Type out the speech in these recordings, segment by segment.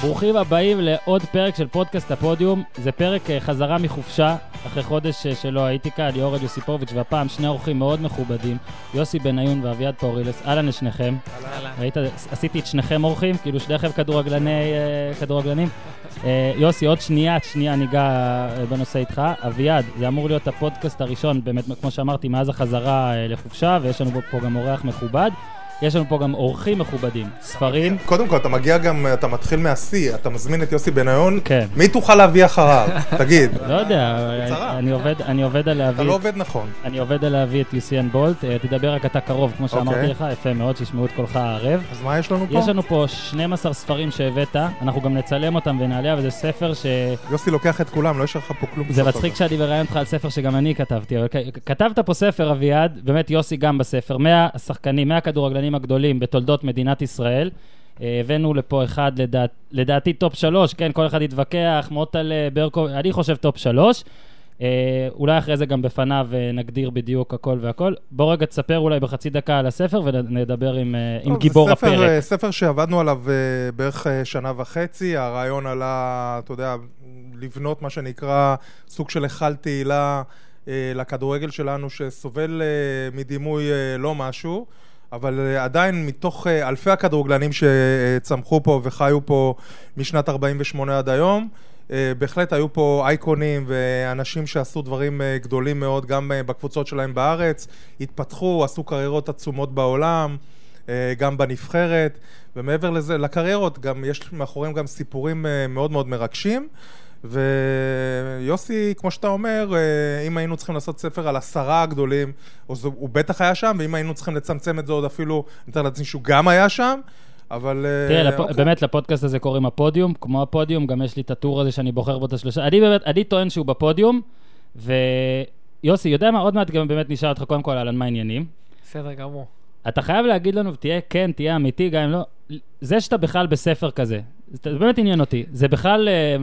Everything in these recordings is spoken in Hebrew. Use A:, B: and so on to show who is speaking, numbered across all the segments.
A: ברוכים הבאים לעוד פרק של פודקאסט הפודיום. זה פרק אה, חזרה מחופשה, אחרי חודש אה, שלא הייתי כאן, יורד יוסיפוביץ', והפעם שני אורחים מאוד מכובדים, יוסי בניון ואביעד פאורילס. אהלן לשניכם.
B: אהלן.
A: ראית, עשיתי את שניכם אורחים, כאילו שניכם כדורגלני, אה, כדורגלנים. אה, יוסי, עוד שנייה, שנייה ניגע אה, בנושא איתך. אביעד, זה אמור להיות הפודקאסט הראשון, באמת, כמו שאמרתי, מאז החזרה אה, לחופשה, ויש לנו פה גם אורח מכובד. יש לנו פה גם אורחים מכובדים, ספרים.
C: קודם כל, אתה מגיע גם, אתה מתחיל מהשיא, אתה מזמין את יוסי בניון,
A: כן.
C: מי תוכל להביא אחריו? תגיד,
A: לא יודע,
C: בצרה.
A: אני עובד, אני עובד על
C: אתה
A: להביא,
C: לא עובד נכון.
A: אני עובד על להביא את יוסיאן בולט. אה, תדבר רק אתה קרוב, כמו שאמרתי
C: אוקיי.
A: לך, יפה מאוד, שישמעו את קולך הערב.
C: אז מה יש לנו פה?
A: יש לנו פה 12 ספרים שהבאת, אנחנו גם נצלם אותם ונעלה, אבל זה ספר ש...
C: יוסי לוקח את כולם, לא יש לך פה כלום.
A: זה
C: בסוף
A: מצחיק
C: הזה.
A: שאני מראיין אותך על ספר שגם אני כתבתי, אבל כ- כתבת פה ספר, אביעד, באמת יוסי גם בספר, 100 השחקנים, 100 הכדורגלנים הגדולים בתולדות מדינת ישראל. אה, הבאנו לפה אחד, לדעת, לדעתי טופ שלוש, כן, כל אחד יתווכח, מוטלה, ברקו, אני חושב טופ שלוש. אה, אולי אחרי זה גם בפניו אה, נגדיר בדיוק הכל והכל. בוא רגע תספר אולי בחצי דקה על הספר ונדבר עם, אה, עם
C: טוב,
A: גיבור
C: זה ספר,
A: הפרק.
C: אה, ספר שעבדנו עליו אה, בערך אה, שנה וחצי, הרעיון עלה, אתה יודע, לבנות מה שנקרא סוג של היכל תהילה אה, לכדורגל שלנו, שסובל אה, מדימוי אה, לא משהו. אבל אה, עדיין מתוך אה, אלפי הכדורגלנים שצמחו פה וחיו פה משנת 48' עד היום, אה, בהחלט היו פה אייקונים ואנשים שעשו דברים אה, גדולים מאוד גם אה, בקבוצות שלהם בארץ, התפתחו, עשו קריירות עצומות בעולם, אה, גם בנבחרת, ומעבר לזה, לקריירות, גם יש מאחוריהם גם סיפורים אה, מאוד מאוד מרגשים. ויוסי, כמו שאתה אומר, אה, אם היינו צריכים לעשות ספר על עשרה הגדולים, אז הוא הוא בטח היה שם, ואם היינו צריכים לצמצם את זה עוד אפילו, אני מתאר לעצמי שהוא גם היה שם, אבל... אה,
A: תראה, לפ...
C: אוקיי.
A: באמת לפודקאסט הזה קוראים הפודיום, כמו הפודיום, גם יש לי את הטור הזה שאני בוחר בו את השלושה. אני באמת, אני טוען שהוא בפודיום, ויוסי, יודע מה? עוד מעט גם באמת נשאל אותך קודם כל, אהלן, מה העניינים?
B: בסדר גמור.
A: אתה חייב להגיד לנו, תהיה כן, תהיה אמיתי, גם אם לא... זה שאתה בכלל בספר כזה, זה באמת עניין אותי. זה בכלל אה,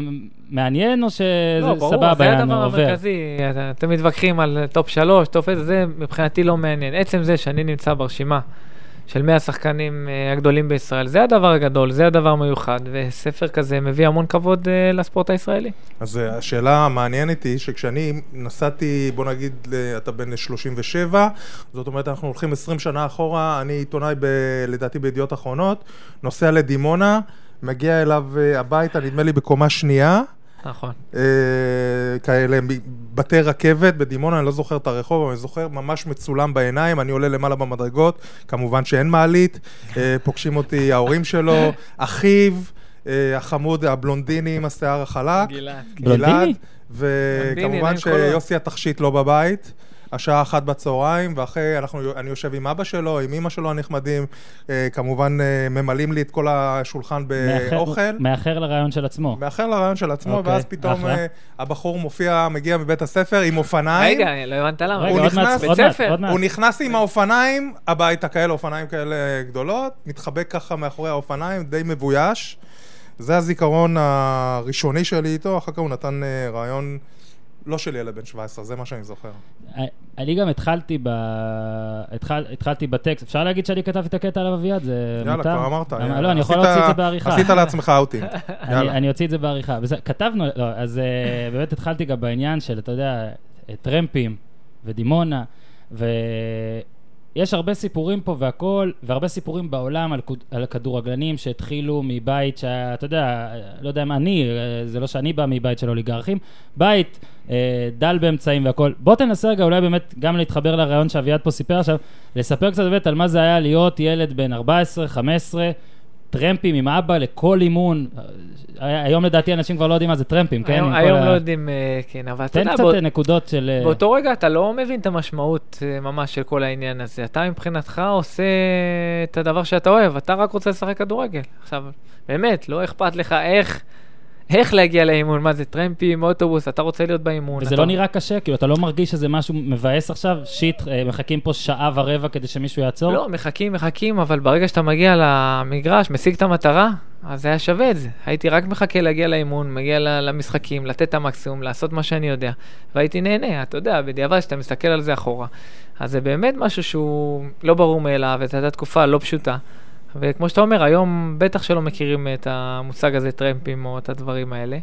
A: מעניין או שזה
B: לא, ברור,
A: סבבה,
B: זה
A: יענו,
B: הדבר
A: עובר?
B: המרכזי. אתה- אתם מתווכחים על טופ שלוש, טופ איזה, זה מבחינתי לא מעניין. עצם זה שאני נמצא ברשימה של 100 השחקנים אה, הגדולים בישראל, זה הדבר הגדול, זה הדבר המיוחד, וספר כזה מביא המון כבוד אה, לספורט הישראלי.
C: אז אה, השאלה המעניינת היא שכשאני נסעתי, בוא נגיד, ל- אתה בן 37, זאת אומרת, אנחנו הולכים 20 שנה אחורה, אני עיתונאי, ב, לדעתי, בידיעות אחרונות, נוסע לדימונה, מגיע אליו אה, הביתה, נדמה לי, בקומה שנייה,
B: נכון.
C: אה, כאלה מ- בתי רכבת בדימונה, אני לא זוכר את הרחוב, אבל אני זוכר ממש מצולם בעיניים, אני עולה למעלה במדרגות, כמובן שאין מעלית, אה, פוגשים אותי ההורים שלו, אחיו, אה, החמוד, הבלונדיני עם השיער החלק.
B: גלעד.
A: בלונדיני?
C: גלעד,
B: בלונדיני,
C: וכמובן
B: עיניים כחולות.
C: שיוסי התכשיט לא בבית. השעה אחת בצהריים, ואחרי, אנחנו, אני יושב עם אבא שלו, עם אמא שלו הנחמדים, אה, כמובן אה, ממלאים לי את כל השולחן
A: מאחר-
C: באוכל.
A: מאחר לרעיון של עצמו.
C: מאחר לרעיון של עצמו,
A: אוקיי,
C: ואז פתאום
A: אחלה.
C: אה, הבחור מופיע, מגיע מבית הספר עם אופניים.
B: רגע, לא הבנת למה.
A: רגע,
C: הוא
A: עוד מעט,
C: נכנס-
A: עוד מעט,
B: בית
A: עוד מעט.
C: הוא נכנס עם האופניים הביתה, כאלה אופניים כאלה גדולות, מתחבק ככה מאחורי האופניים, די מבויש. זה הזיכרון הראשוני שלי איתו, אחר כך הוא נתן אה, רעיון לא של ילד בן 17, זה מה שאני זוכר.
A: אני גם התחלתי ב... התחל... התחלתי בטקסט, אפשר להגיד שאני כתבתי את הקטע עליו אביעד? זה
C: יאללה,
A: מותר?
C: כבר אמרת.
A: למה-
C: יאללה.
A: לא, אני יכול
C: עשית-
A: להוציא את זה בעריכה.
C: עשית לעצמך אאוטינג.
A: אני,
C: יאללה.
A: אני אוציא את זה בעריכה. וזה, כתבנו, לא, אז אה, באמת התחלתי גם בעניין של, אתה יודע, אה, טרמפים ודימונה, ויש הרבה סיפורים פה והכול, והרבה סיפורים בעולם על, כוד- על הכדורגלנים שהתחילו מבית שהיה, אתה יודע, אה, לא יודע אם אני, אה, זה לא שאני בא מבית של אוליגרכים, בית אה, דל באמצעים והכול. בוא תנסה רגע אולי באמת גם להתחבר לרעיון שאביעד פה סיפר עכשיו, לספר קצת באמת על מה זה היה להיות ילד בן 14, 15, טרמפים עם אבא לכל אימון. הי- היום לדעתי אנשים כבר לא יודעים מה זה טרמפים, כן?
B: היום
A: עם כל
B: היום
A: ה-
B: לא יודעים, אה, כן, אבל אתה
A: תן
B: יודע,
A: קצת
B: בוא-
A: נקודות של... אה,
B: באותו רגע אתה לא מבין את המשמעות אה, ממש של כל העניין הזה. אתה מבחינתך עושה את הדבר שאתה אוהב, אתה רק רוצה לשחק כדורגל. עכשיו, באמת, לא אכפת לך איך, איך להגיע לאימון, מה זה טרמפים, אוטובוס, אתה רוצה להיות באימון.
A: וזה
B: אתה...
A: לא נראה קשה, כאילו, אתה לא מרגיש שזה משהו מבאס עכשיו? שיט, אה, מחכים פה שעה ורבע כדי שמישהו יעצור?
B: לא, מחכים, מחכים, אבל ברגע שאתה מגיע למגרש, משיג את המטרה, אז זה היה שווה את זה. הייתי רק מחכה להגיע לאימון, מגיע ל- למשחקים, לתת את המקסימום, לעשות מה שאני יודע, והייתי נהנה, אתה יודע, בדיעבד, כשאתה מסתכל על זה אחורה. אז זה באמת משהו שהוא לא ברור מאליו, וזו הייתה תקופה לא פשוטה. וכמו שאתה אומר, היום בטח שלא מכירים את המושג הזה, טרמפים או את הדברים האלה.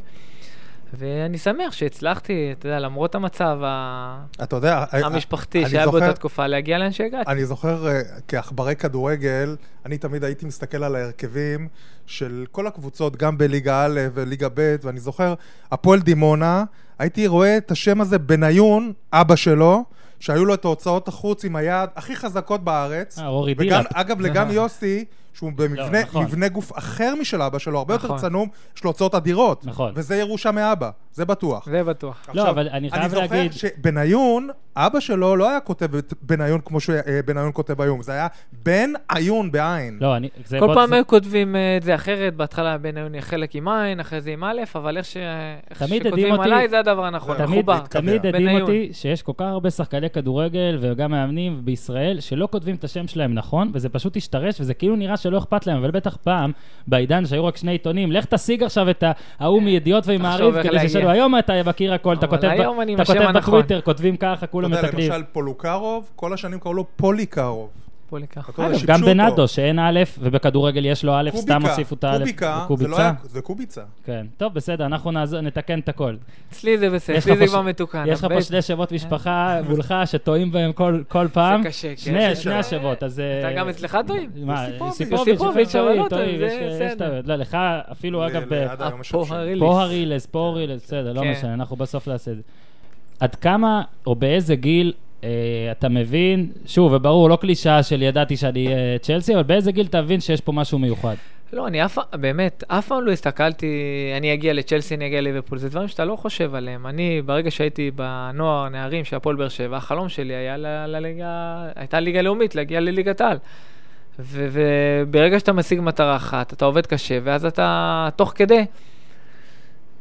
B: ואני שמח שהצלחתי, אתה יודע, למרות המצב ה-
C: אתה יודע,
B: המשפחתי
C: אה, אני
B: שהיה
C: זוכר-
B: באותה תקופה, להגיע לאן שהגעתי.
C: אני זוכר אה, כעכברי כדורגל, אני תמיד הייתי מסתכל על ההרכבים של כל הקבוצות, גם בליגה א' וליגה ב', ואני זוכר, הפועל דימונה, הייתי רואה את השם הזה בניון, אבא שלו, שהיו לו את ההוצאות החוץ עם היד הכי חזקות בארץ.
A: אה, אורי
C: וגם,
A: דילאפ.
C: אגב, לגן יוסי, שהוא במבנה
A: אה. נכון.
C: מבנה גוף אחר משל אבא שלו, הרבה יותר
B: נכון.
C: צנום, יש לו הוצאות אדירות.
A: נכון.
C: וזה ירושה מאבא, זה בטוח.
B: זה בטוח.
A: לא,
C: עכשיו,
A: אבל אני
C: אני
A: חייב
C: זוכר
A: להגיד...
C: שבניון, אבא שלו לא היה כותב את בניון כמו שבניון כותב היום, זה היה בן עיון בעין.
A: לא, אני... זה
B: כל
A: מאוד-
B: פעם
A: זה-
B: היו כותבים אה, את זה אחרת, בהתחלה בן היוני חלק עם עין, אחרי זה עם א', אבל איך ש- איך
A: תמיד הדהים
B: שכותבים
A: אותי-
B: עליי זה הדבר הנכון,
C: זה
A: תמיד,
B: מחובר.
C: התקבל.
A: תמיד
B: בניון.
A: הדהים אותי שיש כל כך הרבה שחקני כדורגל וגם מאמנים בישראל שלא כותבים את השם שלהם נכון, וזה פשוט השתרש, וזה כאילו נראה שלא אכפת להם, אבל בטח פעם, בעידן שהיו רק שני עיתונים, לך תשיג עכשיו את ההוא מידיעות ועם
B: תחשוב
A: מעריב,
B: איך
A: כדי
B: להגיע.
A: שישאלו, היום אתה מכיר הכל, אתה
B: אבל
A: כותב ב-
B: היום אני נכון.
A: אתה
B: עם השם
A: כותב
B: הנכון.
A: בטוויטר, כותבים ככה,
C: אתה
A: כולם
C: יודע,
A: מתקנים.
C: למשל פולוקרוב, כל השנים קראו לו פוליקרוב.
B: בוא ניקח.
C: אתה יודע,
A: אגב,
C: שיבשו
A: גם
C: אותו.
A: בנאדו, שאין א', ובכדורגל יש לו א', סתם
C: קוביקה,
A: הוסיפו את הא',
C: קוביקה, זה לא
A: וקוביצה.
C: היה- זה קוביצה.
A: כן, טוב, בסדר, אנחנו נעזור- נתקן את הכל.
B: אצלי זה בסדר,
A: יש
B: אצלי
A: לך
B: זה
A: פה ש-
B: כבר מתוקן.
A: יש לך פה
B: הבן-
A: שני שמות משפחה מולך שטועים בהם כל- כל פעם.
B: אה. זה קשה, כן.
A: שני
B: זה
A: שני
C: לא-
B: קשה.
A: השמות, אז...
B: אתה
A: אה,
B: גם אצלך טועים?
A: מה,
C: יוסיפוביץ'.
A: סיפוביץ',
B: יוסיפוביץ', אבל לא טועים, זה
A: יש- יש
B: בסדר.
A: טעויות. לא, לך אפילו, אגב, אה,
C: ל- לעד היום השם
B: הפוהרי.
C: שלי.
A: פוהרילס, פוהרילס, בסדר, לא
B: כן.
A: משנה, אנחנו בסוף נעשה את זה. עד כמה, או באיזה גיל... אה, אתה מבין, שוב, וברור, לא קלישאה של ידעתי שאני אה, צ'לסי, אבל באיזה גיל תבין שיש פה משהו מיוחד?
B: לא, אני אף פעם, באמת, אף פעם לא הסתכלתי, אני אגיע לצ'לסי, אני אגיע לליברפול, זה דברים שאתה לא חושב עליהם. אני, ברגע שהייתי בנוער, נערים של הפועל באר שבע, החלום שלי היה ל- לליגה, הייתה ליגה לאומית, להגיע לליגת העל. ו- וברגע שאתה משיג מטרה אחת, אתה עובד קשה, ואז אתה, תוך כדי,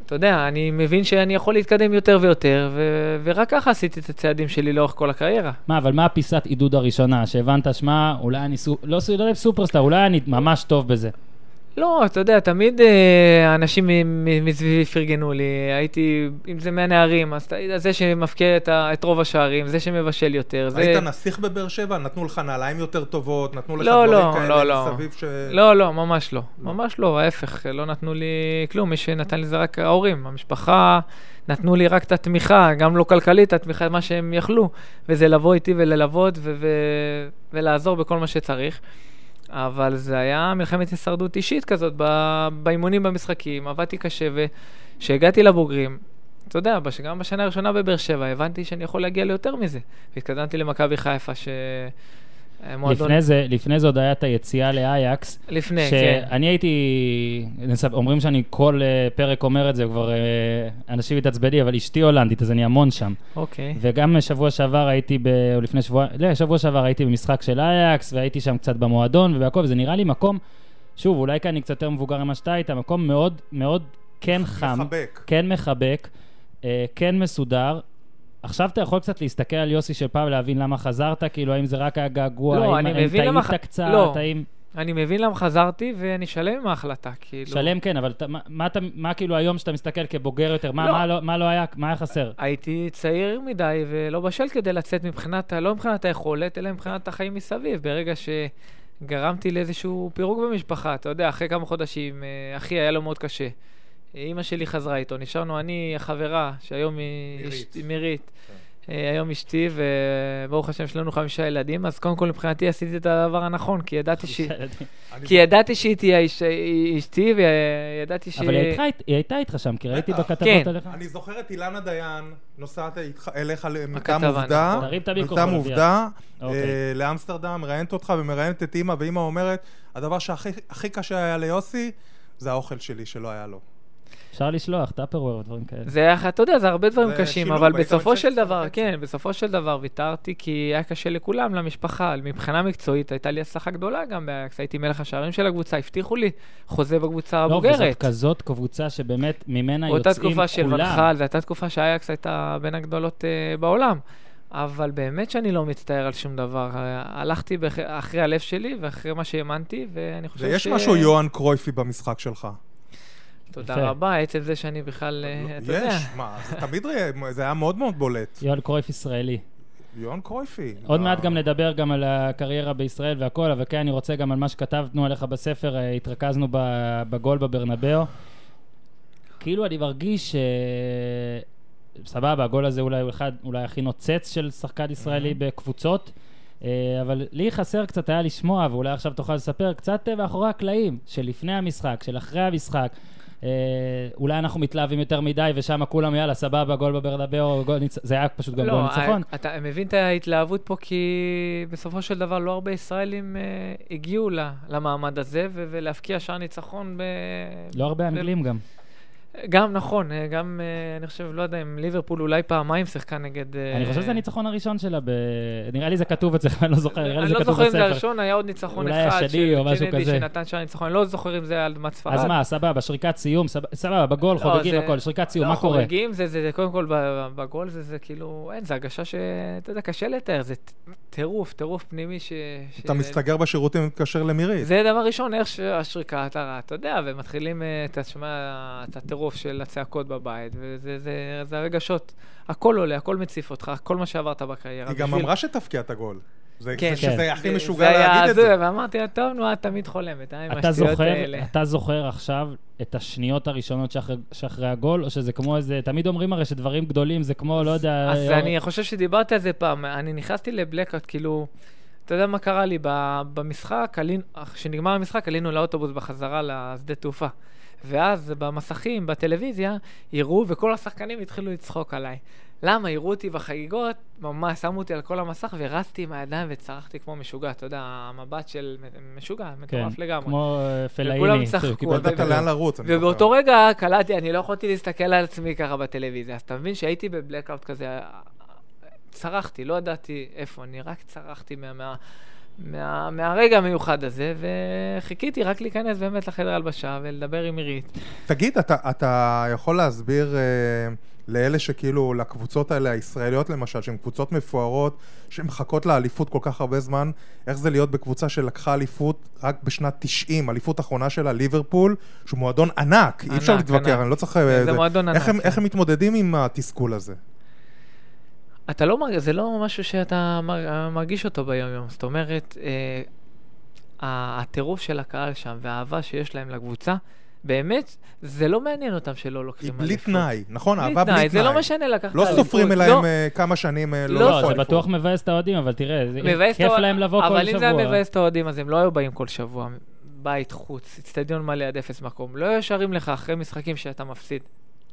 B: אתה יודע, אני מבין שאני יכול להתקדם יותר ויותר, ו- ורק ככה עשיתי את הצעדים שלי לאורך כל הקריירה.
A: מה, אבל מה הפיסת עידוד הראשונה? שהבנת, שמע, אולי אני סו... לא, סו- לא יודע, סופרסטאר, אולי אני ממש טוב בזה.
B: לא, אתה יודע, תמיד אה, אנשים מ- מ- מסביבי פרגנו לי, הייתי, אם זה מהנערים, אז אתה- זה שמבקיע את, ה- את רוב השערים, זה שמבשל יותר, זה...
C: היית נסיך בבאר שבע? נתנו לך נעליים יותר טובות? נתנו לך
B: לא,
C: דברים
B: לא, לא,
C: כאלה
B: לא.
C: מסביב ש...
B: לא, לא, ממש לא. ממש לא, ההפך, לא נתנו לי כלום, מי שנתן לי זה רק ההורים, המשפחה, נתנו לי רק את התמיכה, גם לא כלכלית, התמיכה, מה שהם יכלו, וזה לבוא איתי וללוות ו- ו- ולעזור בכל מה שצריך. אבל זה היה מלחמת הישרדות אישית כזאת, ב- באימונים, במשחקים, עבדתי קשה, וכשהגעתי לבוגרים, אתה יודע, בש- גם בשנה הראשונה בבאר שבע, הבנתי שאני יכול להגיע ליותר מזה. והתקדמתי למכבי חיפה, ש... מועדון-
A: לפני זה, לפני זה עוד היה את היציאה לאייקס.
B: לפני, כן.
A: שאני הייתי, נסב- אומרים שאני כל אה, פרק אומר את זה, כבר אה, אנשים התעצבני, אבל אשתי הולנדית, אז אני המון שם.
B: אוקיי.
A: וגם שבוע שעבר הייתי, ב... או לפני שבוע, לא, שבוע שעבר הייתי במשחק של אייקס, והייתי שם קצת במועדון ובהכל, וזה נראה לי מקום, שוב, אולי כי אני קצת יותר מבוגר ממה שאתה היית, מקום מאוד מאוד כן חם.
C: מחבק.
A: כן מחבק, אה, כן מסודר. עכשיו אתה יכול קצת להסתכל על יוסי של פעם, להבין למה חזרת, כאילו, האם זה רק היה געגוע,
B: לא,
A: האם
B: אני
A: האם
B: מבין
A: טעית
B: למה ח-
A: קצת,
B: לא.
A: האם...
B: אני מבין למה חזרתי, ואני שלם עם ההחלטה, כאילו.
A: שלם כן, אבל אתה- מה- מה אתה- מה כאילו היום שאתה מסתכל כבוגר יותר, מה-
B: לא.
A: מה לא- מה לא היה, מה היה חסר?
B: הייתי צעיר מדי ולא בשל כדי לצאת מבחינת, ה- לא מבחינת היכולת, אלא מבחינת החיים מסביב. ברגע שגרמתי לאיזשהו פירוק במשפחה, אתה יודע, אחרי כמה חודשים, אה, אחי, היה לו מאוד קשה. אימא שלי חזרה איתו, נשארנו אני, החברה, שהיום היא...
C: מירית.
B: אשתי- מירית. אה, היום אשתי, וברוך השם, יש לנו חמישה ילדים, אז קודם כל מבחינתי עשיתי את הדבר הנכון, כי ידעתי ש...
C: אני
B: כי ידעתי שהיא תהיה איש- אשתי, וידעתי ש...
A: אבל היא הייתה איתך- היא הייתה איתך שם, כי ראיתי
C: בטח.
A: בכתבות
B: כן.
A: עליך.
C: אני זוכר את אילנה דיין נוסעת איתך- אליך מטעם
B: הכתבה,
C: עובדה,
B: נכון.
A: תרים את המיקרופון,
C: מטעם
A: אביעד.
C: עובדה,
A: אוקיי.
C: אה, לאמסטרדם, מראיינת אותך ומראיינת את אימא, ואימא אומרת, הדבר שהכי הכי קשה היה ליוסי, זה האוכל שלי שלא היה לו.
A: אפשר לשלוח, טאפרוור ודברים כאלה.
B: זה היה, אתה יודע, זה הרבה דברים
C: זה
B: קשים,
C: שילוב,
B: אבל
C: היית בן
B: בסופו של
C: 16
B: דבר,
C: וחצי.
B: כן, בסופו של דבר ויתרתי, כי היה קשה לכולם, למשפחה. מבחינה מקצועית הייתה לי הצלחה גדולה גם באקס, הייתי מלך השערים של הקבוצה, הבטיחו לי חוזה בקבוצה
A: לא, וזאת
B: הבוגרת.
A: כזאת קבוצה שבאמת ממנה יוצאים כולם.
B: באותה תקופה של ונחל, זו הייתה תקופה שאייקס הייתה בין הגדולות אה, בעולם. אבל באמת שאני לא מצטער על שום דבר. אה, הלכתי בח- אחרי הלב שלי ואחרי מה שהאמנתי, ואני חושב ש...
C: ויש משהו יוהאן קרויפי במשחק
B: אה,
C: שלך.
A: יפה.
B: תודה רבה, עצם זה שאני
C: לא,
B: בכלל, אה, אתה יודע.
C: יש, מה, זה תמיד, ראה- זה היה מאוד מאוד בולט.
A: יואל קרויף ישראלי.
C: יוהאן קרויפי. לא.
A: עוד
C: ה-
A: מעט גם נדבר גם על הקריירה בישראל והכל, אבל כן, אני רוצה גם על מה שכתבנו עליך בספר, אה, התרכזנו ב- בגול בברנבאו. כאילו אני מרגיש ש... סבבה, הגול הזה אולי הוא אחד, אולי הכי נוצץ של שחקן ישראלי בקבוצות, אה, אבל לי חסר קצת היה לשמוע, ואולי עכשיו תוכל לספר, קצת אה, מאחורי הקלעים, של לפני המשחק, של אחרי המשחק. אה, אולי אנחנו מתלהבים יותר מדי, ושם כולם, יאללה, סבבה, גול בברנבאו, גול ניצ... זה היה פשוט גם גול
B: לא,
A: ניצחון.
B: ה- אתה מבין את ההתלהבות פה, כי בסופו של דבר לא הרבה ישראלים אה, הגיעו ל- למעמד הזה, ו- ולהבקיע שער ניצחון ב...
A: לא הרבה אנגלים גם.
B: גם, נכון, אה, גם, אה, אני חושב, לא יודע אם ליברפול אולי פעמיים שיחקה נגד... אה,
A: אני חושב שזה הניצחון הראשון שלה ב... נראה לי זה כתוב אצלך, אני לא זוכר, נראה לי
B: אני
A: זה
B: לא
A: כתוב
B: זוכר אם זה
A: בספר.
B: הראשון, היה עוד ניצחון
A: אולי
B: אחד.
A: השני
B: של
A: או משהו
B: קנדי
A: כזה.
B: שנתן שער ניצחון, אני לא זוכר אם זה לא, היה על אדמת ספרד.
A: אז מה, סבבה, שריקת סיום, סבבה- סבבה, בגול,
B: לא,
A: חוגגים
B: זה-
A: הכל, שריקת סיום,
B: לא,
A: כאילו, מה קורה?
B: חוגגים, זה, זה, זה קודם כל ב- בגול, זה, זה כאילו, אין, זה הרגשה ש... אתה יודע, קשה לתאר, זה ט- טירוף, טירוף פנימי ש... ש-
C: אתה מסתגר בשירותים ומתקשר למירי.
B: זה דבר ראשון, איך שהשריקה, אתה, אתה יודע, ומתחילים, אה, אתה שומע את הטירוף של הצעקות בבית, וזה זה, זה הרגשות. הכל עולה, הכל מציף אותך, כל מה שעברת בקריירה.
C: היא גם
B: בשביל-
C: אמרה שתפקיע את הגול. זה
B: כן.
C: זה שזה
A: כן.
C: הכי משוגע להגיד את
B: זה.
C: זה.
B: היה הזוי, ואמרתי לה, טוב, נו, את תמיד חולמת, אה, עם
A: אתה
B: השטויות
A: זוכר,
B: האלה.
A: אתה זוכר עכשיו את השניות הראשונות שאחרי- שאחרי הגול, או שזה כמו איזה, תמיד אומרים הרי שדברים גדולים זה כמו, לא יודע...
B: אז
A: אה,
B: אני חושב שדיברתי על זה פעם, אני נכנסתי לבלקאוט, כאילו, אתה יודע מה קרה לי? ב- במשחק, עלינו- אך, כשנגמר המשחק, עלינו לאוטובוס בחזרה לשדה תעופה. ואז במסכים, בטלוויזיה, יראו, וכל השחקנים התחילו לצחוק עליי. למה? יראו אותי בחגיגות, ממש שמו אותי על כל המסך, ורצתי עם הידיים וצרחתי כמו משוגע, אתה יודע, המבט של משוגע,
A: כן,
B: מטורף לגמרי.
A: כמו אה, פלאיני. כאילו,
B: וכולם צחקו,
A: שהוא קיבל
C: לא
A: את
C: ידעת
A: הכדור.
C: לאן לרוץ. אני זוכר.
B: ובאותו רגע קלטתי, אני לא יכולתי להסתכל על עצמי ככה בטלוויזיה. אז אתה מבין שהייתי בבלקאוט כזה, אה, צרחתי, לא ידעתי איפה אני, רק צרחתי מה, מה, מה, מהרגע המיוחד הזה, וחיכיתי רק להיכנס באמת לחדר הלבשה ולדבר עם עירית.
C: תגיד, אתה, אתה יכול להסביר אה, לאלה שכאילו, לקבוצות האלה, הישראליות למשל, שהן קבוצות מפוארות, שמחכות לאליפות כל כך הרבה זמן, איך זה להיות בקבוצה שלקחה אליפות רק בשנת 90, אליפות אחרונה שלה, ליברפול, שהוא מועדון ענק, אי אפשר
B: ענק,
C: להתווכח,
B: ענק.
C: אני לא צריך... אה,
B: זה מועדון ענק. כן.
C: איך הם, איך הם מתמודדים עם התסכול הזה?
B: אתה לא מרגיש, זה לא משהו שאתה מר- מרגיש אותו ביום-יום. זאת אומרת, אה, ה- הטירוף של הקהל שם והאהבה שיש להם לקבוצה, באמת, זה לא מעניין אותם שלא
C: היא
B: לוקחים
C: בלי תנאי, נכון?
B: בלי
C: אהבה בלי תנאי.
B: תנאי, זה לא משנה לקחת
C: לא
B: אליפות.
C: סופרים
B: לא,
C: אליהם אה, כמה שנים אה, לא
B: לא,
A: לא,
C: לקחו
A: זה
C: אליפות.
A: בטוח מבאס את האוהדים, אבל תראה, זה-
B: מבאס
A: כיף
B: את האוה-
A: להם לבוא כל שבוע.
B: אבל אם זה היה מבאס את האוהדים, אז הם לא היו באים כל שבוע. בית, חוץ, אצטדיון מלא עד אפס מקום. לא היו שרים לך אחרי משחקים שאתה מפסיד.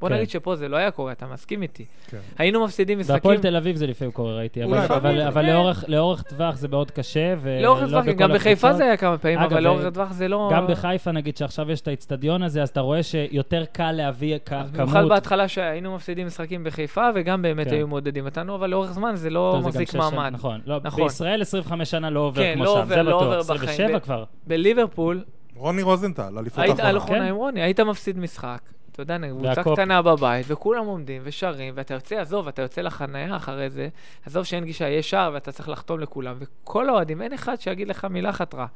B: בוא
A: כן.
B: נגיד שפה זה לא היה קורה, אתה מסכים איתי.
C: כן.
B: היינו מפסידים משחקים...
A: בהפועל תל אביב זה לפעמים קורה, ראיתי, אבל-
C: אולי,
A: אבל
B: לפעמים,
A: אבל
B: כן.
A: לאורך- לאורך טווח זה מאוד קשה, ולא
B: לאורך הטווח,
A: לא בכל
B: גם בחיפה
A: הקבוצות.
B: זה היה כמה פעמים,
A: אגב,
B: אבל לאורך
A: אה,
B: הטווח זה לא...
A: גם בחיפה, נגיד, שעכשיו יש את האיצטדיון הזה, אז אתה רואה שיותר קל להביא כ-
B: אז במיוחד
A: כמות.
B: בהתחלה שהיינו מפסידים משחקים בחיפה, וגם באמת
A: כן.
B: היו מעודדים אותנו, אבל לאורך זמן זה
A: טוב,
B: לא
A: זה גם
B: מחזיק
A: שש שנים,
B: מעמד.
A: נכון. לא,
B: נכון.
A: בישראל 25 שנה לא עובר
B: כן,
A: כמו
B: לא
A: שם,
B: עובר-
A: זה
B: לא
A: בטוח.
B: עובר בחיים.
A: 27
B: ב-
A: כבר.
B: בליברפול,
C: רוני רוזנטל, אליפות
B: היית,
C: אחרונה.
B: על אחרונה
A: כן.
B: עם רוני, היית מפסיד משחק, אתה יודע, נגיד, קבוצה
A: והקופ.
B: קטנה בבית, וכולם עומדים ושרים, ואתה יוצא, עזוב, אתה יוצא לחניה אחרי זה, עזוב שאין גישה, יש שער, ואתה צריך לחתום לכולם, וכל האוהדים, אין אחד שיגיד לך מילה אחת רע.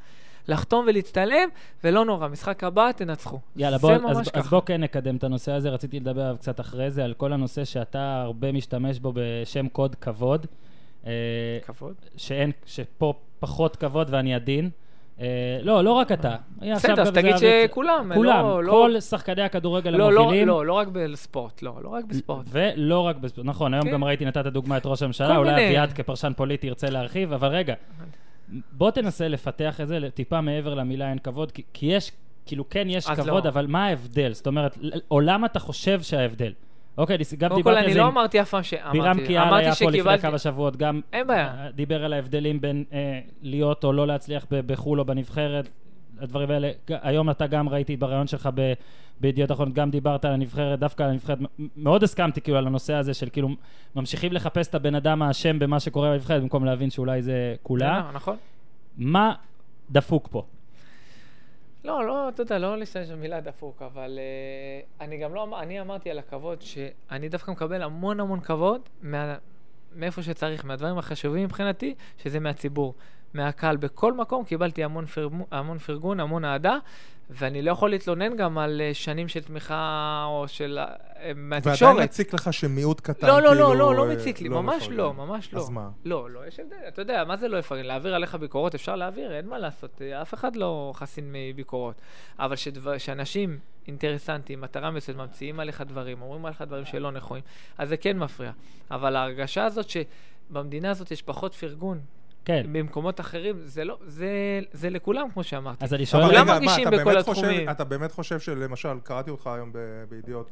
B: לחתום ולהצטלם, ולא נורא, משחק הבא, תנצחו.
A: יאללה,
B: זה
A: בוא,
B: ממש
A: אז, אז
B: ככה.
A: בוא כן נקדם את הנושא הזה. רציתי לדבר עליו קצת אחרי זה, על כל הנושא שאתה הרבה משתמש בו בשם קוד כבוד. אה,
B: כבוד.
A: שאין, שפה פחות כבוד ואני עדין. אה, לא, לא רק אתה. אה, עכשיו
B: בסדר, אז
A: גם זה
B: תגיד
A: ערבי-
B: שכולם,
A: כולם,
B: לא- לא-
A: כל שחקני הכדורגל
B: לא, לא,
A: המובילים.
B: לא, לא רק בספורט, לא, לא רק בספורט.
A: ולא רק בספורט. נכון, היום
B: כן.
A: גם ראיתי, נתת דוגמא את ראש הממשלה,
B: כל
A: אולי
B: מיני.
A: אביעד כפרשן פוליטי ירצה להרחיב, אבל רגע, בוא תנסה לפתח את זה טיפה מעבר למילה אין כבוד, כי- כי יש, כאילו כן יש
B: אז לא.
A: כבוד, אבל מה ההבדל? זאת אומרת, ל- או למה אתה חושב שההבדל? אוקיי, ניס- גם
B: קודם כל,
A: דיברתי על
B: אני
A: זה
B: לא
A: עם
B: אמרתי אף פעם ש...
A: בירם
B: אמרתי,
A: קיאל היה
B: אמרתי
A: פה לפני
B: שקיבלתי...
A: כמה שבועות, גם
B: אין בעיה.
A: אה, דיבר על ההבדלים בין אה, להיות או לא להצליח ב- בחו"ל או בנבחרת, הדברים האלה. ג- היום אתה גם ראיתי בריאיון שלך ב- בידיעות אחרונות, גם דיברת על הנבחרת, דווקא על הנבחרת, מ- מאוד הסכמתי כאילו על הנושא הזה של כאילו ממשיכים לחפש את הבן אדם האשם במה שקורה בנבחרת, במקום להבין שאולי זה כולה.
B: נכון?
A: מה דפוק פה?
B: לא, לא, אתה יודע, לא להשתמש במילה דפוק, אבל uh, אני גם לא, אמר- אני אמרתי על הכבוד שאני דווקא מקבל המון המון כבוד מה, מאיפה שצריך, מהדברים החשובים מבחינתי, שזה מהציבור, מהקהל. בכל מקום קיבלתי המון, פרגמ, המון פרגון, המון אהדה, ואני לא יכול להתלונן גם על אה, שנים של תמיכה או של... אה,
C: ועדיין
B: מהתקשורת.
C: מציק לך שמיעוט קטן,
B: לא, לא, לא,
C: כאילו,
B: לא, לא
C: אה,
B: מציק לי, ממש
C: נכון.
B: לא, ממש לא.
C: אז מה?
B: לא, לא, יש הבדל, אתה יודע, מה זה לא יפרגן? להעביר עליך ביקורות, אפשר להעביר, אין מה לעשות, אה, אף אחד לא חסין מביקורות. אבל שדבר- שאנשים אינטרסנטים, מטרה מסוימת, ממציאים עליך דברים, אומרים עליך דברים שלא נכונים, אז זה כן מפריע. אבל ההרגשה הזאת שבמדינה הזאת יש פחות פרגון,
A: כן.
B: במקומות אחרים, זה לא, זה, זה לכולם, כמו שאמרתי.
A: אז אני שואל...
C: אבל
B: כולם
C: רגע, מה,
B: מרגישים
C: אתה
B: בכל
C: באמת חושב-
B: התחומים.
C: אתה באמת חושב שלמשל, קראתי אותך היום ב- בידיעות,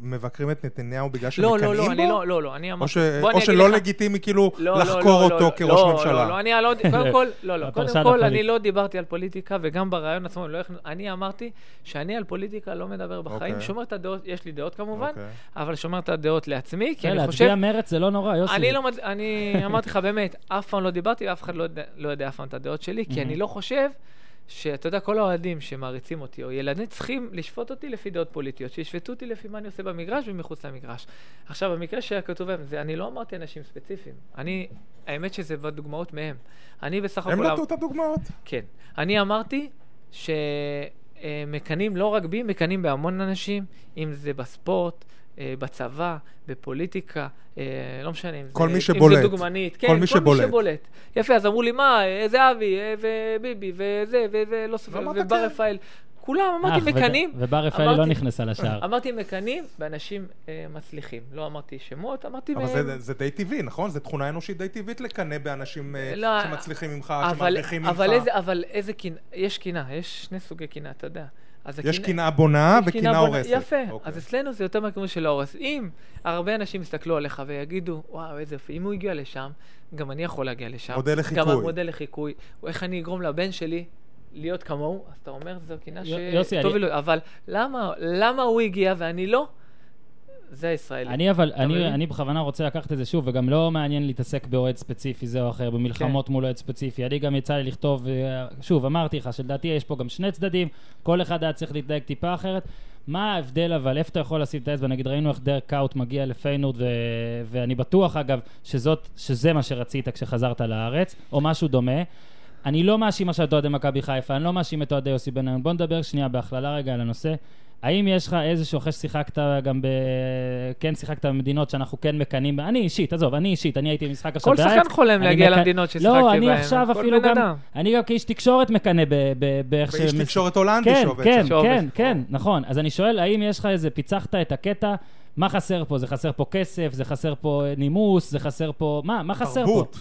C: שמבקרים את נתניהו בגלל שמקנאים
B: לא,
C: בו?
B: לא, לא, אני לא, לא, לא, אני
C: או
B: אמרתי.
C: ש-
B: בוא,
C: או
B: אני אגיד
C: שלא
B: לך-
C: לגיטימי כאילו
B: לא, לא,
C: לחקור
B: לא,
C: אותו
B: לא,
C: כראש
B: לא,
C: ממשלה?
B: לא, לא, אני לא, קודם כל, לא, לא,
A: הפרשן
B: קודם כל, אני
A: הפוליטי.
B: לא דיברתי על פוליטיקה, וגם ברעיון עצמו, אני לא הכנ- אני אמרתי שאני על פוליטיקה לא מדבר בחיים,
C: אוקיי.
B: שומר את הדעות, יש לי דעות כמובן,
C: אוקיי.
B: אבל שומר את הדעות לעצמי, כי
A: כן,
B: אני
A: להצביע
B: חושב...
A: מרץ זה לא נורא, יוסי.
B: אני לא, מד- אני אמרתי לך באמת, אף פעם לא דיברתי ואף אחד לא יודע- לא יודע אף פעם את הדעות שלי, כי
A: מהמם.
B: אני לא חושב שאתה יודע, כל האוהדים שמעריצים אותי, או ילדים צריכים לשפוט אותי לפי דעות פוליטיות, שישפטו אותי לפי מה אני עושה במגרש ומחוץ למגרש. עכשיו, במקרה שהיה כתוב להם, זה- אני לא אמרתי אנשים ספציפיים, אני, האמת שזה בדוגמאות מהם. אני בסך
C: הם לא
B: הכול...
C: נתנו את הדוגמאות.
B: כן. אני אמרתי שמקנאים לא רק בי, מקנאים בהמון אנשים, אם זה בספורט, אה, בצבא, בפוליטיקה, אה, לא משנה אם
C: כל
B: זה...
C: מי
B: אם
C: שבולט.
B: זה דוגמנית. כן,
C: כל מי שבולט.
B: שבולט. יפה, אז אמרו לי, מה, אה, זהבי, אה, וביבי, וזה, וזה, לא סופר,
C: ואמרת,
B: ובר
C: כן.
B: רפאל. כולם, אמרתי,
A: אך, וד-
B: מקנאים.
A: ובר אה, רפאלי לא
B: אמרתי-
A: נכנסה לשער.
B: אמרתי מקנאים באנשים אה, מצליחים. לא אמרתי שמות, אמרתי...
C: אבל
B: מהם-
C: זה- זה די טבעי, נכון? זו תכונה אנושית די טבעית לקנא באנשים אה,
B: לא,
C: שמצליחים ממך,
B: אבל,
C: שמרוויחים ממך.
B: אבל איזה, אבל איזה קנאה, יש קנאה, יש שני סוגי קנאה, אתה יודע. אז
C: יש
B: הקנאה-
C: קנאה בונה
B: יש
C: וקנאה
B: בונה-
C: אה, הורסת.
B: יפה,
C: אוקיי.
B: אז אצלנו זה יותר מהכיוון של ההורס. אם הרבה אנשים יסתכלו עליך ויגידו, וואו, איזה יופי, אם הוא הגיע לשם, גם אני יכול להגיע לשם.
C: מודל לחיקוי.
B: גם המודל לחיקוי, או איך אני אגרום לבן שלי להיות כמוהו, אז אתה אומר, זו קנאה
A: יו- יוסי, אני-
B: שטוב לו, אבל למה, למה הוא הגיע ואני לא? זה הישראלי.
A: אני אבל, אני,
B: מבין?
A: אני בכוונה רוצה לקחת את זה שוב, וגם לא מעניין להתעסק באוהד ספציפי זה או אחר, במלחמות מול אוהד ספציפי. אני גם יצא לי לכתוב, אה, שוב, אמרתי לך שלדעתי יש פה גם שני צדדים, כל אחד היה צריך להתנהג טיפה אחרת. מה ההבדל אבל, איפה אתה יכול לשים את האצבע? נגיד ראינו איך דרק קאוט מגיע לפיינורד, ו... ואני בטוח אגב שזאת, שזה מה שרצית כשחזרת לארץ, או משהו דומה. אני לא מאשים עכשיו את אוהדי מכבי חיפה, אני לא מאשים את אוהדי יוסי בניון. בוא נדבר שנייה בהכללה רגע על הנושא. האם יש לך איזשהו, אחרי ששיחקת גם ב... כן שיחקת במדינות שאנחנו כן מקנאים, בה- אני אישית, עזוב, אני אישית, אני הייתי במשחק עכשיו
B: כל
A: בארץ.
B: שחקן חולם
A: אני
B: להגיע
A: מקנא-
B: למדינות ששיחקתי
A: לא, אני
B: בהן,
A: עכשיו
B: כל
A: אפילו
B: בן
A: גם,
B: אדם.
A: אני גם כאיש תקשורת מקנא ב- ב- באיך
C: ואיש
A: שמש-
C: תקשורת הולנדי
A: כן,
C: שעובד
A: כן,
B: שעובד.
A: כן, כן, נכון. אז אני שואל, האם יש לך איזה, פיצחת את הקטע? מה חסר פה? זה חסר פה כסף? זה חסר פה אה, נימוס? זה חסר פה... מה, מה חסר פה?
C: תרבות.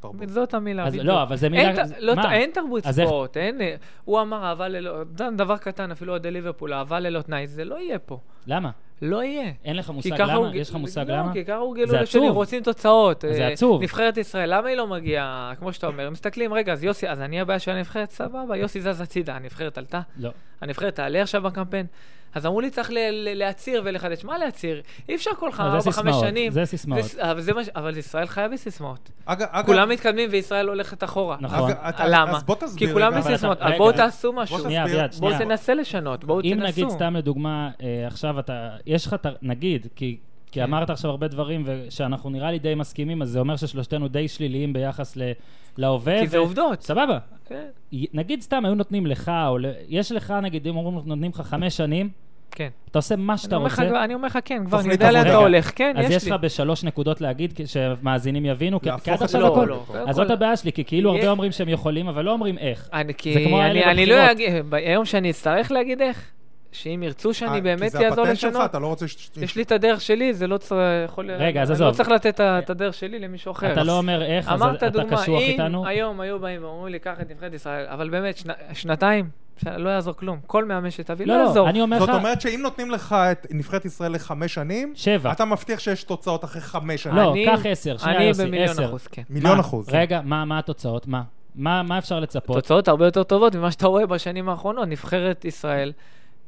C: תרבות.
B: זאת המילה.
A: אז
B: בדיוק.
A: לא, אבל זה מילה-
B: אין, ת- לא,
A: מה?
B: ת- אין תרבות
A: אז איך-
B: ספורט, אין... אה, הוא אמר אהבה ללא... ד- דבר קטן, אפילו אוהדי ליברפול, אהבה ללא תנאי, זה לא יהיה פה.
A: למה?
B: לא יהיה.
A: אין לך
B: כי
A: מושג
B: ככה
A: למה?
B: הוא-
A: יש לך מושג
B: לא,
A: למה?
B: כי ככה
A: זה
B: הורגלו
A: עצוב.
B: לשני, רוצים תוצאות.
A: זה
B: אה,
A: עצוב.
B: נבחרת ישראל, למה היא לא מגיעה, כמו שאתה אומר? הם מסתכלים, רגע, אז יוסי, אז אני הבעיה של הנבחרת, סבבה, יוסי זז הצידה, הנבחרת עלתה.
A: לא.
B: הנבחרת תעלה עכשיו בקמפיין. אז אמרו לי, צריך ל- ל- להצהיר ולחדש. מה להצהיר? אי אפשר כל
A: לא, זה
B: אה, ארבע, חמש
A: סיסמאות,
B: שנים.
A: זה סיסמאות.
B: זה- אבל זה מה ש- אבל ישראל חיה בסיסמאות.
C: אגב, אגב-
B: כולם מתקדמים וישראל הולכת אחורה.
A: נכון.
C: אגב, אתה-
B: למה?
C: אז בוא תסביר.
B: כי כולם
C: רגע.
A: אבל
B: בסיסמאות.
A: אתה-
B: אז
A: רגע.
B: בואו תעשו משהו.
C: בוא
A: שנייה,
C: תסביר.
A: אביעד,
B: בואו
A: שנייה.
B: תנסה לשנות, בואו
A: אם
B: תנסו.
A: נגיד סתם לדוגמה, אה, עכשיו אתה, יש לך, ת- נגיד, כי... כי
B: כן.
A: אמרת עכשיו הרבה דברים, ושאנחנו נראה לי די מסכימים, אז זה אומר ששלושתנו די שליליים ביחס ל- להווה.
B: כי זה
A: ו-
B: עובדות.
A: סבבה.
B: כן,
A: י- נגיד סתם היו נותנים לך, או ל- יש לך, נגיד, אם אומרים, נותנים לך חמש שנים,
B: כן.
A: אתה עושה מה שאתה
B: אני אומר לך
A: רוצה.
B: כבר- אני אומר לך כן, כבר אני
C: תוכנית
B: יודע לאן
C: עבודה.
B: אתה הולך. כן,
A: אז
B: יש
A: יש
B: לי.
A: לך בשלוש נקודות להגיד, כ- שמאזינים יבינו, כי- כי
C: להפוך
A: עד
C: את
A: עכשיו
C: זה
B: לא,
A: הכל.
B: לא. קודם
A: אז זאת
B: כל-
A: הבעיה שלי, כי כאילו הרבה
B: יש-
A: אומרים שהם יכולים, אבל לא אומרים איך.
B: אני, כי
A: זה כמו
B: אני,
A: האלה
B: אני לא
A: בבחירות.
B: אגיד, ביום שאני אצטרך להגיד איך, שאם ירצו
C: אה,
B: שאני
C: כי
B: באמת
C: זה
B: אעזור
C: הפטנט שלך,
B: לשנות,
C: אתה לא רוצה ש...
B: יש לי את הדרך שלי, זה לא צריך... יכול-
A: רגע, אז
B: אני
A: עזוב.
B: לא צריך לתת את הדרך שלי למישהו אחר.
A: אתה לא אומר איך, אז
B: אמרת
A: אתה
B: דוגמה,
A: קשוח
B: אם
A: איתנו.
B: היום היו באים ואומרים לי, קח את נבחרת ישראל, אבל באמת, שנ- שנתיים, ש- לא יעזור כלום. כל מאמן שתביא, לא
A: לא,
B: יעזור.
A: לא, אני אומר
C: זאת
A: לך,
C: אומרת שאם נותנים לך את נבחרת ישראל לחמש שנים,
A: שבע.
C: אתה מבטיח שיש תוצאות אחרי חמש שנים.
A: לא,
B: אני-
A: קח עשר, שנייה
B: אני
A: יוסי,
B: במיליון
A: עשר.
B: אחוז, כן.
C: מיליון
A: מה?
C: אחוז.
A: רגע, מה מה התוצאות? מה? מה מה אפשר לצפות?
B: תוצאות הרבה יותר טובות ממה שאתה רואה בשנים האחרונות. נבחרת ישראל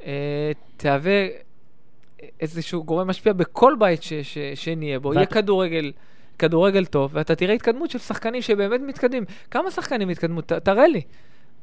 B: אה, תהווה איזשהו גורם משפיע בכל בית ש- ש- שנהיה בו.
A: ואת-
B: יהיה כדורגל, כדורגל טוב, ואתה תראה התקדמות של שחקנים שבאמת מתקדמים. כמה שחקנים התקדמו? ת- תראה לי.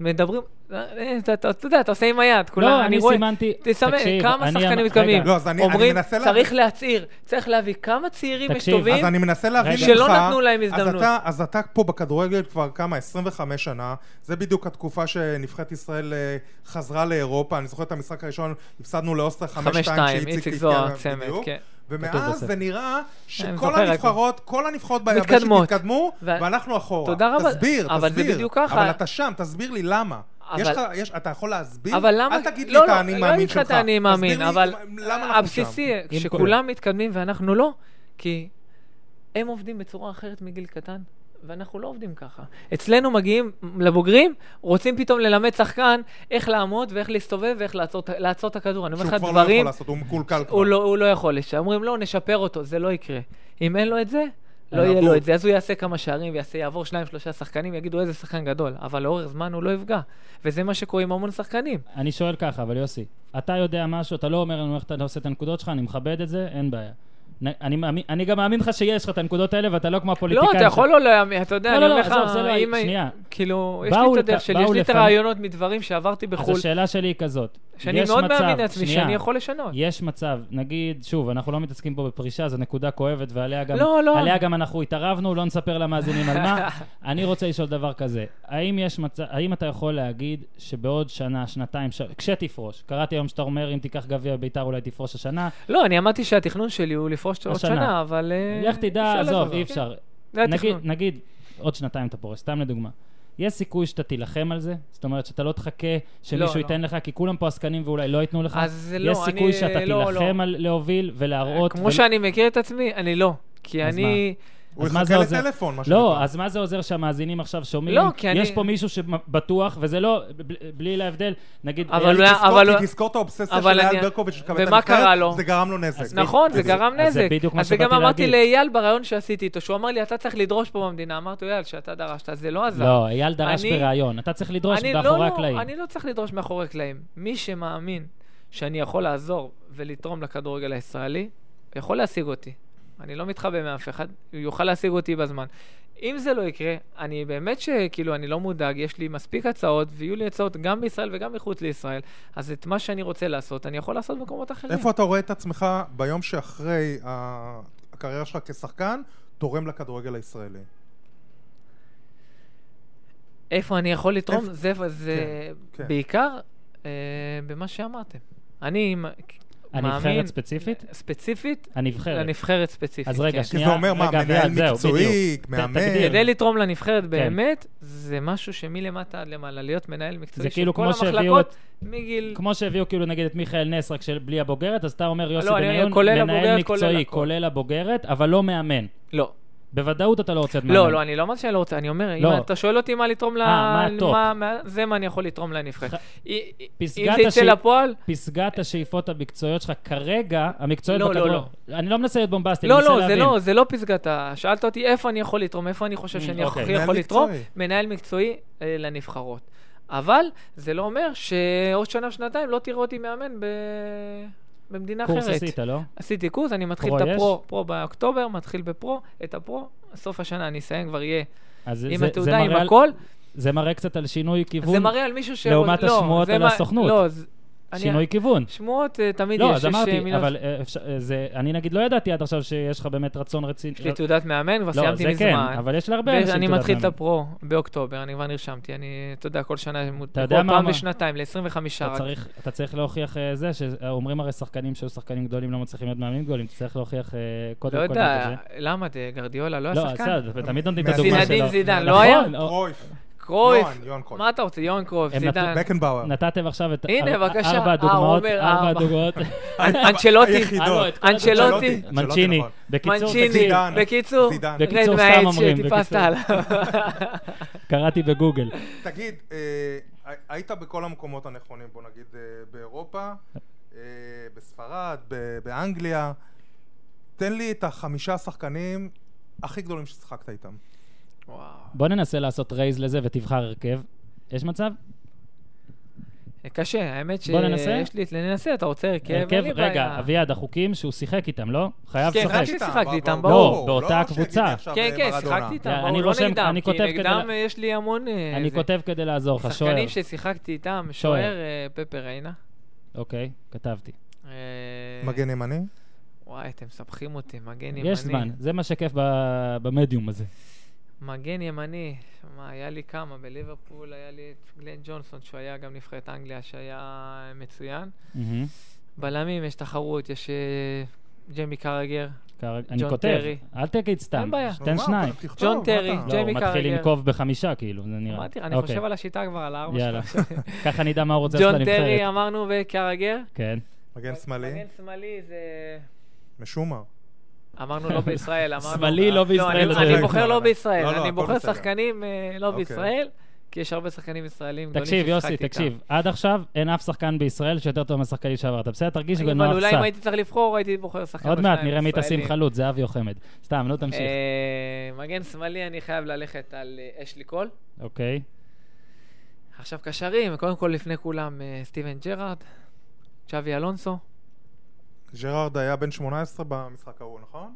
B: מדברים, אה, אתה אתה- אתה יודע, אתה עושה עם היד, כולם,
A: לא, אני
B: רואה.
A: סימנתי-
B: תסמן,
A: תקשיב,
B: כמה
A: אני אמ-
B: שחקנים מתקדמים.
A: רגע.
C: לא, אז אני- אני
B: אומרים,
C: מנסה להבין.
B: צריך להצהיר, צריך להביא כמה צעירים
A: תקשיב,
B: וטובים.
C: אז אני מנסה להבין
A: רגע.
C: ממך...
B: שלא נתנו להם הזדמנות.
C: אז אתה, אז אתה פה בכדורגל כבר כמה? 25 שנה. זה בדיוק התקופה שנבחרת ישראל אה, חזרה לאירופה. אני זוכר את המשחק הראשון, הפסדנו לאוסטר 5-2,
B: חמש-שתיים, איציק
C: הבקיע
B: זוהר,
C: להם
B: צמד,
C: בדיוק.
B: כן. אה,
A: כתוב
C: ומאז
A: בספר.
C: זה נראה
B: אני
C: שכל
B: זוכר,
C: הנבחרות, כל הנבחרות ביבשת
B: מתקדמות.
C: התקדמו,
B: ו-
C: ואנחנו אחורה.
B: תודה רבה.
C: תסביר,
B: אבל זה
C: תסביר.
B: בדיוק ככה.
C: אבל אתה שם, תסביר לי למה.
B: אבל-
C: יש לך, יש, אתה יכול להסביר?
B: אבל למה...
C: אל תגיד
B: לא,
C: לי את האני
B: לא,
C: מאמין שלך.
B: לא אגיד לך את האני מאמין,
C: תסביר לי
B: אבל
C: למה אנחנו
B: הבסיסי,
A: אם
B: כשכולם מתקדמים ואנחנו לא, כי הם עובדים בצורה אחרת מגיל קטן, ואנחנו לא עובדים ככה. אצלנו מגיעים לבוגרים, רוצים פתאום ללמד שחקן איך לעמוד ואיך להסתובב ואיך לעצור את- לעצור את הכדור. אני
C: שם.
B: אומר לך
C: שהוא כבר לא יכול
B: דברים,
C: לעשות, הוא מקולקל כבר.
B: הוא לא- הוא לא יכול לשם. אומרים, לא, נשפר אותו, זה לא יקרה. אם אין לו את זה... לא
A: יעבור.
B: יהיה לו את זה, אז הוא יעשה כמה שערים ויעשה, יעבור שניים, שלושה שחקנים, יגידו איזה שחקן גדול, אבל לאורך זמן הוא לא יפגע. וזה מה שקורה עם המון שחקנים.
A: אני שואל ככה, אבל יוסי, אתה יודע משהו, אתה לא אומר לנו איך אתה עושה את הנקודות שלך, אני מכבד את זה, אין בעיה. נ- אני, מאמין- אני גם מאמין לך שיש לך את הנקודות האלה, ואתה לא כמו הפוליטיקאים.
B: לא, אתה יכול
A: ש-
B: לא להאמין, אתה יודע,
A: לא,
B: אני
A: לא,
B: אומר
A: לא, עזוב,
B: לך,
A: זה לא-
B: אם-
A: שנייה.
B: כאילו, יש
A: באו
B: לי את
A: לת-
B: הדרך שלי, יש
A: באו
B: לי את
A: לפני-
B: הרעיונות מדברים שעברתי
A: אז
B: בחו"ל,
A: השאלה שלי היא כזאת.
B: שאני
A: יש
B: מאוד
A: מצב-
B: מאמין לעצמי
A: שנייה,
B: שאני יכול לשנות.
A: יש מצב, נגיד, שוב, אנחנו לא מתעסקים פה בפרישה, זו נקודה כואבת, ועליה גם,
B: לא, לא.
A: עליה גם אנחנו התערבנו, לא נספר למאזינים על מה. אני רוצה לשאול דבר כזה, האם, יש מצב, האם אתה יכול להגיד שבעוד שנה, שנתיים, ש... כשתפרוש, קראתי היום שאתה אומר, אם תיקח גביע בית"ר אולי תפרוש השנה,
B: לא, אני אמרתי שהתכנון שלי הוא לפרוש עוד
A: השנה.
B: שנה, אבל... אה,
A: לא לך תדע,
B: אפשר
A: עזוב,
B: לעשות.
A: אי אפשר.
B: זה
A: נגיד,
B: התכנון.
A: נגיד, עוד שנתיים אתה פורש, סתם לדוגמה. יש סיכוי שאתה תילחם על זה? זאת אומרת שאתה לא תחכה
B: לא,
A: שמישהו
B: לא.
A: ייתן לך, כי כולם פה עסקנים ואולי לא ייתנו לך?
B: אז זה לא,
A: יש
B: אני-
A: סיכוי שאתה
B: לא,
A: תילחם
B: לא.
A: על להוביל ולהראות...
B: כמו
A: ול-
B: שאני מכיר את עצמי, אני לא. כי
A: אז
B: אני...
C: הוא
A: אז מה
C: יחכה
A: זה עוזר?
C: לטלפון, מה
A: לא, אז מה זה עוזר שהמאזינים עכשיו שומעים?
B: לא, כי אני-
A: יש פה מישהו שבטוח, וזה לא, ב- בלי להבדל, נגיד...
B: אבל
A: אלי
B: אולי-
A: קיסר-
B: אבל
C: אבל...
B: לא-
C: כי תזכור את האובססיה
B: אבל
C: של
B: אני-
C: אייל ברקוביץ' לקבל את
B: ומה
C: הנבחרת,
B: קרה לו?
C: זה גרם לו נזק.
B: נכון, זה
A: אז-
B: גרם
A: אז זה
B: נזק.
A: בדיוק מה
B: אז זה גם
A: שבאתי
B: אמרתי
A: להגיד.
B: לאייל בריאיון שעשיתי איתו, שהוא אמר לי, אתה צריך לדרוש פה במדינה. אמרתי לו, אייל, שאתה דרשת, זה לא עזר.
A: לא, אייל דרש
B: אני-
A: בריאיון, אתה צריך לדרוש
B: אני-
A: מאחורי
B: לא,
A: הקלעים.
B: לא, אני לא צריך לדרוש מאחורי הקלעים. מי שמאמין שאני יכול לעזור ולתרום לכדורגל הישראלי, יכול להשיג אותי. אני לא מתחבא מאף אחד, הוא יוכל להשיג אותי בזמן. אם זה לא יקרה, אני באמת שכאילו, אני לא מודאג, יש לי מספיק הצעות, ויהיו לי הצעות גם בישראל וגם מחוץ לישראל, אז את מה שאני רוצה לעשות, אני יכול לעשות במקומות אחרים.
C: איפה אתה רואה את עצמך ביום שאחרי ה- הקריירה שלך כשחקן, תורם לכדורגל הישראלי?
B: איפה אני יכול לתרום?
C: איפה-
B: זה, זה
C: כן, כן.
B: בעיקר אה, במה שאמרתם. אני מ- מאמין...
A: הנבחרת ספציפית?
B: ספציפית,
A: הנבחרת.
B: לנבחרת ספציפית.
A: אז רגע,
B: כן.
C: כי
A: שנייה.
C: זה אומר מה,
A: רגע, אביעד,
C: מנהל
A: זהו,
C: מקצועי,
A: בדיוק. ת-
C: מאמן.
A: תגדיר.
B: כדי לתרום לנבחרת
A: כן.
B: באמת, זה משהו שמלמטה עד למעלה, להיות מנהל
A: זה
B: מקצועי של
A: כאילו
B: כל
A: כמו שהביאו את
B: המחלקות מגיל...
A: כמו שהביאו כאילו נגיד את מיכאל נס, רק של- בלי הבוגרת, אז אתה אומר יוסי
B: לא, אני-
A: בניון,
B: כולל
A: מנהל
B: הבוגרת, כולל
A: מקצועי,
B: הכל.
A: כולל הבוגרת, אבל לא מאמן.
B: לא,
A: בוודאות אתה לא רוצה להיות מאמן.
B: לא, לא, אני לא אומר שאני לא רוצה, אני אומר,
A: לא.
B: אם אתה שואל אותי מה לתרום ל...
A: אה, מה הטופ?
B: מה- מה- זה מה אני יכול לתרום לנבחרת.
A: ח-
B: אי- אי-
A: פסגת
B: אם זה יצא
A: השאיפ-
B: לפועל...
A: פסגת השאיפות המקצועיות שלך כרגע, המקצועיות
B: לא, לא,
A: בכדורגל. אני לא מנסה להיות בומבסטי, אני
B: לא,
A: מנסה
B: לא, זה
A: להבין.
B: לא, זה לא פסגת ה... שאלת אותי איפה אני יכול לתרום, איפה אני חושב
A: Mm,
B: שאני
A: אוקיי.
B: הכי
C: מנהל
B: יכול לתרום,
C: מקצועי.
B: מנהל מקצועי אה, לנבחרות. אבל זה לא אומר שעוד שנה, שנתיים לא תראה אותי מאמן ב... במדינה
A: קורס
B: אחרת.
A: עשית, לא?
B: עשיתי קורס, אני מתחיל
A: פרו
B: את
A: יש?
B: הפרו, פרו באוקטובר, מתחיל בפרו, את הפרו, סוף השנה אני אסיים, כבר יהיה
A: אז זה-
B: עם
A: זה- זה
B: התעודה, עם
A: מראה על-
B: הכל.
A: זה מראה קצת על שינוי כיוון.
B: זה מראה על מישהו ש...
A: לעומת
B: לא,
A: השמועות
B: זה
A: על
B: מה-
A: הסוכנות.
B: לא, זה- אני-
A: שינוי כיוון.
B: שמועות אה, תמיד יש.
A: לא, אז
B: יש, אה,
A: אמרתי,
B: מיליון-
A: אבל אה, אפשר- אה, זה- אני נגיד לא ידעתי עד עכשיו שיש לך באמת רצון רציני.
B: יש לי תעודת מאמן, כבר
A: לא,
B: סיימתי
A: זה
B: מזמן.
A: כן, אבל יש להרבה אנשים
B: ואני
A: תעודת
B: מתחיל את
A: מאמן.
B: הפרו באוקטובר, אני כבר נרשמתי, אני, אתה יודע, כל שנה, כל
A: יודע מה
B: פעם
A: אמר-
B: בשנתיים, ל-25
A: אתה
B: רק.
A: צריך, אתה צריך להוכיח אה, זה, שאומרים הרי שחקנים שהיו שחקנים גדולים לא מצליחים להיות מאמנים גדולים, אתה צריך להוכיח אה, קודם כל
B: לא
A: את
B: יודע,
A: זה.
B: למה, זה גרדיולה לא היה
A: לא,
B: שחקן?
A: בסדר, תמיד נותנים את הדוגמה שלו.
B: זינדין זידן, לא
A: נכון,
B: היה?
A: או-
C: קרויף,
B: קרויף,
C: יוהן, יוהן קרויף.
B: מה אתה רוצה, יוהן קרויף,
A: הם נתנו-
B: זידן,
C: בקנבאואר.
A: נתתם עכשיו את
B: הנה,
A: אר-
B: בבקשה.
A: ארבע
B: אה, הוא
A: הדוגמאות,
B: אומר
A: ארבע
B: ארבע.
A: הדוגמאות.
B: אנצ'לוטי,
C: היחידות.
A: אה, לא, את כל
B: אנצ'לוטי.
A: הדוגמאות.
B: אנצ'לוטי,
A: מנצ'יני.
C: נכון.
A: בקיצור,
B: מנצ'יני,
A: תקשיב,
C: זידן.
B: בקיצור,
C: זידן.
A: בקיצור,
B: רד
A: סתם
B: מהעץ
A: אומרים,
B: שטיפסת
A: בקיצור.
B: עליו.
A: קראתי בגוגל.
C: תגיד, אה, היית בכל המקומות הנכונים, בוא נגיד אה, באירופה, אה, בספרד, ב- באנגליה. תן לי את החמישה שחקנים הכי גדולים ששיחקת איתם.
B: וואו.
A: בוא ננסה לעשות רייז לזה ותבחר הרכב. יש מצב?
B: אה, קשה, האמת ש-
A: בוא ננסה?
B: יש לי, ננסה, אתה רוצה הרכב? כן, אין
A: הרכב,
B: לי בעיה.
A: רגע, אביעד, החוקים שהוא שיחק איתם, לא? חייב
B: כן,
A: לשחק.
B: חייב ששיחקתי איתם,
A: ברור. באותה הקבוצה.
C: אה,
B: כן, כן, שיחקתי איתם,
A: אני
B: ברור, לא
A: רושם-
B: נגדם,
A: אני
B: כי
A: כותב כדי
B: נגדם
A: לה-
B: אה, יש לי המון... אה,
A: אני
B: זה.
A: כותב כדי לעזור לך, שוער.
B: שחקנים ששיחקתי איתם,
A: שוער.
B: שוער אה, פפר ריינה.
A: אוקיי, כתבתי.
B: אה,
C: מגן ימני?
B: וואי, אתם מסבכים אותי, מגן ימני.
A: יש זמן, זה מה שכיף ב- במדיום הזה.
B: מגן ימני, מה, היה לי כמה, בליברפול היה לי את גלן ג'ונסון, שהוא היה גם נבחרת אנגליה, שהיה מצוין.
A: מהמם.
B: Mm-hmm. בלמים יש תחרות, יש אה, ג'יימי קרגר,
A: קר- אני
B: ג'ון
A: כותב,
B: טרי.
A: אל תגיד סתם,
B: אין בעיה.
A: תן שניים.
B: ג'ון טרי,
A: לא, הוא
B: ג'יימי
A: מתחיל
B: קרגר.
A: לנקוב בחמישה, כאילו, זה נראה.
B: אמרתי, אני
A: אוקיי.
B: חושב על השיטה כבר, על הארבע
A: יאללה.
B: שלנו.
A: ככה נדע מה הוא רוצה לעשות
B: ג'ון טרי
A: לנבחרת.
B: אמרנו וקרגר.
A: כן.
C: מגן שמאלי?
B: מגן שמאלי זה...
C: משומר.
B: אמרנו לא בישראל, אמרנו...
A: שמאלי, לא בישראל,
B: אני-
A: אתה
B: אני
A: יודע.
B: בוחר לא בישראל,
C: לא, לא,
B: אני
C: הכל
B: בוחר
C: בסדר.
B: שחקנים אה, לא
C: אוקיי.
B: בישראל, כי יש הרבה שחקנים ישראלים גדולים
A: תקשיב, יוסי,
B: ששיחקתי
A: תקשיב, עד עכשיו אין אף שחקן בישראל שיותר טוב מהשחקנים שעברת. בסדר, תרגיש
B: איתם. אבל
A: בנוח
B: אולי אם
A: קצת.
B: הייתי צריך לבחור, הייתי בוחר שחקן
A: עוד
B: או
A: מעט
B: שניים
A: נראה מי תשים
B: ישראלים.
A: חלוץ, זהבי או חמד. סתם, נו, תמשיך.
B: אה, מגן שמאלי, אני חייב ללכת על אה, אשלי קול.
A: אוקיי.
B: עכשיו קשרים, קודם כל לפני כולם, אה, סטיבן ג'רארד, צ'אבי אלונסו.
C: אוקיי, ג'רארד היה בן 18 במשחק ההוא, נכון?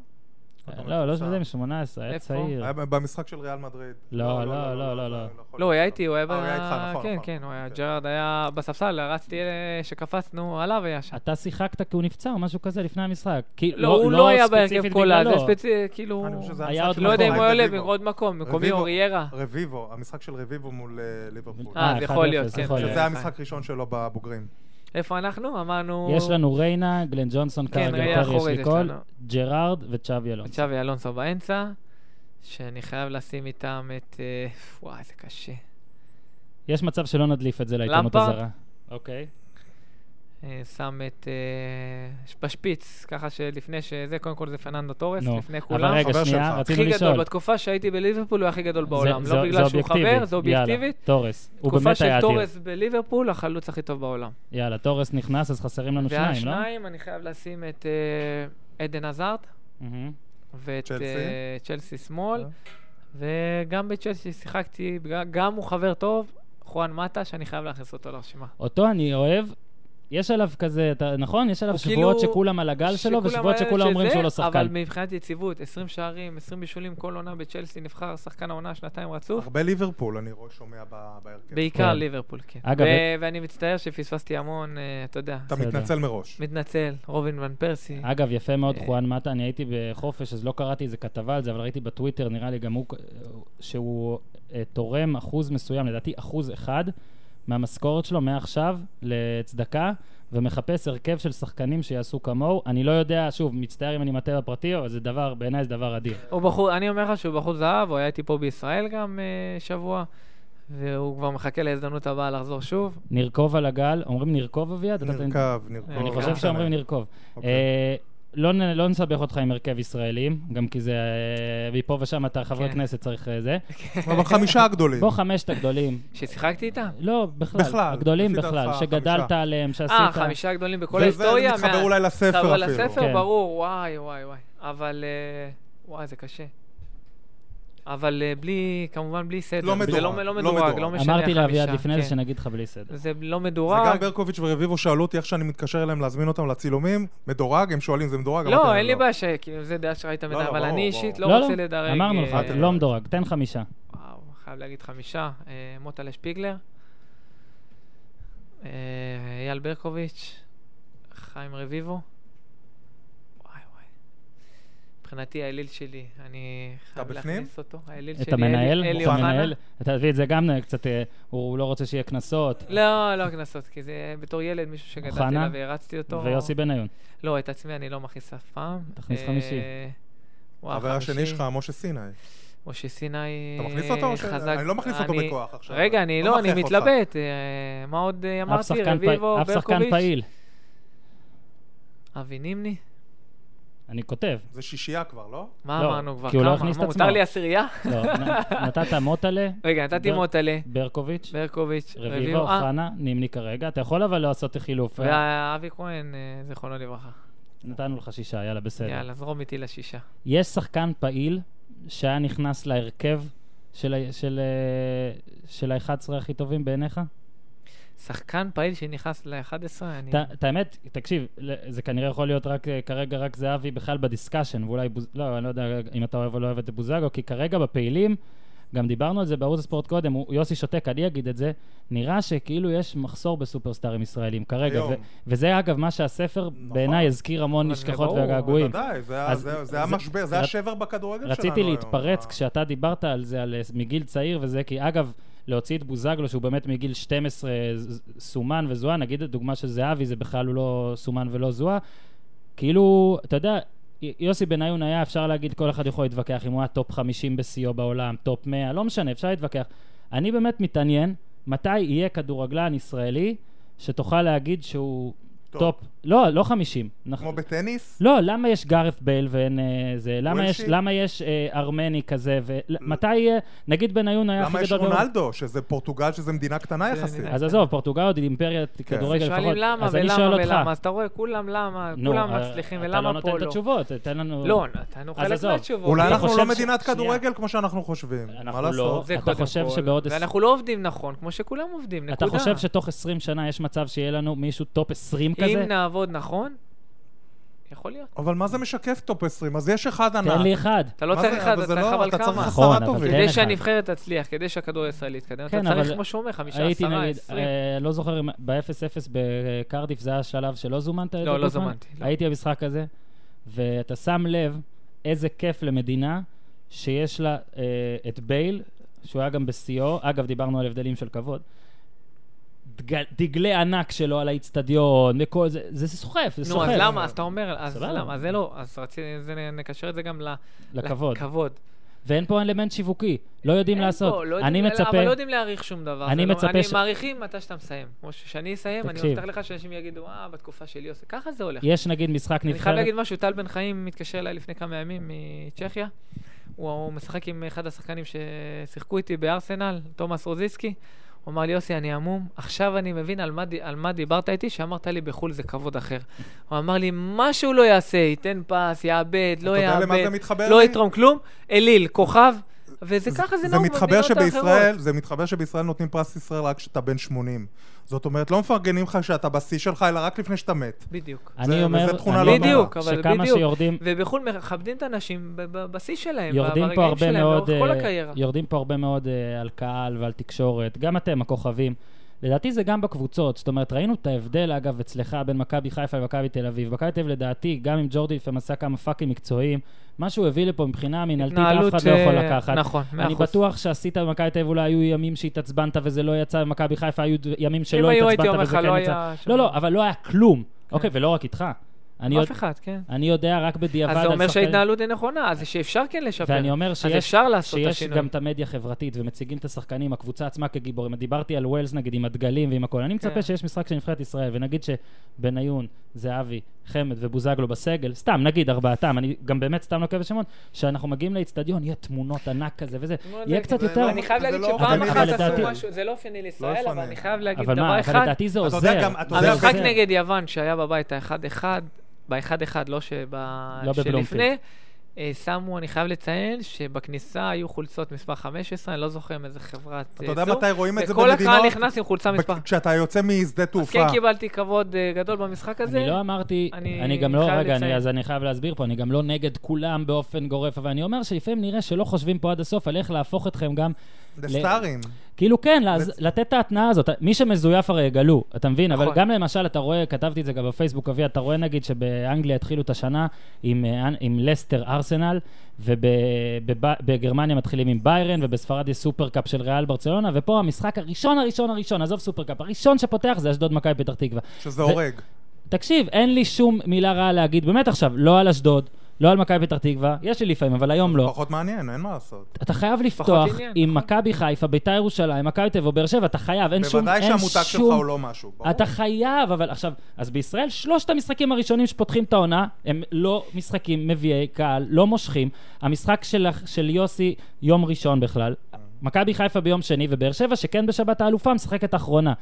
A: לא, לא זה מ-18, היה
B: איפה?
A: צעיר.
C: היה במשחק של ריאל מדריד.
A: לא, לא, לא, לא, לא.
C: יכול
B: לא, הוא היה
C: להיות.
B: איתי, הוא היה...
C: אה, הוא היה
B: ב-
C: איתך, נכון,
B: כן,
C: נכון.
B: כן, הוא היה...
C: כן.
B: ג'רארד היה בספסל, רצתי אה, שקפצנו, עליו היה שם.
A: אתה שיחקת כי הוא נפצע או משהו כזה לפני המשחק. כי-
B: לא, הוא לא היה
A: ספציפית
B: בהרכב כל אז, זה
A: בגללו. אה,
B: ספציפי, כאילו...
C: אני חושב שזה
A: היה
C: המשחק
A: עוד
C: של
B: לא יודע אם
A: מקום.
B: הוא היה עולה
C: רביבו.
B: בעוד מקום, מקומי
C: רביבו.
B: אוריירה.
C: רביבו, המשחק של רביבו מול אה, ליברפול.
B: אה, זה יכול
A: 1-0,
B: להיות, כן.
A: יכול להיות.
C: שזה היה המשחק הראשון שלו בבוגרים.
B: איפה אנחנו? אמרנו...
A: יש לנו ריינה, גלן ג'ונסון,
B: כן,
A: קרגר,
B: ריינה
A: טרי, יש
B: אחורית
A: לי
B: יש
A: קול,
B: לנו.
A: ג'רארד וצ'אבי אלון.
B: את צ'אבי אלונסו באמצע, שאני חייב לשים איתם את... אה, וואי, זה קשה.
A: יש מצב שלא נדליף את זה לעיתונות
B: למפרד?
A: הזרה. אוקיי.
B: אה, שם את... אה, בשפיץ, ככה שלפני שזה, קודם כל זה פרננדו טורס,
A: נו.
B: לפני
A: אבל
B: כולם.
A: רגע,
C: חבר
A: שנייה,
C: שלך.
A: רצינו
B: הכי גדול,
A: לשאול.
B: בתקופה שהייתי בליברפול הוא היה הכי גדול בעולם.
A: זה-
B: לא
A: זה-
B: בגלל
A: זה
B: שהוא
A: אובייקטיבי.
B: חבר, זה אובייקטיבית.
A: יאללה, תורס. הוא
B: תקופה
A: באמת
B: של
A: היה אדיר.
B: תורס בליברפול, החלוץ הכי טוב בעולם.
A: יאללה, תורס נכנס, אז חסרים לנו שניים, לא?
B: והשניים, אני חייב לשים את אה, עדן עזארד
A: מהמם.
B: ואת
C: צ'לסי.
B: אה, צ'לסי שמאל,
C: אה.
B: וגם בצ'לסי שיחקתי, בג- גם הוא חבר טוב, חואן מטה, שאני חייב להכניס אותו לרשימה.
A: אותו אני אוהב. יש עליו כזה, אתה- נכון? יש עליו
B: הוא
A: שבועות
B: כאילו-
A: שכולם על הגל שלו,
B: שכולם
A: ושבועות
B: היה
A: שכולם אומרים
B: שזה,
A: שהוא לא שחקן.
B: אבל מבחינת יציבות, 20 שערים, 20 בישולים, כל עונה בצ'לסי נבחר שחקן העונה שנתיים רצוף.
C: הרבה ליברפול אני רואה- שומע ב- בהרכב.
B: בעיקר
A: כן.
B: ליברפול, כן.
A: אגב, אה-
B: ו-
A: את-
B: ואני מצטער שפספסתי המון, אה, אתה יודע.
C: אתה
A: בסדר.
C: מתנצל מראש.
B: מתנצל, רובין ון פרסי.
A: אגב, יפה מאוד,
B: אה.
A: חואן מטה, אני הייתי בחופש, אז לא קראתי איזה כתבה על זה, אבל ראיתי בטוויטר, נראה לי גם הוא, אה, שהוא אה, תורם אחוז מסוים, לדעתי אחוז אחד, מהמשכורת שלו מעכשיו לצדקה, ומחפש הרכב של שחקנים שיעשו כמוהו. אני לא יודע, שוב, מצטער אם אני מטעה בפרטי, אבל זה דבר, בעיניי זה דבר אדיר.
B: הוא בחור, אני אומר לך שהוא בחור זהב, הוא היה איתי פה בישראל גם אה, שבוע, והוא כבר מחכה להזדמנות הבאה לחזור שוב.
A: נרכוב על הגל, אומרים נרכוב אביעד? אתה-
C: נרכב, נרכב.
A: אני
B: נרכב.
A: חושב שאומרים נרכוב.
C: אוקיי.
A: אה, לא נ- לא נסבך אותך עם הרכב ישראלים, גם כי זה אה, מפה ושם אתה חבר
B: כן.
A: כנסת צריך אה, זה.
C: אוקיי. אבל חמישה הגדולים.
A: בוא חמשת הגדולים,
B: ששיחקתי איתם?
A: לא, בכלל.
C: בכלל,
A: הגדולים
C: לפי דעתך,
A: בכלל,
C: חמישה.
A: שגדלת עליהם, שעשית...
B: אה, חמישה גדולים בכל
C: וזה
B: ההיסטוריה?
C: מתחבר
B: מה-
C: אולי לספר
B: מתחבר
C: אפילו.
B: לספר,
A: כן.
B: ברור, וואי, וואי, וואי. אבל, אה, וואי, זה קשה. אבל אה, בלי, כמובן בלי סדר.
C: לא
B: זה
C: מדורג,
B: לא, לא
C: לא
B: מדורג,
C: מדורג.
B: לא משנה
A: אמרתי לאביעד
B: חמישה,
A: לפני זה
B: כן.
A: שנגיד לך בלי סדר.
B: זה
C: זה
B: לא
C: גם
B: מדורג.
C: ברקוביץ' ורביבו שאלו אותי איך שאני מתקשר אליהם להזמין אותם לצילומים, מדורג, הם שואלים זה מדורג? אמרתי
B: לא,
C: להם,
B: אין לי בעיה שכאילו זה דעה שראית
C: לא,
B: מדי, אבל
C: ברור,
B: אני
C: ברור.
B: אישית לא רוצה לדרג.
A: אמרנו
B: אה,
A: לך,
C: אל תדרג.
A: לא מדורג, תן חמישה.
B: וואו, חייב להגיד חמישה. אה, מוטלה שפיגלר, אה, אייל ברקוביץ', חיים רביבו. וואי וואי. מבחינתי האליל שלי, אני חייב
C: בפנים?
B: להכניס אותו. האליל
A: את
B: שלי,
A: המנהל,
B: אלי- אלי
A: את
B: אוחנה.
A: המנהל. אתה תביא את זה גם קצת, אה, הוא לא רוצה שיהיה קנסות.
B: לא, לא קנסות, כי זה בתור ילד מישהו שגדלתי
A: אוחנה?
B: עליו והרצתי אותו.
A: ויוסי בניון.
B: לא, את עצמי אני לא מכניס אף פעם.
A: תכניס
B: אה,
A: חמישי.
B: וואו,
C: החבר השני
B: חמישי.
C: שלך, משה סיני.
B: משה סיני
C: אתה מכניס אותו או ש-
B: חזק.
C: אני לא מכניס אותו
B: אני-
C: בכוח עכשיו.
B: רגע, אני
C: לא
B: לא, אני
C: מכריח אותך.
B: מתלבט. אה, מה עוד אה,
A: אף
B: אמרתי?
A: שחקן
B: רביבו,
A: פעיל- אף שחקן
B: ברקוביץ',
A: פעיל.
B: אבי נימני.
A: אני כותב.
C: זה שישייה כבר, לא?
B: מה
A: לא,
B: אמרנו כבר?
A: כי הוא לא
B: כמה?
A: הכניס את
B: מה,
A: עצמו.
B: מותר לי עשירייה?
A: לא, נ- נתת מוטלה,
B: רגע, נתתי
A: בר-
B: מוטלה,
A: ברקוביץ',
B: ברקוביץ',
A: לא. רביבו,
B: אה,
A: אוחנה, נימני כרגע. אתה יכול אבל לעשות חילוף. אה?
B: ואבי כהן, אה, זיכרונו לברכה.
A: נתנו לך שישה, יאללה, בסדר.
B: יאללה, זרום איתי לשישה.
A: יש שחקן פעיל שהיה נכנס להרכב של, ה- של, אה, של ה-11 הכי טובים בעיניך?
B: שחקן פעיל שנכנס ל-11, אני...
A: ת- את האמת, תקשיב, ל- זה כנראה יכול להיות רק, אה, כרגע רק זהבי בכלל בדיסקשן, ואולי, בוז- לא, אני לא יודע אם אתה אוהב או לא אוהב את בוזגלו, כי כרגע בפעילים, גם דיברנו על זה בערוץ הספורט קודם, הוא, יוסי שותק, אני אגיד את זה, נראה שכאילו יש מחסור בסופרסטארים ישראלים כרגע,
C: היום.
A: ו- וזה אגב מה שהספר בעיניי הזכיר המון
B: אבל
A: נשכחות
B: ברור,
A: והגעגועים.
C: בוודאי, זה
A: אז-
C: היה- זה זה היה
A: זה-
C: משבר, זה היה
A: רצ-
C: שבר בכדורגל שלנו
A: רציתי
C: היום.
A: להתפרץ
C: אה.
A: כשאתה דיברת על זה, על אה, מגיל צעיר וזה, כי אגב, להוציא את בוזגלו, שהוא באמת מגיל 12 ז- סומן וזוהה, נגיד הדוגמה של זהבי, זה בכלל הוא לא סומן ולא זוהה, כאילו, אתה יודע, י- יוסי בניון היה, אפשר להגיד, כל אחד יכול להתווכח אם הוא היה טופ 50 בשיאו בעולם, טופ 100, לא משנה, אפשר להתווכח. אני באמת מתעניין, מתי יהיה כדורגלן ישראלי שתוכל להגיד שהוא
C: טוב.
A: טופ, לא, לא 50. אנחנו-
C: כמו בטניס?
A: לא, למה יש גארף בייל ואין אה, זה? למה יש,
C: וילשי?
A: למה יש אה, ארמני כזה? ו... מתי, אה, נגיד בניון היה הכי
C: למה יש
A: גדול... בעולם.
C: רונלדו, שזה פורטוגל, שזה מדינה קטנה
B: זה
C: יחסית?
B: נראה-
A: אז עזוב, פורטוגל עוד אימפריית
C: כן.
A: כדורגל לפחות.
B: שואלים למה
A: אז אני שואל
B: ולמה
A: אותך.
B: ולמה, אז אתה רואה, כולם למה,
A: נו,
B: כולם
A: אה,
B: מצליחים
A: אתה לא
B: ולמה
A: נותן
B: פה
A: את
B: לא.
A: התשובות, תן לנו...
B: לא, נתנו
A: אז
B: חלק
A: עזוב.
B: מהתשובות.
C: אולי
A: אתה
C: אנחנו
A: חושב
C: לא
A: ש-
C: מדינת
A: שנייה.
C: כדורגל כמו שאנחנו חושבים.
A: אנחנו
C: מה
A: לא.
C: לעשות?
B: זה
A: אתה
B: קודם
A: חושב
B: כל.
A: שבעוד עש-
B: ואנחנו לא עובדים נכון, כמו שכולם עובדים, נקודה.
A: אתה חושב שתוך 20 שנה יש מצב שיהיה לנו מישהו טופ 20
B: אם
A: כזה?
B: נעבוד נכון, יכול להיות.
C: אבל מה זה משקף טופ 20? אז יש אחד ענק.
A: תן לי אחד.
B: אתה לא
C: מה
B: צריך
C: זה-
B: אחד,
C: אבל
B: אתה
C: זה
B: צריך
C: לא-
B: אבל
C: אתה צריך
B: כמה.
A: נכון,
C: עשרה
A: אבל
C: טובים.
A: תן
B: כדי
A: אחד.
B: שהנבחרת תצליח, כדי שהכדור הישראלי יתקדם, אתה
A: כן,
B: צריך,
A: אבל
B: כמו שהוא אומר, חמישה,
A: הייתי
B: עשרה,
A: נגיד,
B: עשרים.
A: אה, לא זוכר אם ב-0-0 בקרדיף זה היה השלב שלא זומנת על ידי
B: לא, לא
A: גוטמן?
B: זומנתי, לא.
A: הייתי במשחק הזה, ואתה שם לב איזה כיף למדינה שיש לה אה, את בייל, שהוא היה גם בשיאו, אגב, דיברנו על הבדלים של כבוד. דג- דגלי ענק שלו על האיצטדיון, וכל זה, זה סוחף, זה
B: נו,
A: סוחף.
B: אז למה? אז אתה אומר, אז
A: סבבה.
B: למה? אז זה לא, אז רציתי, זה- נקשר את זה גם ל-
A: לכבוד.
B: לכבוד.
A: ואין פה אלמנט שיווקי, לא יודעים
B: אין
A: לעשות.
B: פה, לא
A: אני
B: יודעים-
A: מצפה...
B: אבל לא יודעים להעריך שום דבר.
A: אני
B: זה לא-
A: מצפה
B: אני
A: ש-
B: מעריכים מתי שאתה מסיים. כמו שכשאני אסיים, אני
A: תקשיב.
B: מבטיח לך שאנשים יגידו, אה, בתקופה שלי עושה. ככה זה הולך.
A: יש נגיד משחק
B: אני חייב
A: נבחרת,
B: להגיד משהו, טל בן חיים מתקשר אליי לפני כמה ימים מצ'כיה. הוא הוא משחק עם אחד השחקנים ששיחקו איתי בארסנל, תומאס רוזיסקי. הוא אמר לי, יוסי, אני המום, עכשיו אני מבין על מה, די- על מה דיברת איתי, שאמרת לי בחו"ל זה כבוד אחר. הוא אמר לי, מה שהוא לא יעשה, ייתן פס, יאבד, לא
C: אתה יודע למה
B: יאבד,
C: זה מתחבר
B: לא
C: לי?
B: יתרום כלום, אליל, כוכב, וזה ככה
C: זה
B: זה נהוג
C: מתחבר
B: במדינות האחרות.
C: שבישראל, זה מתחבר שבישראל נותנים פרס ישראל רק כשאתה בן 80. זאת אומרת, לא מפרגנים לך כשאתה בשיא שלך, אלא רק לפני שאתה מת.
B: בדיוק.
A: אני
C: זה-
A: אומר,
C: וזה תכונה
A: אני
C: לא
A: אומר
B: בדיוק, אבל
A: שכמה
B: בדיוק.
A: שיורדים,
B: ובחו"ל מכבדים את האנשים ב- ב- בשיא שלהם,
A: יורדים פה
B: אה, ברגעים
A: הרבה
B: שלהם, לאורך
A: מאוד,
B: כל
A: אה,
B: הקריירה.
A: יורדים פה הרבה מאוד אה, על קהל ועל תקשורת, גם אתם, הכוכבים. לדעתי זה גם בקבוצות, זאת אומרת, ראינו את ההבדל, אגב, אצלך בין מכבי חיפה למכבי תל אביב. מכבי תל אביב, לדעתי, גם אם ג'ורדי לפעמים עשה כמה פאקים מקצועיים, מה שהוא הביא לפה מבחינה מינהלתית, אף אחד לא
B: אה,
A: יכול לקחת.
B: נכון, מאה
A: אני
B: אחוז.
A: בטוח שעשית במכבי תל אביב, אולי היו ימים שהתעצבנת וזה לא יצא, במכבי חיפה היו ד- ימים
B: אם
A: שלא
B: היו הייתי
A: התעצבנת
B: אומר לך,
A: וזה
B: לא
A: כן יצא.
B: היה... שם כן.
A: לא, לא, אבל לא היה כלום. אוקיי, ולא רק איתך. אני
B: אף
A: יודע-
B: אחד, כן.
A: אני יודע רק בדיעבד על
B: אז זה אומר
A: שחקנים-
B: שההתנהלות היא נכונה, אז שאפשר כן לשפר.
A: ואני אומר שיש...
B: אז אפשר לעשות את
A: שיש
B: השינוי.
A: גם את המדיה החברתית ומציגים את השחקנים, הקבוצה עצמה כגיבורים. דיברתי על ווילס נגיד עם הדגלים ועם הכל. אני מצפה
B: כן.
A: שיש משחק של נבחרת ישראל, ונגיד שבניון, זהבי, חמד ובוזגלו בסגל, סתם, נגיד ארבעתם, אני גם באמת סתם נוקב בשמות, שאנחנו מגיעים לאיצטדיון, יהיה תמונות ענק כזה וזה.
B: תמונות
A: יהיה
B: ענק,
A: קצת
C: זה
A: יותר...
C: לא-
B: אני חייב
C: זה
B: להגיד
C: לא
B: שפעם
A: אופייני
B: אחת
A: לדעתי.
B: עשו משהו, זה לא אופייני לישראל, אבל
C: אופייני.
B: אני חייב להגיד
A: אבל מה,
B: דבר
A: אבל
B: אחד,
A: לדעתי זה
C: אתה יודע
A: עוזר.
C: גם- אתה יודע
A: זה
B: המשחק
A: עוזר.
B: נגד יוון שהיה בבית ה-1-1, ב-1-1, לא שב...
A: לא בבלומפילד.
B: שלפני, אה, שמו, אני חייב לציין, שבכניסה היו חולצות מספר 15, אני לא זוכר מאיזה חברת אה,
C: אתה יודע מתי רואים את זה
B: וכל הקהל
C: במדינות?
B: נכנס עם חולצה מספר.
C: בק- כשאתה יוצא משדה
B: אז
C: תעופה.
B: כן קיבלתי כבוד אה, גדול במשחק הזה.
A: אני לא אמרתי,
B: אני
A: אני גם לא,
B: חייב
A: רגע,
B: לציין.
A: אני- אז אני חייב להסביר פה, אני גם לא נגד כולם באופן גורף, אבל אני אומר שלפעמים נראה שלא חושבים פה עד הסוף על איך להפוך אתכם גם
C: לסטארים.
A: כאילו כן, לאז, לתת את ההתנעה הזאת. מי שמזויף הרי יגלו, אתה מבין? נכון. אבל
B: נכון.
A: גם למשל, אתה רואה, כתבתי את זה גם בפייסבוק, אבי, אתה רואה נגיד שבאנגליה התחילו את השנה עם, אה, אנ- עם לסטר ארסנל, ובגרמניה מתחילים עם ביירן, ובספרד יש סופרקאפ של ריאל ברצלונה, ופה המשחק הראשון, הראשון, הראשון, עזוב סופרקאפ, הראשון שפותח זה אשדוד מכבי פתח תקווה.
C: שזה הורג.
A: תקשיב, אין לי שום מילה רעה להגיד, באמת עכשיו, לא על אשדוד, לא על מכבי פתח תקווה, יש לי לפעמים, אבל היום לא.
C: פחות מעניין, אין מה לעשות.
A: אתה חייב לפתוח
B: עניין,
A: עם
B: נכון.
A: מכבי חיפה, ביתר ירושלים, מכבי תל אביב או באר שבע, אתה חייב, אין שום...
C: בוודאי
A: אין
C: שהמותג שלך
A: שום-
C: הוא לא משהו. ברור.
A: אתה חייב, אבל עכשיו, אז בישראל שלושת המשחקים הראשונים שפותחים את העונה, הם לא משחקים מביאי קהל, לא מושכים. המשחק של, של יוסי יום ראשון בכלל, מכבי חיפה ביום שני ובאר שבע, שכן בשבת האלופה, משחקת האחרונה.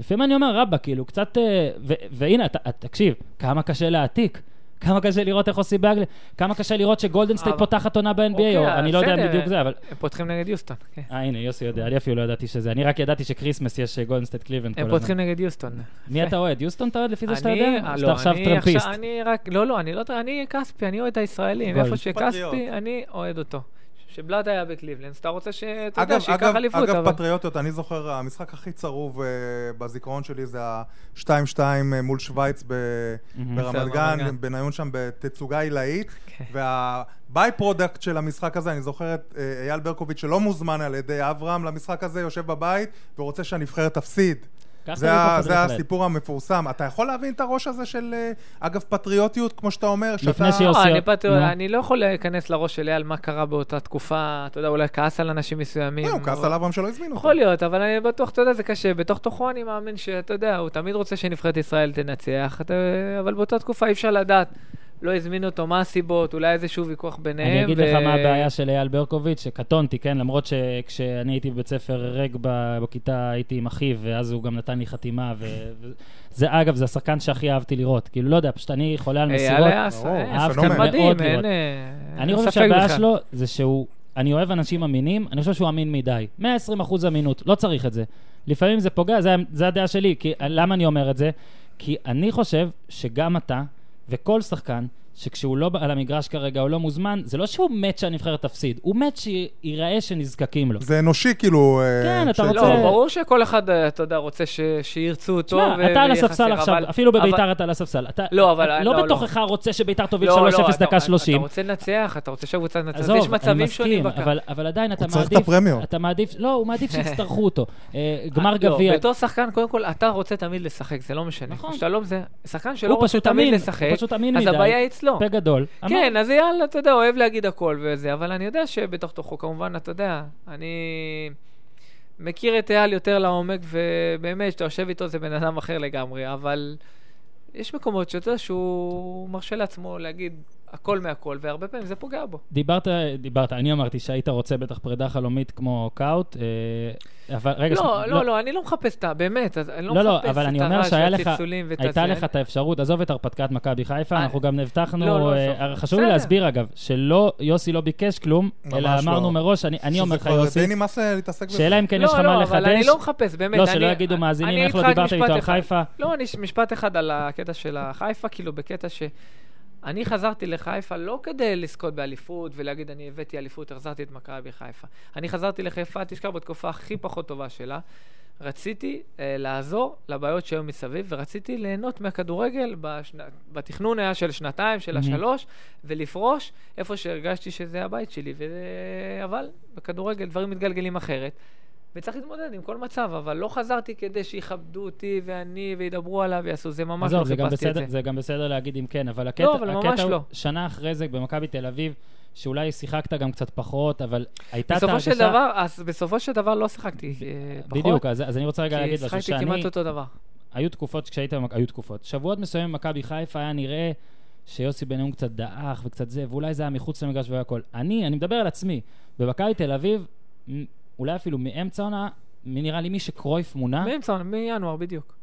A: לפעמים אני אומר, רבא, כאילו, קצת... אה, ו- והנה, אתה- תקשיב, כמה קשה להעתיק. כמה קשה לראות איך עושים באנגליה, כמה קשה לראות שגולדן סטייט
B: אבל-
A: פותחת עונה ב-NBA, או
B: אוקיי,
A: אני לא יודע
B: בסדר,
A: בדיוק זה, אבל...
B: הם פותחים נגד יוסטון, כן.
A: אה, הנה, יוסי יודע, אני אפילו לא ידעתי שזה. אני רק ידעתי שכריסמס יש אה, גולדן סטייט קליבלנד
B: הם
A: כל הזמן.
B: פותחים נגד יוסטון.
A: מי אתה אוהד? יוסטון אתה אוהד לפי זה שאתה
B: אני-
A: יודע? או
B: אה, לא,
A: שאתה עכשיו
B: אני
A: טרמפיסט.
B: אני רק, לא, לא, אני לא, טר- אני כספי, אני אוהד את הישראלים.
A: גולד.
B: איפה שכספי,
C: פטריוט.
B: אני אוהד אותו. שבלאט היה בקליבלנד, אז אתה רוצה ש... אתה יודע,
C: אגב,
B: שייקח
C: אגב,
B: אליפות,
C: אגב
B: אבל...
C: פטריוטיות, אני זוכר, המשחק הכי צרוב אה, בזיכרון שלי זה ה-2-2 מול שווייץ ב-
A: מהמם.
C: ברמת
B: בסדר,
C: גן,
B: גן.
C: בניון שם בתצוגה עילאית,
B: כן.
C: והביי פרודקט של המשחק הזה, אני זוכר את אה, אייל ברקוביץ' שלא מוזמן על ידי אברהם למשחק הזה, יושב בבית ורוצה שהנבחרת תפסיד.
A: ככה
C: זה,
A: בדיוק
C: ה-
A: הפטריוט
C: זה
A: שלהם.
C: הסיפור המפורסם. אתה יכול להבין את הראש הזה של, אה, אגב, פטריוטיות, כמו שאתה אומר, שאתה...
A: לפני שיוס-
B: לא,
A: יוסי,
B: אני פטריוט,
A: נו.
B: אני לא יכול להיכנס לראש שלי על מה קרה באותה תקופה, אתה יודע, אולי כעס על אנשים מסוימים.
C: לא, הוא כעס
B: אבל-
C: על אברהם שלא הזמינו אותו.
B: יכול להיות, אבל אני בטוח, אתה יודע, זה קשה. בתוך תוכו אני מאמין שאתה יודע, הוא תמיד רוצה שנבחרת ישראל תנצח, אתה, אבל באותה תקופה אי אפשר לדעת. לא הזמינו אותו, מה הסיבות, אולי איזשהו ויכוח ביניהם.
A: אני אגיד לך
B: ו-
A: מה הבעיה של אייל ברקוביץ', שקטונתי, כן? למרות שכשאני הייתי בבית ספר ריק ב- בכיתה הייתי עם אחיו, ואז הוא גם נתן לי חתימה. ו- ו- זה, אגב, זה השחקן שהכי אהבתי לראות. כאילו, לא יודע, פשוט אני חולה על
B: אייל
A: מסירות.
B: היה-
C: ברור,
B: אה,
A: אהבתי
B: שחקן
A: מאוד
B: מדהים,
A: לראות.
B: אין אה,
A: אני
B: אין
A: חושב
B: ספק
A: שהבעיה
B: בכלל.
A: שלו זה שהוא... אני אוהב אנשים אמינים, אני חושב שהוא אמין מדי. 120 אחוז אמינות, לא צריך את זה. לפעמים זה פוגע, זה, זה הדעה שלי. כי, למה אני אומר את זה? כי אני חושב שגם אתה וכל שחקן, שכשהוא לא על המגרש כרגע או לא מוזמן, זה לא שהוא מת שהנבחרת תפסיד, הוא מת שייראה שנזקקים לו.
C: זה אנושי, כאילו... אה,
A: כן, אתה
C: ש-
A: רוצה-
B: לא, ברור שכל אחד, אה, אתה יודע, רוצה ש- שירצו אותו. ו-
A: תשמע, אתה על
B: ויהיה
A: הספסל
B: חסר,
A: עכשיו,
B: אה, אבל-
A: אפילו
B: אבל-
A: בביתר אתה על הספסל. אתה-
B: לא, אבל-
A: אתה-
B: לא,
A: לא
B: לא.
A: בתוכך רוצה שביתר תוביל
B: לא, לא,
A: 3-0
B: אתה-
A: דקה 30.
B: אתה רוצה לנצח, אתה רוצה שהקבוצה תנצח.
A: עזוב,
B: יש
A: אני
B: מצבים שונים
A: מסכים,
B: בקו.
A: אבל, אבל עדיין אתה
C: הוא
A: מעדיף...
C: צריך את הפרמיות.
A: אתה מעדיף... לא, הוא מעדיף שיצטרכו אותו. אה, גמר
B: לא,
A: גביע...
B: בתור שחקן, קודם כל, אתה רוצה תמיד לשחק, זה לא משנה.
A: נכון.
B: כשאתה לא מזה, שחקן שלא
A: הוא
B: רוצה
A: פשוט
B: תמיד
A: אמין,
B: לשחק,
A: הוא פשוט אמין
B: אז
A: מדי.
B: הבעיה אצלו.
A: פה גדול. אמר,
B: כן, אז יאללה, אתה יודע, אוהב להגיד הכל וזה, אבל אני יודע שבתוך תוכו, כמובן, אתה יודע, אני מכיר את אייל יותר לעומק, ובאמת, כשאתה יושב איתו זה בן אדם אחר לגמרי, אבל יש מקומות שאתה יודע שהוא מרשה לעצמו להגיד הכל מהכל, והרבה פעמים זה פוגע בו.
A: דיברת, דיברת, אני אמרתי שהיית רוצה בטח פרידה חלומית כמו קאוט, אה, אבל רגע...
B: לא,
A: שנייה,
B: לא, לא, אני לא מחפש את ה... באמת, אז אני לא
A: לא, לא,
B: מחפש
A: אבל
B: את
A: אני אומר
B: הרעש
A: שהיה לך,
B: והצלצולים ואת
A: הייתה
B: הזה.
A: לך את האפשרות, עזוב את הרפתקת מכבי חיפה,
B: אה,
A: אנחנו גם הבטחנו,
B: לא, לא,
A: אה,
B: עזוב.
A: חשוב לי
B: בסדר.
A: להסביר אגב, שלא, יוסי לא ביקש כלום,
C: ממש
A: אלא אמרנו
C: לא.
A: מראש, אני- אני אומר לך יוסי,
C: זה כבר די נמאס אה, להתעסק בזה.
A: שאלה אם כן יש לך
B: לא,
A: מה
B: לא, אבל אני
A: לחדש,
B: לא מחפש, באמת.
A: לא,
B: אני-
A: שלא יגידו
B: אני
A: מאזינים, איך
B: איתך
A: לא
B: רק
A: דיברת
B: משפט
A: איתו על
B: אחד.
A: חיפה.
B: לא, אני ש- משפט אחד על הקטע של החיפה, כאילו בקטע ש... אני חזרתי לחיפה לא כדי לזכות באליפות ולהגיד אני הבאתי אליפות, החזרתי את מכבי חיפה. אני חזרתי לחיפה, תשכח, בתקופה הכי פחות טובה שלה. רציתי אה, לעזור לבעיות שהיו מסביב, ורציתי ליהנות מהכדורגל בשנ... בתכנון היה של שנתיים, של
A: מהמם.
B: השלוש, ולפרוש איפה שהרגשתי שזה הבית שלי. ו... אבל בכדורגל דברים מתגלגלים אחרת, וצריך להתמודד עם כל מצב, אבל לא חזרתי כדי שיכבדו אותי ואני וידברו עליו ויעשו זה, ממש לא
A: עזוב, זה גם
B: חיפשתי את
A: בסדר-
B: זה.
A: זה גם בסדר להגיד אם כן, אבל הקטע
B: לא, אבל ממש
A: הקטע הוא
B: לא.
A: שנה אחרי זה במכבי תל אביב, שאולי שיחקת גם קצת פחות, אבל הייתה את
B: בסופו
A: ההרגשה...
B: של דבר, אז בסופו של דבר לא שיחקתי אה, פחות,
A: בדיוק, אז אז אני רוצה רגע
B: כי
A: להגיד משהו,
B: שיחקתי
A: שאני...
B: כמעט אותו דבר.
A: היו תקופות כשהיית... במכ- היו תקופות. שבועות מסוימים במכבי חיפה היה נראה שיוסי בן נאום קצת דעך וקצת זה, ואולי זה היה מחוץ למגרש והכל. אני, אני מדבר על עצמי. במכבי תל אביב, מ- אולי אפילו מאמצע העונה, מי נראה לי מי שקרויף מונה.
B: מאמצע, מינואר בדיוק.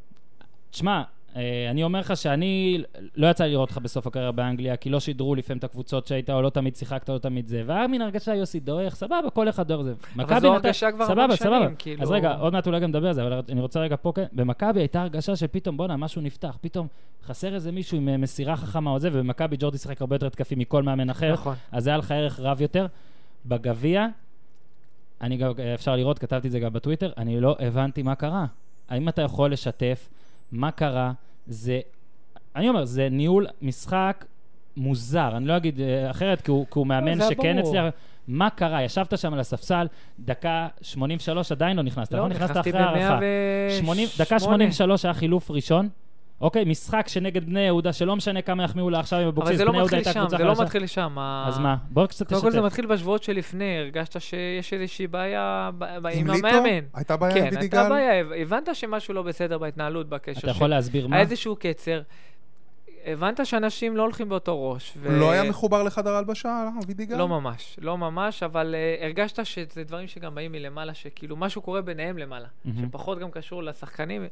A: תשמע, אה, אני אומר לך שאני, לא יצא לי לראות אותך בסוף הקריירה באנגליה, כי לא שידרו לפעמים את הקבוצות שהיית, או לא תמיד שיחקת, או לא תמיד זה. והיה מין הרגשה, יוסי דועך, סבבה, כל אחד דועך זה. מכבי
B: זו
A: נתן-
B: הרגשה כבר
A: סבבה,
B: המון שנים,
A: סבבה.
B: כאילו.
A: אז רגע, עוד מעט אולי גם נדבר על זה, אבל אני רוצה רגע פה, כן, במכבי הייתה הרגשה שפתאום, בואנה, משהו נפתח, פתאום חסר איזה מישהו עם אה, מסירה חכמה או זה, ובמכבי ג'ורדי שיחק הרבה יותר התקפי מכל מאמן אחר,
B: נכון.
A: אה, אז היה לך ערך רב יותר. בגביע, אני גם, אה, אפשר לראות, כתבתי את זה גם בטוויטר, אני לא הבנתי מה קרה. האם אתה יכול לשתף מה קרה? זה, אני אומר, זה ניהול משחק מוזר, אני לא אגיד אה, אחרת, כי הוא, כי הוא מאמן
B: לא, זה היה
A: שכן
B: ברור.
A: הצליח. מה קרה? ישבת שם על הספסל, דקה 83 עדיין לא נכנסת,
B: לא,
A: נכון? נכנסת
B: נכנסתי
A: אחרי
B: במאה
A: הערכה.
B: ו...
A: 80, דקה 83 היה חילוף ראשון. אוקיי, משחק שנגד בני יהודה, שלא משנה כמה יחמיאו לה עכשיו עם
B: אבל
A: אבוקסיס,
B: זה לא
A: בני יהודה
B: מתחיל
A: הייתה
B: שם,
A: קבוצה
B: זה לא
A: חלשה.
B: מתחיל שם. ה-
A: אז מה? בוא קצת
B: קודם כל זה
A: תשתף.
B: מתחיל בשבועות שלפני, הרגשת שיש איזושהי בעיה ב- ב- עם
C: עם ליטו? אה,
B: המאמן.
C: הייתה בעיה עם
B: כן,
C: וידיגל?
B: הייתה בעיה, הב- הבנת שמשהו לא בסדר בהתנהלות, בקשר.
A: אתה יכול
B: ש-
A: להסביר מה?
B: היה איזשהו קצר. הבנת שאנשים לא הולכים באותו ראש. ו-
C: הוא לא היה מחובר לחדר הלבשה, אה, וידיגל?
B: לא ממש, לא ממש, אבל אה, הרגשת שזה דברים שגם באים מלמעלה, שכאילו משהו קורה ביניהם למעלה,
A: מהמם.
B: שפחות גם קשור לשחקנים,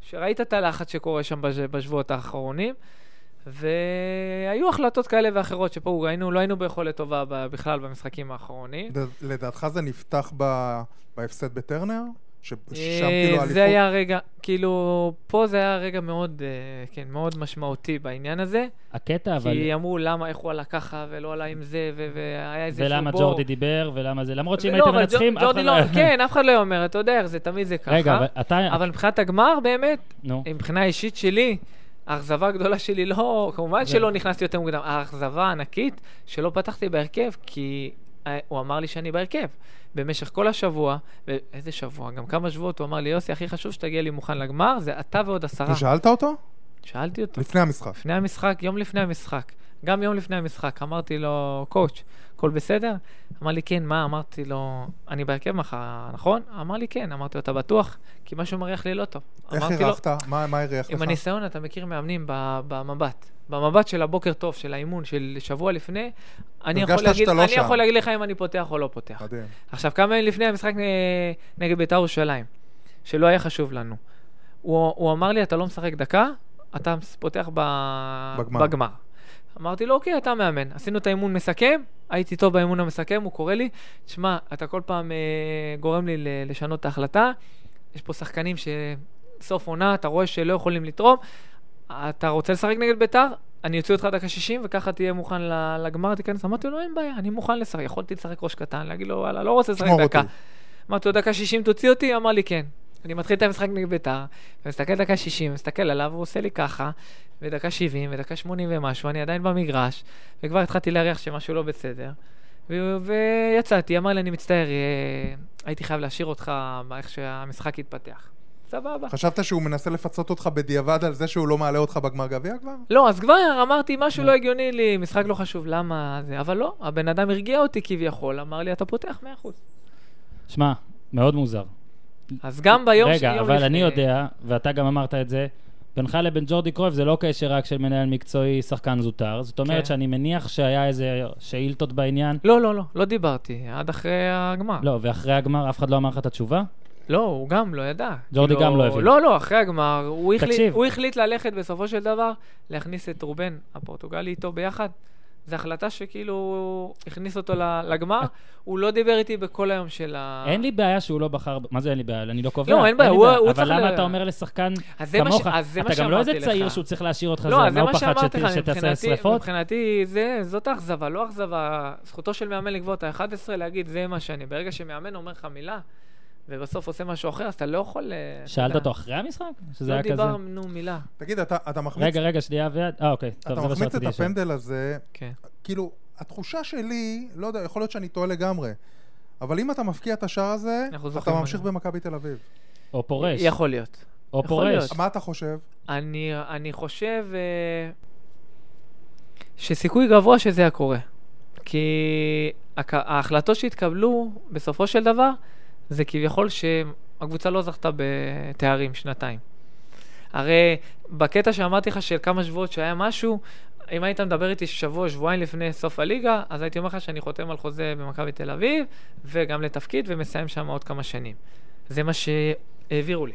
B: שראית את הלחץ שקורה שם בש- בשבועות האחרונים, והיו החלטות כאלה ואחרות שפה היינו, לא היינו ביכולת טובה ב- בכלל במשחקים האחרונים.
C: ד- לדעתך זה נפתח ב- בהפסד בטרנר? ששם
B: אה,
C: כאילו האליפות...
B: זה היה רגע, כאילו, פה זה היה רגע מאוד, אה, כן, מאוד משמעותי בעניין הזה.
A: הקטע, אבל...
B: כי אמרו למה, איך הוא עלה ככה ולא עלה עם זה, ו- והיה איזה שהוא בור.
A: ולמה ג'ורדי דיבר, ולמה זה... למרות שאם
B: לא,
A: הייתם
B: אבל
A: מנצחים,
B: ג'ור-
A: אף
B: ג'ורדי
A: אחד
B: לא...
A: היה-
B: כן, אף אחד לא היה אומר, אתה יודע איך זה, תמיד זה ככה.
A: רגע, אבל אתה...
B: אבל מבחינת הגמר, באמת,
A: נו.
B: מבחינה אישית שלי, האכזבה הגדולה שלי לא, כמובן
A: זה-
B: שלא נכנסתי יותר מוקדם, האכזבה הענקית שלא פתחתי בהרכב, כי אה, הוא אמר לי שאני בהרכב. במשך כל השבוע, ו- איזה שבוע? גם כמה שבועות, הוא אמר לי, יוסי, הכי חשוב שתגיע לי מוכן לגמר, זה אתה ועוד עשרה.
C: אתה שאלת אותו?
B: שאלתי אותו.
C: לפני המשחק.
B: לפני המשחק, יום לפני המשחק. גם יום לפני המשחק, אמרתי לו, קואוץ', הכל בסדר? אמר לי, כן, מה? אמרתי לו, אני בהרכב מחר, נכון? אמר לי, כן. אמרתי לו, אתה בטוח? כי משהו מריח לי לא טוב.
C: איך
B: אמרתי לו,
C: אירחת? מה מה אירח לך?
B: עם הניסיון אתה מכיר מאמנים ב- במבט. במבט של הבוקר טוב, של האימון, של שבוע לפני, אני, יכול
C: הרגשת
B: להגיד,
C: שאתה לא
B: אני
C: שם.
B: יכול להגיד לך אם אני פותח או לא פותח.
C: מדהים.
B: עכשיו, כמה ימים לפני המשחק נ- נגד בית"ר ירושלים, שלא היה חשוב לנו. הוא, הוא אמר לי, אתה לא משחק דקה, אתה מס- פותח ב...
C: בגמר."
B: בגמר. אמרתי לו, אוקיי, אתה מאמן. עשינו את האימון מסכם, הייתי טוב באימון המסכם, הוא קורא לי, תשמע, אתה כל פעם אה, גורם לי ל- לשנות את ההחלטה, יש פה שחקנים שסוף עונה, אתה רואה שלא יכולים לתרום, אתה רוצה לשחק נגד ביתר? אני אוציא אותך דקה 60 וככה תהיה מוכן ל- לגמר, תיכנס. אמרתי לו, אין בעיה, אני מוכן לשחק. יכולתי לשחק ראש קטן, להגיד לו, וואלה, לא רוצה לשחק
C: תשמור
B: דקה.
C: אותי.
B: אמרתי לו, דקה 60 תוציא אותי? אמר לי, כן. אני מתחיל את המשחק נגד ביתר, ומסתכל דקה 60, מסתכל עליו, הוא עושה לי ככה, ודקה 70, ודקה 80 ומשהו, אני עדיין במגרש, וכבר התחלתי להריח שמשהו לא בסדר. ו- ויצאתי, אמר לי, אני מצטער, אה, הייתי חייב להשאיר אותך איך שהמשחק התפתח. סבבה.
C: חשבת שהוא מנסה לפצות אותך בדיעבד על זה שהוא לא מעלה אותך בגמר גביע כבר?
B: לא, אז כבר אמרתי, משהו לא הגיוני לי, משחק לא חשוב, למה זה? אבל לא, הבן אדם הרגיע אותי כביכול, אמר לי, אתה פותח 100%.
A: שמע, מאוד מוזר.
B: אז גם ביום
A: רגע,
B: יום
A: אבל אני יודע, ואתה גם אמרת את זה, בינך לבין ג'ורדי קרויף זה לא קשר רק של מנהל מקצועי, שחקן זוטר. זאת אומרת
B: כן.
A: שאני מניח שהיה איזה שאילתות בעניין.
B: לא, לא, לא, לא דיברתי, עד אחרי הגמר.
A: לא, ואחרי הגמר אף אחד לא אמר לך את התשובה?
B: לא, הוא גם לא ידע.
A: ג'ורדי
B: כאילו,
A: גם לא הבין.
B: לא, לא, אחרי הגמר, הוא החליט,
A: תקשיב.
B: הוא החליט ללכת בסופו של דבר, להכניס את רובן הפורטוגלי איתו ביחד. זו החלטה שכאילו הכניס אותו ל- לגמר, הוא לא דיבר איתי בכל היום של ה...
A: אה. אין לי בעיה שהוא לא בחר, מה זה אין לי בעיה? אני לא קובע.
B: אה. לא, אין בעיה,
A: לי
B: הוא- הוא
A: אבל
B: צריך
A: למה
B: ל-
A: אתה אומר לשחקן
B: אז זה מה ש-
A: כמוך?
B: אז זה מה
A: אתה גם לא איזה
B: שאמרתי
A: צעיר
B: לך.
A: שהוא צריך להשאיר אותך
B: לא,
A: זמן,
B: אז זה
A: מה הוא
B: מה
A: פחד
B: שאמרתי לך,
A: שת- שתעשה
B: מבחינתי,
A: שרפות?
B: מבחינתי זה, זאת אכזבה, לא אכזבה. זכותו של מאמן לקבוע את ה-11, להגיד, זה מה שאני. ברגע שמאמן אומר לך מילה, ובסוף עושה משהו אחר, אז אתה לא יכול... אה, אתה
A: שאלת
B: יודע,
A: אותו אחרי המשחק? שזה
B: לא
A: היה כזה?
B: דיברנו מילה.
C: תגיד, אתה אתה מחמיץ
A: רגע, רגע, שנייה ויד. אה, אוקיי, טוב,
C: אתה
A: זה מה
C: מחמיץ את
A: שרציתי לשאול.
C: הפנדל הזה,
B: כן.
C: כאילו, התחושה שלי, לא יודע, יכול להיות שאני טועה לגמרי, אבל אם אתה מפקיע את השער הזה,
B: אנחנו
C: אתה
B: זוכרים
C: ממשיך
B: עליו.
C: במכבי תל אביב.
A: או פורש.
B: יכול להיות.
A: או
B: יכול
A: פורש.
B: להיות.
C: מה אתה חושב?
B: אני, אני חושב אה, שסיכוי גבוה שזה היה קורה. כי הכ- ההחלטות שהתקבלו, בסופו של דבר, זה כביכול שהקבוצה לא זכתה בתארים שנתיים. הרי בקטע שאמרתי לך של כמה שבועות שהיה משהו, אם היית מדבר איתי שבוע, שבועיים לפני סוף הליגה, אז הייתי אומר לך שאני חותם על חוזה במכבי תל אביב, וגם לתפקיד, ומסיים שם עוד כמה שנים. זה מה שהעבירו לי.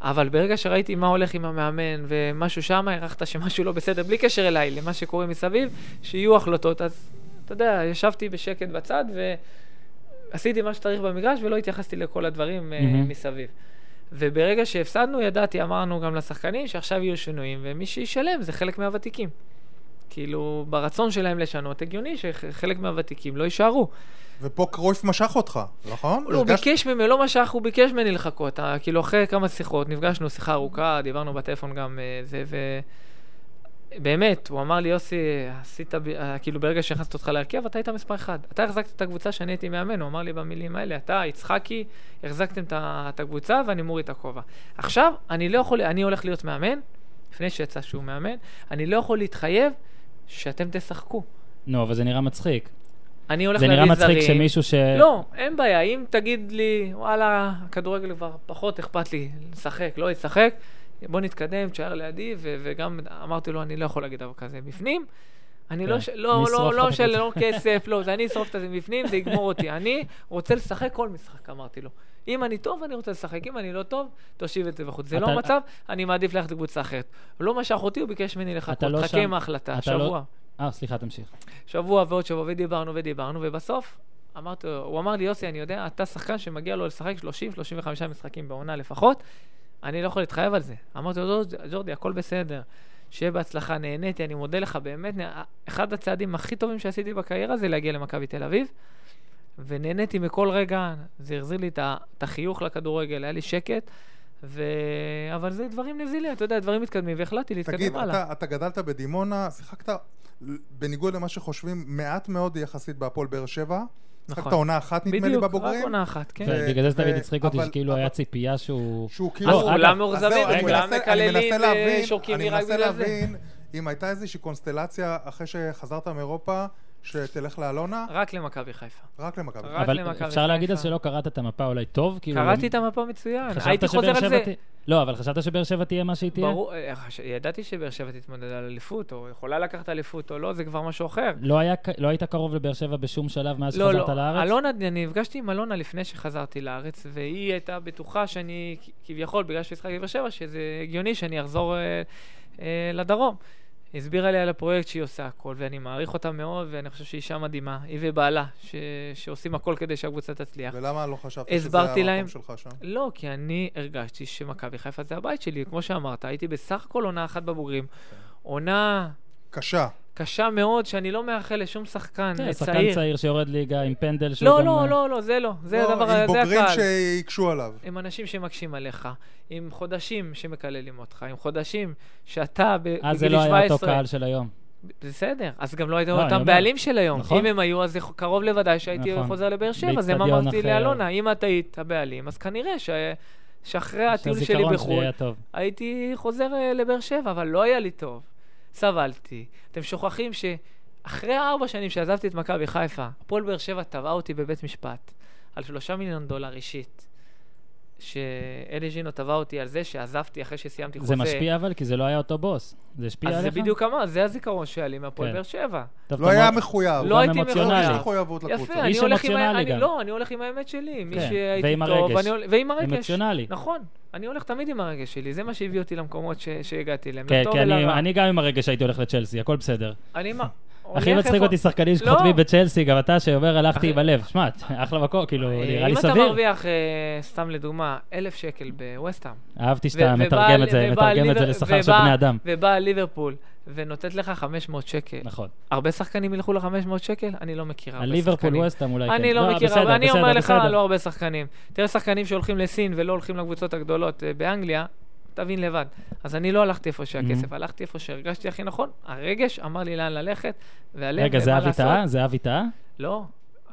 B: אבל ברגע שראיתי מה הולך עם המאמן ומשהו שם, הערכת שמשהו לא בסדר, בלי קשר אליי, למה שקורה מסביב, שיהיו החלטות. אז אתה יודע, ישבתי בשקט בצד ועשיתי מה שצריך במגרש ולא התייחסתי לכל הדברים mm-hmm.
A: מהמם.
B: מסביב. וברגע שהפסדנו, ידעתי, אמרנו גם לשחקנים שעכשיו יהיו שינויים, ומי שישלם זה חלק מהוותיקים. כאילו, ברצון שלהם לשנות, הגיוני שחלק מהוותיקים לא יישארו.
C: ופה קרויף משך אותך, נכון?
B: הוא
C: הרגשת-
B: ביקש ממני, לא משך, הוא ביקש ממני לחכות. אה, כאילו, אחרי כמה שיחות, נפגשנו שיחה ארוכה, דיברנו בטלפון גם אה, זה, ו... באמת, הוא אמר לי, יוסי, עשית, ב- אה, כאילו, ברגע שהכנסתי אותך להרכב, אתה היית מספר אחד. אתה החזקת את הקבוצה שאני הייתי מאמן, הוא אמר לי במילים האלה, אתה, יצחקי, החזקתם את ה- את הקבוצה ואני מוריד את הכובע. עכשיו, אני לא יכול, אני הולך להיות מאמן, לפני שיצא שהוא מאמן, אני לא יכול להתחייב שאתם תשחקו.
A: נו, אבל זה נראה מצחיק.
B: אני הולך
A: זה
B: להביא
A: נראה
B: זרים.
A: מצחיק שמישהו ש...
B: לא, אין בעיה. אם תגיד לי, וואלה, הכדורגל כבר פחות אכפת לי לשחק, לא לשחק, בוא נתקדם, תשאר לידי, ו- וגם אמרתי לו, אני לא יכול להגיד דבר כזה בפנים. אני
A: כן.
B: לא, ש... לא,
A: נשרוף
B: לא,
A: לך
B: לא
A: את
B: של
A: הקבוצה.
B: לא כסף, לא, זה אני אשרוף את זה מבפנים, זה יגמור אותי. אני רוצה לשחק כל משחק, אמרתי לו. אם אני טוב, אני רוצה לשחק, אם אני לא טוב, תושיב את זה בחוץ. זה
A: אתה-
B: לא המצב, אני מעדיף ללכת לקבוצה אחרת. לא משך אותי, הוא ביקש ממני
A: אתה
B: לחכות.
A: לא
B: חכה
A: שם-
B: עם ההחלטה,
A: אתה לא-
B: שבוע.
A: אה, סליחה, תמשיך.
B: שבוע ועוד שבוע, ודיברנו ודיברנו, ובסוף אמרתי, לו- הוא אמר לי, יוסי, אני יודע, אתה שחקן שמגיע לו לשחק 30-35 משחקים בעונה לפחות, אני לא יכול להתחייב על זה. אמרתי לו, "לא, ג'ורדי, הכל בסדר, שיהיה בהצלחה, נהניתי, אני מודה לך, באמת, נה- אחד הצעדים הכי טובים שעשיתי בקריירה זה להגיע למכבי תל אביב, ונהניתי מכל רגע, זה החזיר לי את ה- את החיוך לכדורגל, היה לי שקט. ו... אבל זה דברים נזילים, אתה יודע, דברים מתקדמים, והחלטתי
C: תגיד,
B: להתקדם הלאה.
C: אתה, אתה גדלת בדימונה, שיחקת, בניגוד למה שחושבים, מעט מאוד יחסית בהפועל באר שבע. שיחקת עונה אחת, נדמה לי,
B: נכון. בדיוק, רק
C: בבוגרים.
B: עונה אחת, כן.
A: ובגלל זה
C: ו-
A: תמיד הצחיק אותי
C: אה, אבל-
A: שכאילו
C: אבל-
A: היה ציפייה שהוא...
C: שהוא
A: אה,
C: כאילו...
A: כולם
C: אז זהו,
B: מאוכזבים,
C: אני
A: הם
C: מנסה-
A: גם
C: אני
B: מקללים אה,
C: מנסה להבין-
B: ושורקים לי
C: אני
B: רק
C: מנסה
B: בגלל זה.
C: להבין אם הייתה איזושהי קונסטלציה אחרי שחזרת מאירופה, שתלך לאלונה,
B: רק למכבי חיפה.
C: רק למכבי.
B: רק
A: אבל
B: למכבי
A: אפשר להגיד אז
B: חיפה.
A: שלא קראת את המפה אולי טוב? כאילו,
B: קראתי את המפה מצוין,
A: חשבת
B: הייתי חוזר
A: שבאר
B: על
A: שבע
B: זה.
A: תה- לא, אבל חשבת שבאר שבע תהיה מה שהיא תהיה?
B: ברור, אה, חש- ידעתי שבאר שבע תתמודד על אליפות, או יכולה לקחת אליפות או לא, זה כבר משהו אחר.
A: לא היה ק- לא היית קרוב לבאר שבע בשום שלב מאז
B: לא,
A: שחזרת
B: לא,
A: לארץ?
B: אלונה, אני נפגשתי עם אלונה לפני שחזרתי לארץ, והיא הייתה בטוחה שאני, כ- כביכול, בגלל שהשחקתי בבאר שבע, שזה הגיוני שאני אחזור אה, אה, לדרום. היא הסבירה לי על הפרויקט שהיא עושה הכל, ואני מעריך אותה מאוד, ואני חושב שהיא אישה מדהימה, היא ובעלה, ש- שעושים הכל כדי שהקבוצה תצליח.
C: ולמה לא חשבת שזה
B: הסברתי
C: המקום
B: להם-
C: שלך שם?
B: לא, כי אני הרגשתי שמכבי חיפה זה הבית שלי. כמו שאמרת, הייתי בסך הכל עונה אחת בבוגרים. עונה
C: קשה.
B: קשה מאוד, שאני לא מאחל לשום שחקן
A: כן, שחקן
B: צעיר.
A: צעיר שיורד ליגה עם פנדל שהוא
B: לא,
A: גם... אה,
B: לא, לא, לא, זה לא. זה
C: לא,
B: הדבר,
C: עם
B: זה
C: בוגרים
B: הקהל.
C: שהקשו עליו.
B: עם אנשים שמקשים עליך, עם חודשים שמקללים אותך, עם חודשים שאתה ב- בגיל 17...
A: אה, זה לא היה אותו קהל של היום.
B: בסדר, אז גם לא הייתם
A: לא, אני
B: אותם
A: אומר.
B: בעלים של היום.
A: נכון.
B: אם הם היו, אז זה ח- קרוב לוודאי שהייתי
A: נכון.
B: חוזר לבאר שבע, אז הם
A: באצטדיון
B: אמרתי
A: אחר.
B: לאלונה, אם את היית הבעלים, אז כנראה ש- שאחרי הטיול שלי
A: שהזיכרון שלי
B: בחו"ל,
A: היה טוב.
B: הייתי חוזר אה, לבאר שבע, אבל לא היה לי טוב. סבלתי. אתם שוכחים שאחרי ארבע שנים שעזבתי את מכבי חיפה, הפועל באר שבע תבעה אותי בבית משפט על שלושה מיליון דולר אישית. שאלי ז'ינו תבע אותי על זה שעזבתי אחרי שסיימתי חוזה.
A: זה משפיע אבל, כי זה לא היה אותו בוס. זה השפיע עליך?
B: אז זה בדיוק אמר, זה הזיכרון שהיה לי מהפועל
A: כן.
B: באר שבע.
A: טוב,
C: לא
A: אתה
C: היה
A: מאוד-
C: מחויב.
B: לא הייתי
A: אמוציונלי.
C: יש
B: מחויב.
C: מחויבות לקבוצה.
B: יפה, אני
A: איש
B: הולך עם ה-
A: אמוציונלי
B: אני-
A: גם.
B: לא, אני הולך עם האמת שלי. מי
A: כן,
B: שהייתי
A: ועם
B: טוב,
A: הרגש.
B: אני הול- ועם הרגש.
A: אמוציונלי.
B: נכון, אני הולך תמיד עם הרגש שלי, זה מה שהביא אותי למקומות ש- שהגעתי אליהם,
A: כן,
B: לטוב
A: כי אני-
B: ולרע.
A: אני גם עם הרגע שהייתי הולך לצ'לסי, הכל בסדר.
B: אני מה?
A: הכי מצחיק אותי
B: לא.
A: שחקנים שחותמים בצ'לסי, גם אתה שאומר הלכתי עם הלב. שמע, אחלה מקום, כאילו, נראה לי
B: אם אתה
A: סביר.
B: מרוויח, אה, סתם לדוגמה, אלף שקל בווסטהאם.
A: אהבתי שאתה מתרגם את זה, מתרגם את זה לשכר של בני אדם.
B: ובאה ליברפול ונותנת לך 500 שקל.
A: נכון.
B: הרבה שחקנים ילכו ל-500 שקל? אני לא מכיר הרבה שחקנים.
A: הליברפול ווסטהאם אולי כן.
B: אני לא מכיר
A: בסדר,
B: הרבה, אני אומר
A: בסדר,
B: לך,
A: בסדר.
B: לא הרבה שחקנים. תראה שחקנים שהולכים לסין ולא הולכים לקבוצות הגדולות אה, באנגליה, תבין לבד. אז אני לא הלכתי איפה שהכסף,
A: Mhm.
B: הלכתי איפה שהרגשתי הכי נכון. הרגש אמר לי לאן ללכת, והלב,
A: רגע, זה
B: ומה
A: אבי
B: לעשות.
A: טאה? זה אבי טאה?
B: לא,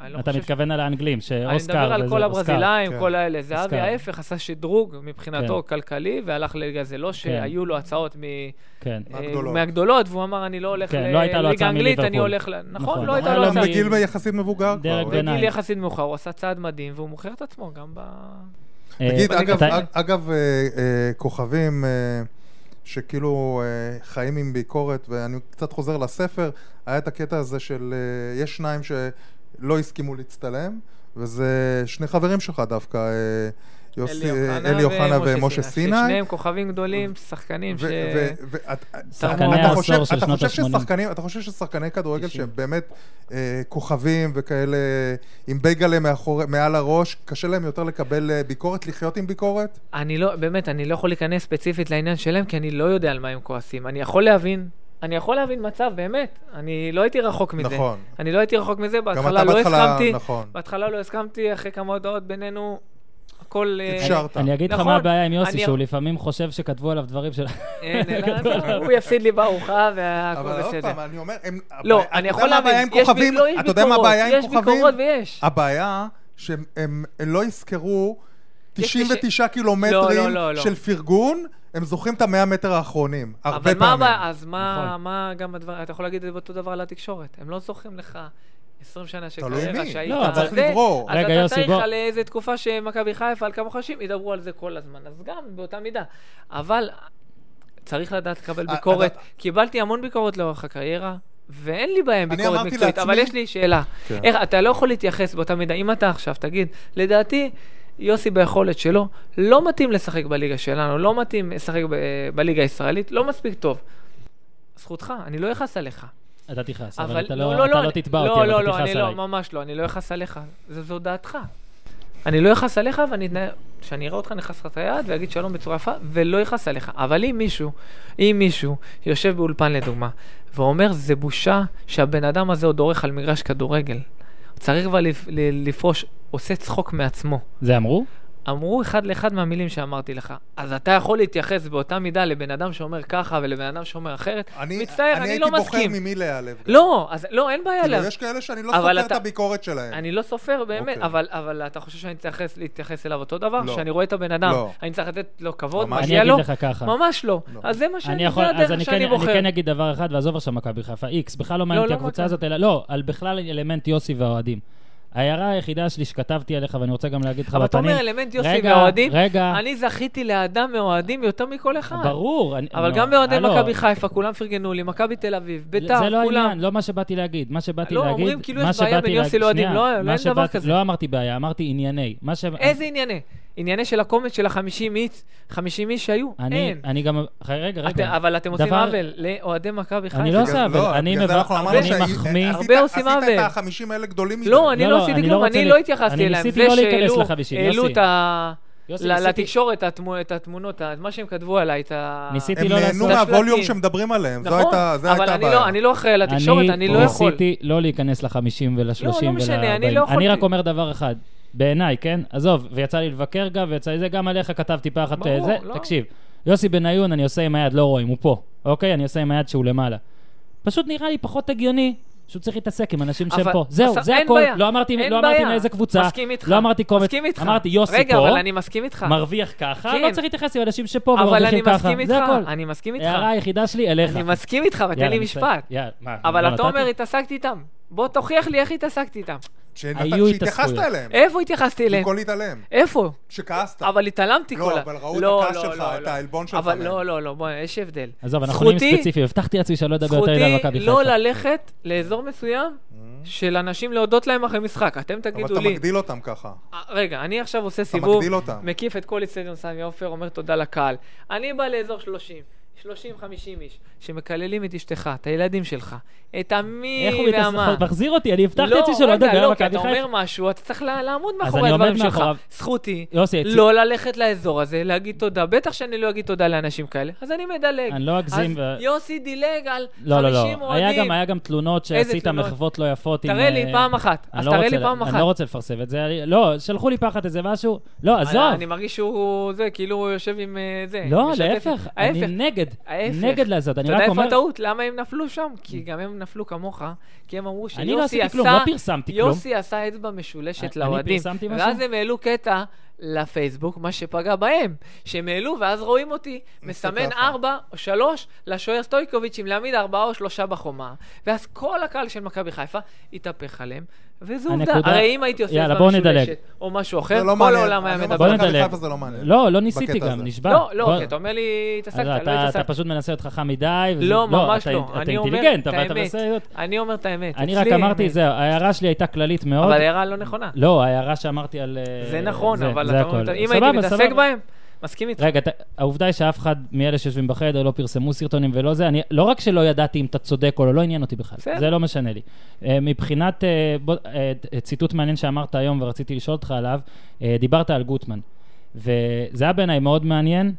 B: אני לא
A: אתה
B: חושב
A: מתכוון על האנגלים,
B: אני
A: שאוסקר...
B: מדבר על
A: וזה-
B: כל
A: אוסקר.
B: הברזילאים,
C: כן.
B: כל האלה. זהבי
A: אוסקר.
B: ההפך עשה שדרוג מבחינתו כלכלי, והלך לליגה. זה לא שהיו לו הצעות מ-
A: כן.
B: אה,
C: מהגדולות.
B: מהגדולות, והוא אמר, אני לא הולך
A: כן, לא הייתה לו
B: לליגה
A: הצעה
B: אנגלית, אני
A: מליברפול.
B: הולך ל...
A: נכון.
B: נכון, לא הייתה
A: היה
B: לו
A: לו
B: הצעה.
A: מגיל
C: בגיל יחסית מבוגר
A: דרג
C: כבר.
A: ביניים.
B: בגיל יחסית מאוחר, הוא עשה צעד מדהים, והוא מוכר את עצמו גם ב...
A: אה,
C: תגיד,
A: אתה-
C: אגב, אג- אגב, אה, אה, כוכבים אה, שכאילו אה, חיים עם ביקורת, ואני קצת חוזר לספר, היה את הקטע הזה של, אה, יש שניים שלא הסכימו להצטלם, וזה שני חברים שלך דווקא, אה, יוסי- אה, אלי אוחנה ומשה סיני.
B: שניהם כוכבים גדולים, שחקנים ש...
C: ו- ו- ו- את-
B: שחקני
C: אתה
A: העשור
C: חושב-
A: של
C: אתה
A: שנות
C: חושב
A: ה-שמונים.
C: ששחקנים- אתה חושב ששחקני כדורגל
A: תשעים.
C: שהם באמת אה, כוכבים וכאלה עם בייגלה מאחורי- מעל הראש, קשה להם יותר לקבל אה, ביקורת, לחיות עם ביקורת?
B: אני לא, באמת, אני לא יכול להיכנס ספציפית לעניין שלהם, כי אני לא יודע על מה הם כועסים. אני יכול להבין, אני יכול להבין מצב, באמת. אני לא הייתי רחוק מזה.
C: נכון.
B: אני לא הייתי רחוק מזה,
C: גם
B: בהתחלה
C: אתה
B: לא
C: בהתחלה,
B: הסכמתי.
C: נכון.
B: בהתחלה לא הסכמתי, אחרי כמה הודעות בינינו, הכל... אה,
C: אפשרת.
A: אני אגיד לך
B: נכון,
A: מה הבעיה עם יוסי,
B: אני-
A: שהוא לפעמים חושב שכתבו עליו דברים של...
B: אין, אלא- הוא יפסיד לי בארוחה והכל
C: אבל עוד
B: בסדר.
C: פעם, אני אומר, הם...
B: לא,
C: הבעיה- אתה
B: אני יכול
C: יודע מה הבעיה
B: להבין,
C: עם
B: יש
C: כוכבים?
B: בי- לא, יש
C: אתה יודע מה
B: ביקורות,
C: הבעיה עם
B: יש
C: כוכבים?
B: ביקורות ויש.
C: הבעיה שהם הם- הם לא יזכרו 99
B: לא,
C: קילומטרים
B: לא, לא, לא.
C: של פרגון, הם זוכרים את המאה מטר האחרונים. הרבה
B: אבל מה הבעיה?
C: פעמים.
B: אז מה,
A: נכון.
B: מה גם הדבר, אתה יכול להגיד את זה אותו דבר על התקשורת. הם לא זוכרים לך 20 שנה של
C: תלוי
B: קריירה
C: מי.
B: שהיית.
A: לא,
B: על
A: צריך
B: זה,
C: לברור.
B: אז
A: רגע,
B: אתה
A: יוסי,
B: צריך
A: בוא.
B: על איזה תקופה שמכבי חיפה, על כמה חודשים, ידברו על זה כל הזמן. אז גם, באותה מידה. אבל צריך לדעת לקבל
C: אה,
B: ביקורת.
C: אתה- אה,
B: קיבלתי המון ביקורת לאורך הקריירה. ואין לי בהם
C: אני
B: ביקורת
C: אמרתי
B: מקצועית, אבל
C: לעצמי-
B: יש לי שאלה.
C: כן.
B: איך, אתה לא יכול להתייחס באותה מידה, אם אתה עכשיו תגיד, לדעתי, יוסי ביכולת שלו, לא מתאים לשחק בליגה שלנו, לא מתאים לשחק ב- בליגה הישראלית, לא מספיק טוב. זכותך, אני לא אכעס עליך.
A: אתה תכעס,
B: אבל
A: אבל אתה לא אתה לא
B: אני-
A: תתבע
B: לא,
A: אותי, אבל
B: לא,
A: אתה
B: לא,
A: תכעס
B: אני לא,
A: עליי.
B: ממש לא, אני לא אכעס עליך. זו- זו דעתך. אני לא אכעס עליך, ואני אתנהל- כשאני אראה אותך אני אכעס לך את היד ואגיד שלום בצורה יפה, ולא אכעס עליך. אבל אם מישהו, אם מישהו יושב באולפן לדוגמה, ואומר, זה בושה שהבן אדם הזה עוד דורך על מגרש כדורגל. צריך כבר לפ- ל- לפרוש, עושה צחוק מעצמו.
A: זה אמרו?
B: אמרו אחד לאחד מהמילים שאמרתי לך. אז אתה יכול להתייחס באותה מידה לבן אדם שאומר ככה ולבן אדם שאומר אחרת? מצטער, אני לא
C: אני הייתי
B: מסכים.
C: בוחר ממי להיעלב.
B: לא, אז לא, אין בעיה.
C: כאילו,
B: לה-
C: יש כאלה שאני לא
B: אבל
C: סופר את
B: אתה-
C: הביקורת שלהם.
B: אני לא סופר באמת,
C: כן. אוקיי.
B: אבל, אבל אתה חושב שאני צריך להתייחס אליו אותו דבר?
C: לא.
B: כשאני רואה את הבן אדם,
C: לא.
B: אני צריך לתת לו כבוד,
C: ממש
A: אני
B: מגיע
A: אגיד
B: לו?
A: לך ככה.
B: ממש לא.
C: לא.
B: אז זה מה שאני,
A: אני יכול,
B: זה
A: אז
B: הדרך
A: אני
B: שאני
A: כן, אני
B: בוחר.
A: כן אגיד דבר אחד, ועזוב עכשיו מכבי חיפה, איקס, בכלל לא מעניין
B: לא
A: אותי הקבוצה
B: מכבי.
A: הזאת, אלא, לא, על בכלל אלמנט יוסי והאוהדים. ההערה היחידה שלי שכתבתי עליך, ואני רוצה גם להגיד לך
B: אבל אתה
A: בפנים,
B: אומר אלמנט יוסי
A: רגע,
B: והאוהדים,
A: רגע,
B: אני זכיתי לאדם מאוהדים יותר מכל אחד.
A: ברור. אני-
B: אבל
A: לא,
B: גם באוהדי
A: הלו,
B: מכבי חיפה, כולם פרגנו לי, מכבי תל אביב, ביתר,
A: זה לא
B: כולם.
A: העניין, לא מה שבאתי להגיד. מה שבאתי
B: לא,
A: להגיד...
B: אומרים כאילו
A: מה
B: יש בעיה בין
A: שבאתי
B: יוסי
A: להגיד-
B: לאוהדים.
A: שנייה,
B: לא, לא,
A: מה
B: אין דבר
A: שבאתי-
B: כזה.
A: לא אמרתי בעיה, אמרתי ענייני. מה ש...
B: איזה ענייני? ענייני של הקומץ של החמישים איש, חמישים איש שהיו?
A: אני,
B: אין.
A: אני גם... רגע,
B: אתם-
A: רגע.
B: אבל אתם עושים
A: דבר-
B: עוול לאוהדי מכבי חיפה.
A: אני לא עושה
C: בגלל-
A: עוול, אני
C: בגלל זה
A: מבח-
C: אנחנו אמרנו
A: אני
C: שהי-
A: מחמיא.
C: עשית-
B: הרבה עושים
C: עשית
B: עוול.
C: את החמישים האלה גדולים מדי.
B: לא, אני
A: לא,
B: לא
A: לא,
B: עשיתי
A: אני
B: כלום,
A: לא רוצה
B: אני
A: ל-
B: לא התייחסתי
A: אני
B: אליהם.
A: ניסיתי
B: זה
A: לא להיכנס
B: שהעלו-
A: לחמישים,
B: העלו
A: יוסי.
B: את ה-
A: יוסי,
B: ל-
A: ניסיתי-
B: לתקשורת את התמו- את התמונות, את מה שהם כתבו עליי, את ה...
A: ניסיתי-
C: הם
A: לא לעשות-
C: נהנו
B: את
C: מהווליום
B: השלטים.
C: שמדברים עליהם. זו
B: נכון,
C: הייתה זו
B: אבל
C: הייתה
B: אני לא-
C: הבעיה.
B: אני לא אחראי על התקשורת, אני לא יכול.
A: ניסיתי לא להיכנס לחמישים ולשלושים
B: לא משנה,
A: ולארבעים.
B: אני לא
A: אני
B: יכולתי.
A: רק אומר דבר אחד, בעיניי, כן? עזוב, ויצא לי לבקר גם, ויצא לי זה, גם עליך כתבתי פעם אחת
B: ברור,
A: אה, זה.
B: לא.
A: תקשיב, יוסי בניון, אני עושה עם היד, לא רואים, הוא פה, אוקיי? אני עושה עם היד שהוא למעלה. פשוט נראה לי פחות הגיוני. שהוא צריך להתעסק עם אנשים שהם
B: אבל-
A: פה. זהו,
B: אז
A: זה
B: אין
A: הכל.
B: בעיה,
A: לא אמרתי
B: אין
A: לא אמרתי
B: בעיה.
A: מאיזה קבוצה.
B: מסכים איתך.
A: לא אמרתי קומץ.
B: מסכים איתך.
A: אמרתי יוסי
B: רגע,
A: פה,
B: אבל אני מסכים איתך.
A: מרוויח ככה,
B: כן.
A: לא צריך להתייחס עם אנשים שפה
B: אבל אני
A: ומרוויחים ככה.
B: מסכים איתך,
A: זה הכל.
B: אני מסכים איתך.
A: ההערה היחידה שלי אליך.
B: אני מסכים איתך, אבל תן
A: יאללה,
B: לי
A: נסיים.
B: משפט.
A: יאללה, מה, לא
B: אבל אתה
A: נתתי?
B: אומר, התעסקתי איתם. בוא תוכיח לי איך התעסקתי איתם.
C: שנתת-
A: היו
C: שהתייחסת
A: התעסקויות.
C: אליהם.
B: איפה התעסקתי אליהם?
C: במקום להתעלם.
B: איפה?
C: שכעסת.
B: אבל התעלמתי
C: לא,
B: כל ה...
C: אבל ראו את הכעס שלך, את העלבון שלך
B: אבל
C: מהם.
B: לא, לא, לא, בוא, יש הבדל.
A: עזוב, אנחנו עונים
B: זכותי-
A: ספציפיים. הבטחתי לעצמי שאני לא אדבר יותר מדי על מכבי
B: זכותי
A: חיפה.
B: לא ללכת לאזור מסוים של אנשים להודות להם אחרי משחק. אתם
C: Mm. אבל
B: תגידו
C: אתה
B: לי...
C: מגדיל אותם ככה.
B: אה, רגע, אני עכשיו עושה סיבוב,
C: מגדיל אותם.
B: מקיף את כל אצטדיון סמי עופר, אומר תודה לקהל. אני בא לאזור 30, 30-50 איש, שמקללים את אשתך, את הילדים שלך, את המי
A: איך הוא מתעסק-
B: והמה.
A: מחזיר אותי, אני הבטחתי
B: לא,
A: לעצמי שלא
B: רגע,
A: אדבר על
B: לא, כי
A: מכבי
B: אתה אומר
A: חיפה.
B: משהו, אתה צריך לה- לעמוד
A: אז
B: מאחורי
A: אני עומד
B: הדברים שלך.
A: מאחוריו.
B: זכותי
A: יוסי, הצי-
B: לא ללכת לאזור הזה, להגיד תודה. בטח שאני לא אגיד תודה לאנשים כאלה, אז אני מדלג.
A: אני לא אגזים
B: אז
A: ו-
B: יוסי דילג על 50
A: לא, לא, לא.
B: אוהדים.
A: היה גם- היה גם תלונות
B: איזה
A: שעשית
B: תלונות?
A: מחוות לא יפות עם...
B: תראה לי
A: אה,
B: פעם אחת.
A: אני
B: אז
A: לא
B: תראה
A: רוצה
B: לי
A: ל-
B: פעם
A: אני
B: אחת.
A: לא רוצה לפרסם את זה. אני- לא, שלחו לי פעם אחת איזה משהו. לא, עזוב.
B: אני, אני מרגיש שהוא זה, כאילו הוא יושב עם אה, זה.
A: לא,
B: משתף.
A: להפך.
B: ההפך.
A: אני נגד.
B: ההפך.
A: נגד לעשות. אני
B: אתה יודע
A: רק
B: איפה
A: אומר...
B: הטעות? למה הם נפלו שם? כי גם הם נפלו כמוך, כי הם אמרו שיוסי עשה...
A: אני לא עשיתי כלום, לא פרסמתי כלום.
B: יוסי עשה אצבע משולשת
A: אני
B: לאוהדים.
A: פרסמתי משהו?
B: ואז הם העלו קטע לפייסבוק, מה שפגע בהם. שהם העלו, ואז רואים אותי מסמן
C: ככה.
B: ארבע או שלוש לשוער סטויקוביץ' עם להעמיד ארבעה או שלושה בחומה. ואז כל הקהל של מכבי חיפה התהפך עליהם. וזו עובדה,
A: הנקודה-
B: הרי אם הייתי עושה
A: יאללה,
B: אצבע
A: בוא נדלג.
B: משולשת או משהו
C: זה
B: אחר,
C: לא
B: כל
C: מעניין.
B: העולם היה
C: אני אומר,
B: מדבר.
A: בוא
C: מכבי
A: נדלג.
C: חיפה זה לא מעניין.
A: לא, לא ניסיתי
C: בקטע
A: גם,
C: הזה.
A: נשבע.
B: לא, לא,
A: בוא-
B: כי אתה אומר לי, התעסקת,
A: אז
B: לא
A: אתה, אתה
B: התעסקת.
A: פשוט מנסה להיות חכם מדי. וזה-
B: לא, ממש
A: אתה-
B: לא.
A: אתה
B: אני אומר
A: אינטליגנט,
B: את
A: אבל אתה
B: האמת.
A: מנסה להיות...
B: אני אומר את האמת.
A: אני
B: אצלי
A: רק אמרתי,
B: האמת.
A: זהו, ההערה שלי הייתה כללית מאוד.
B: אבל הערה לא נכונה.
A: לא, ההערה שאמרתי על... אה,
B: זה נכון,
A: זה-
B: אבל
A: זה
B: אתה אומר,
A: הכל.
B: אם
A: סבבה,
B: הייתי מתעסק
A: סבבה.
B: בהם, מסכים איתך.
A: רגע, אתה- העובדה היא שאף אחד מאלה שיושבים בחדר לא פרסמו סרטונים ולא זה, אני לא רק שלא ידעתי אם אתה צודק או לא, לא עניין אותי בכלל,
B: בסדר.
A: זה לא משנה לי. אה, מבחינת, אה, בוא- אה, ת- ציטוט מעניין שאמרת היום ורציתי לשאול אותך עליו, אה, דיברת על גוטמן, וזה היה בעיניי מאוד מעניין.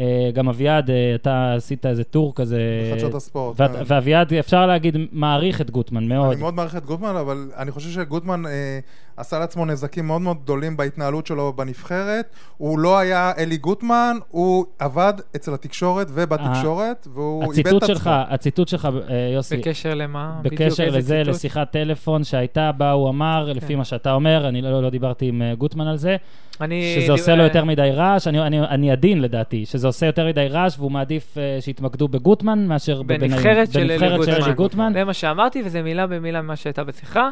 A: אה, גם אביעד, אה, אתה עשית איזה טור כזה.
C: בחדשות הספורט,
A: ואת-
C: כן.
A: ואביעד, אפשר להגיד, מעריך את גוטמן מאוד.
C: אני מאוד מעריך את גוטמן, אבל אני חושב שגוטמן אה, עשה לעצמו נזקים מאוד מאוד גדולים בהתנהלות שלו בנבחרת. הוא לא היה אלי גוטמן, הוא עבד אצל התקשורת ובתקשורת, והוא איבד את עצמו.
A: אה, הציטוט שלך, הציטוט שלך, אה, יוסי,
B: בקשר למה? בדיוק,
A: בקשר
B: איזה
A: לזה,
B: ציטוט? כן.
A: לשיחת טלפון שהייתה בה, הוא אמר, לפי מה שאתה אומר, אני לא לא דיברתי עם אה, גוטמן על זה,
B: אני-
A: שזה עושה לו יותר מדי רעש, אני- אני- אני עדין לדעתי, שזה עושה יותר מדי רעש, והוא מעדיף אה, שיתמקדו בגוטמן מאשר בבניון.
B: בנבחרת של אלי
A: בנבחרת
B: גוטמן.
A: אלי גוטמן.
B: זה מה שאמרתי, וזה מילה במילה ממה שהייתה בשיחה,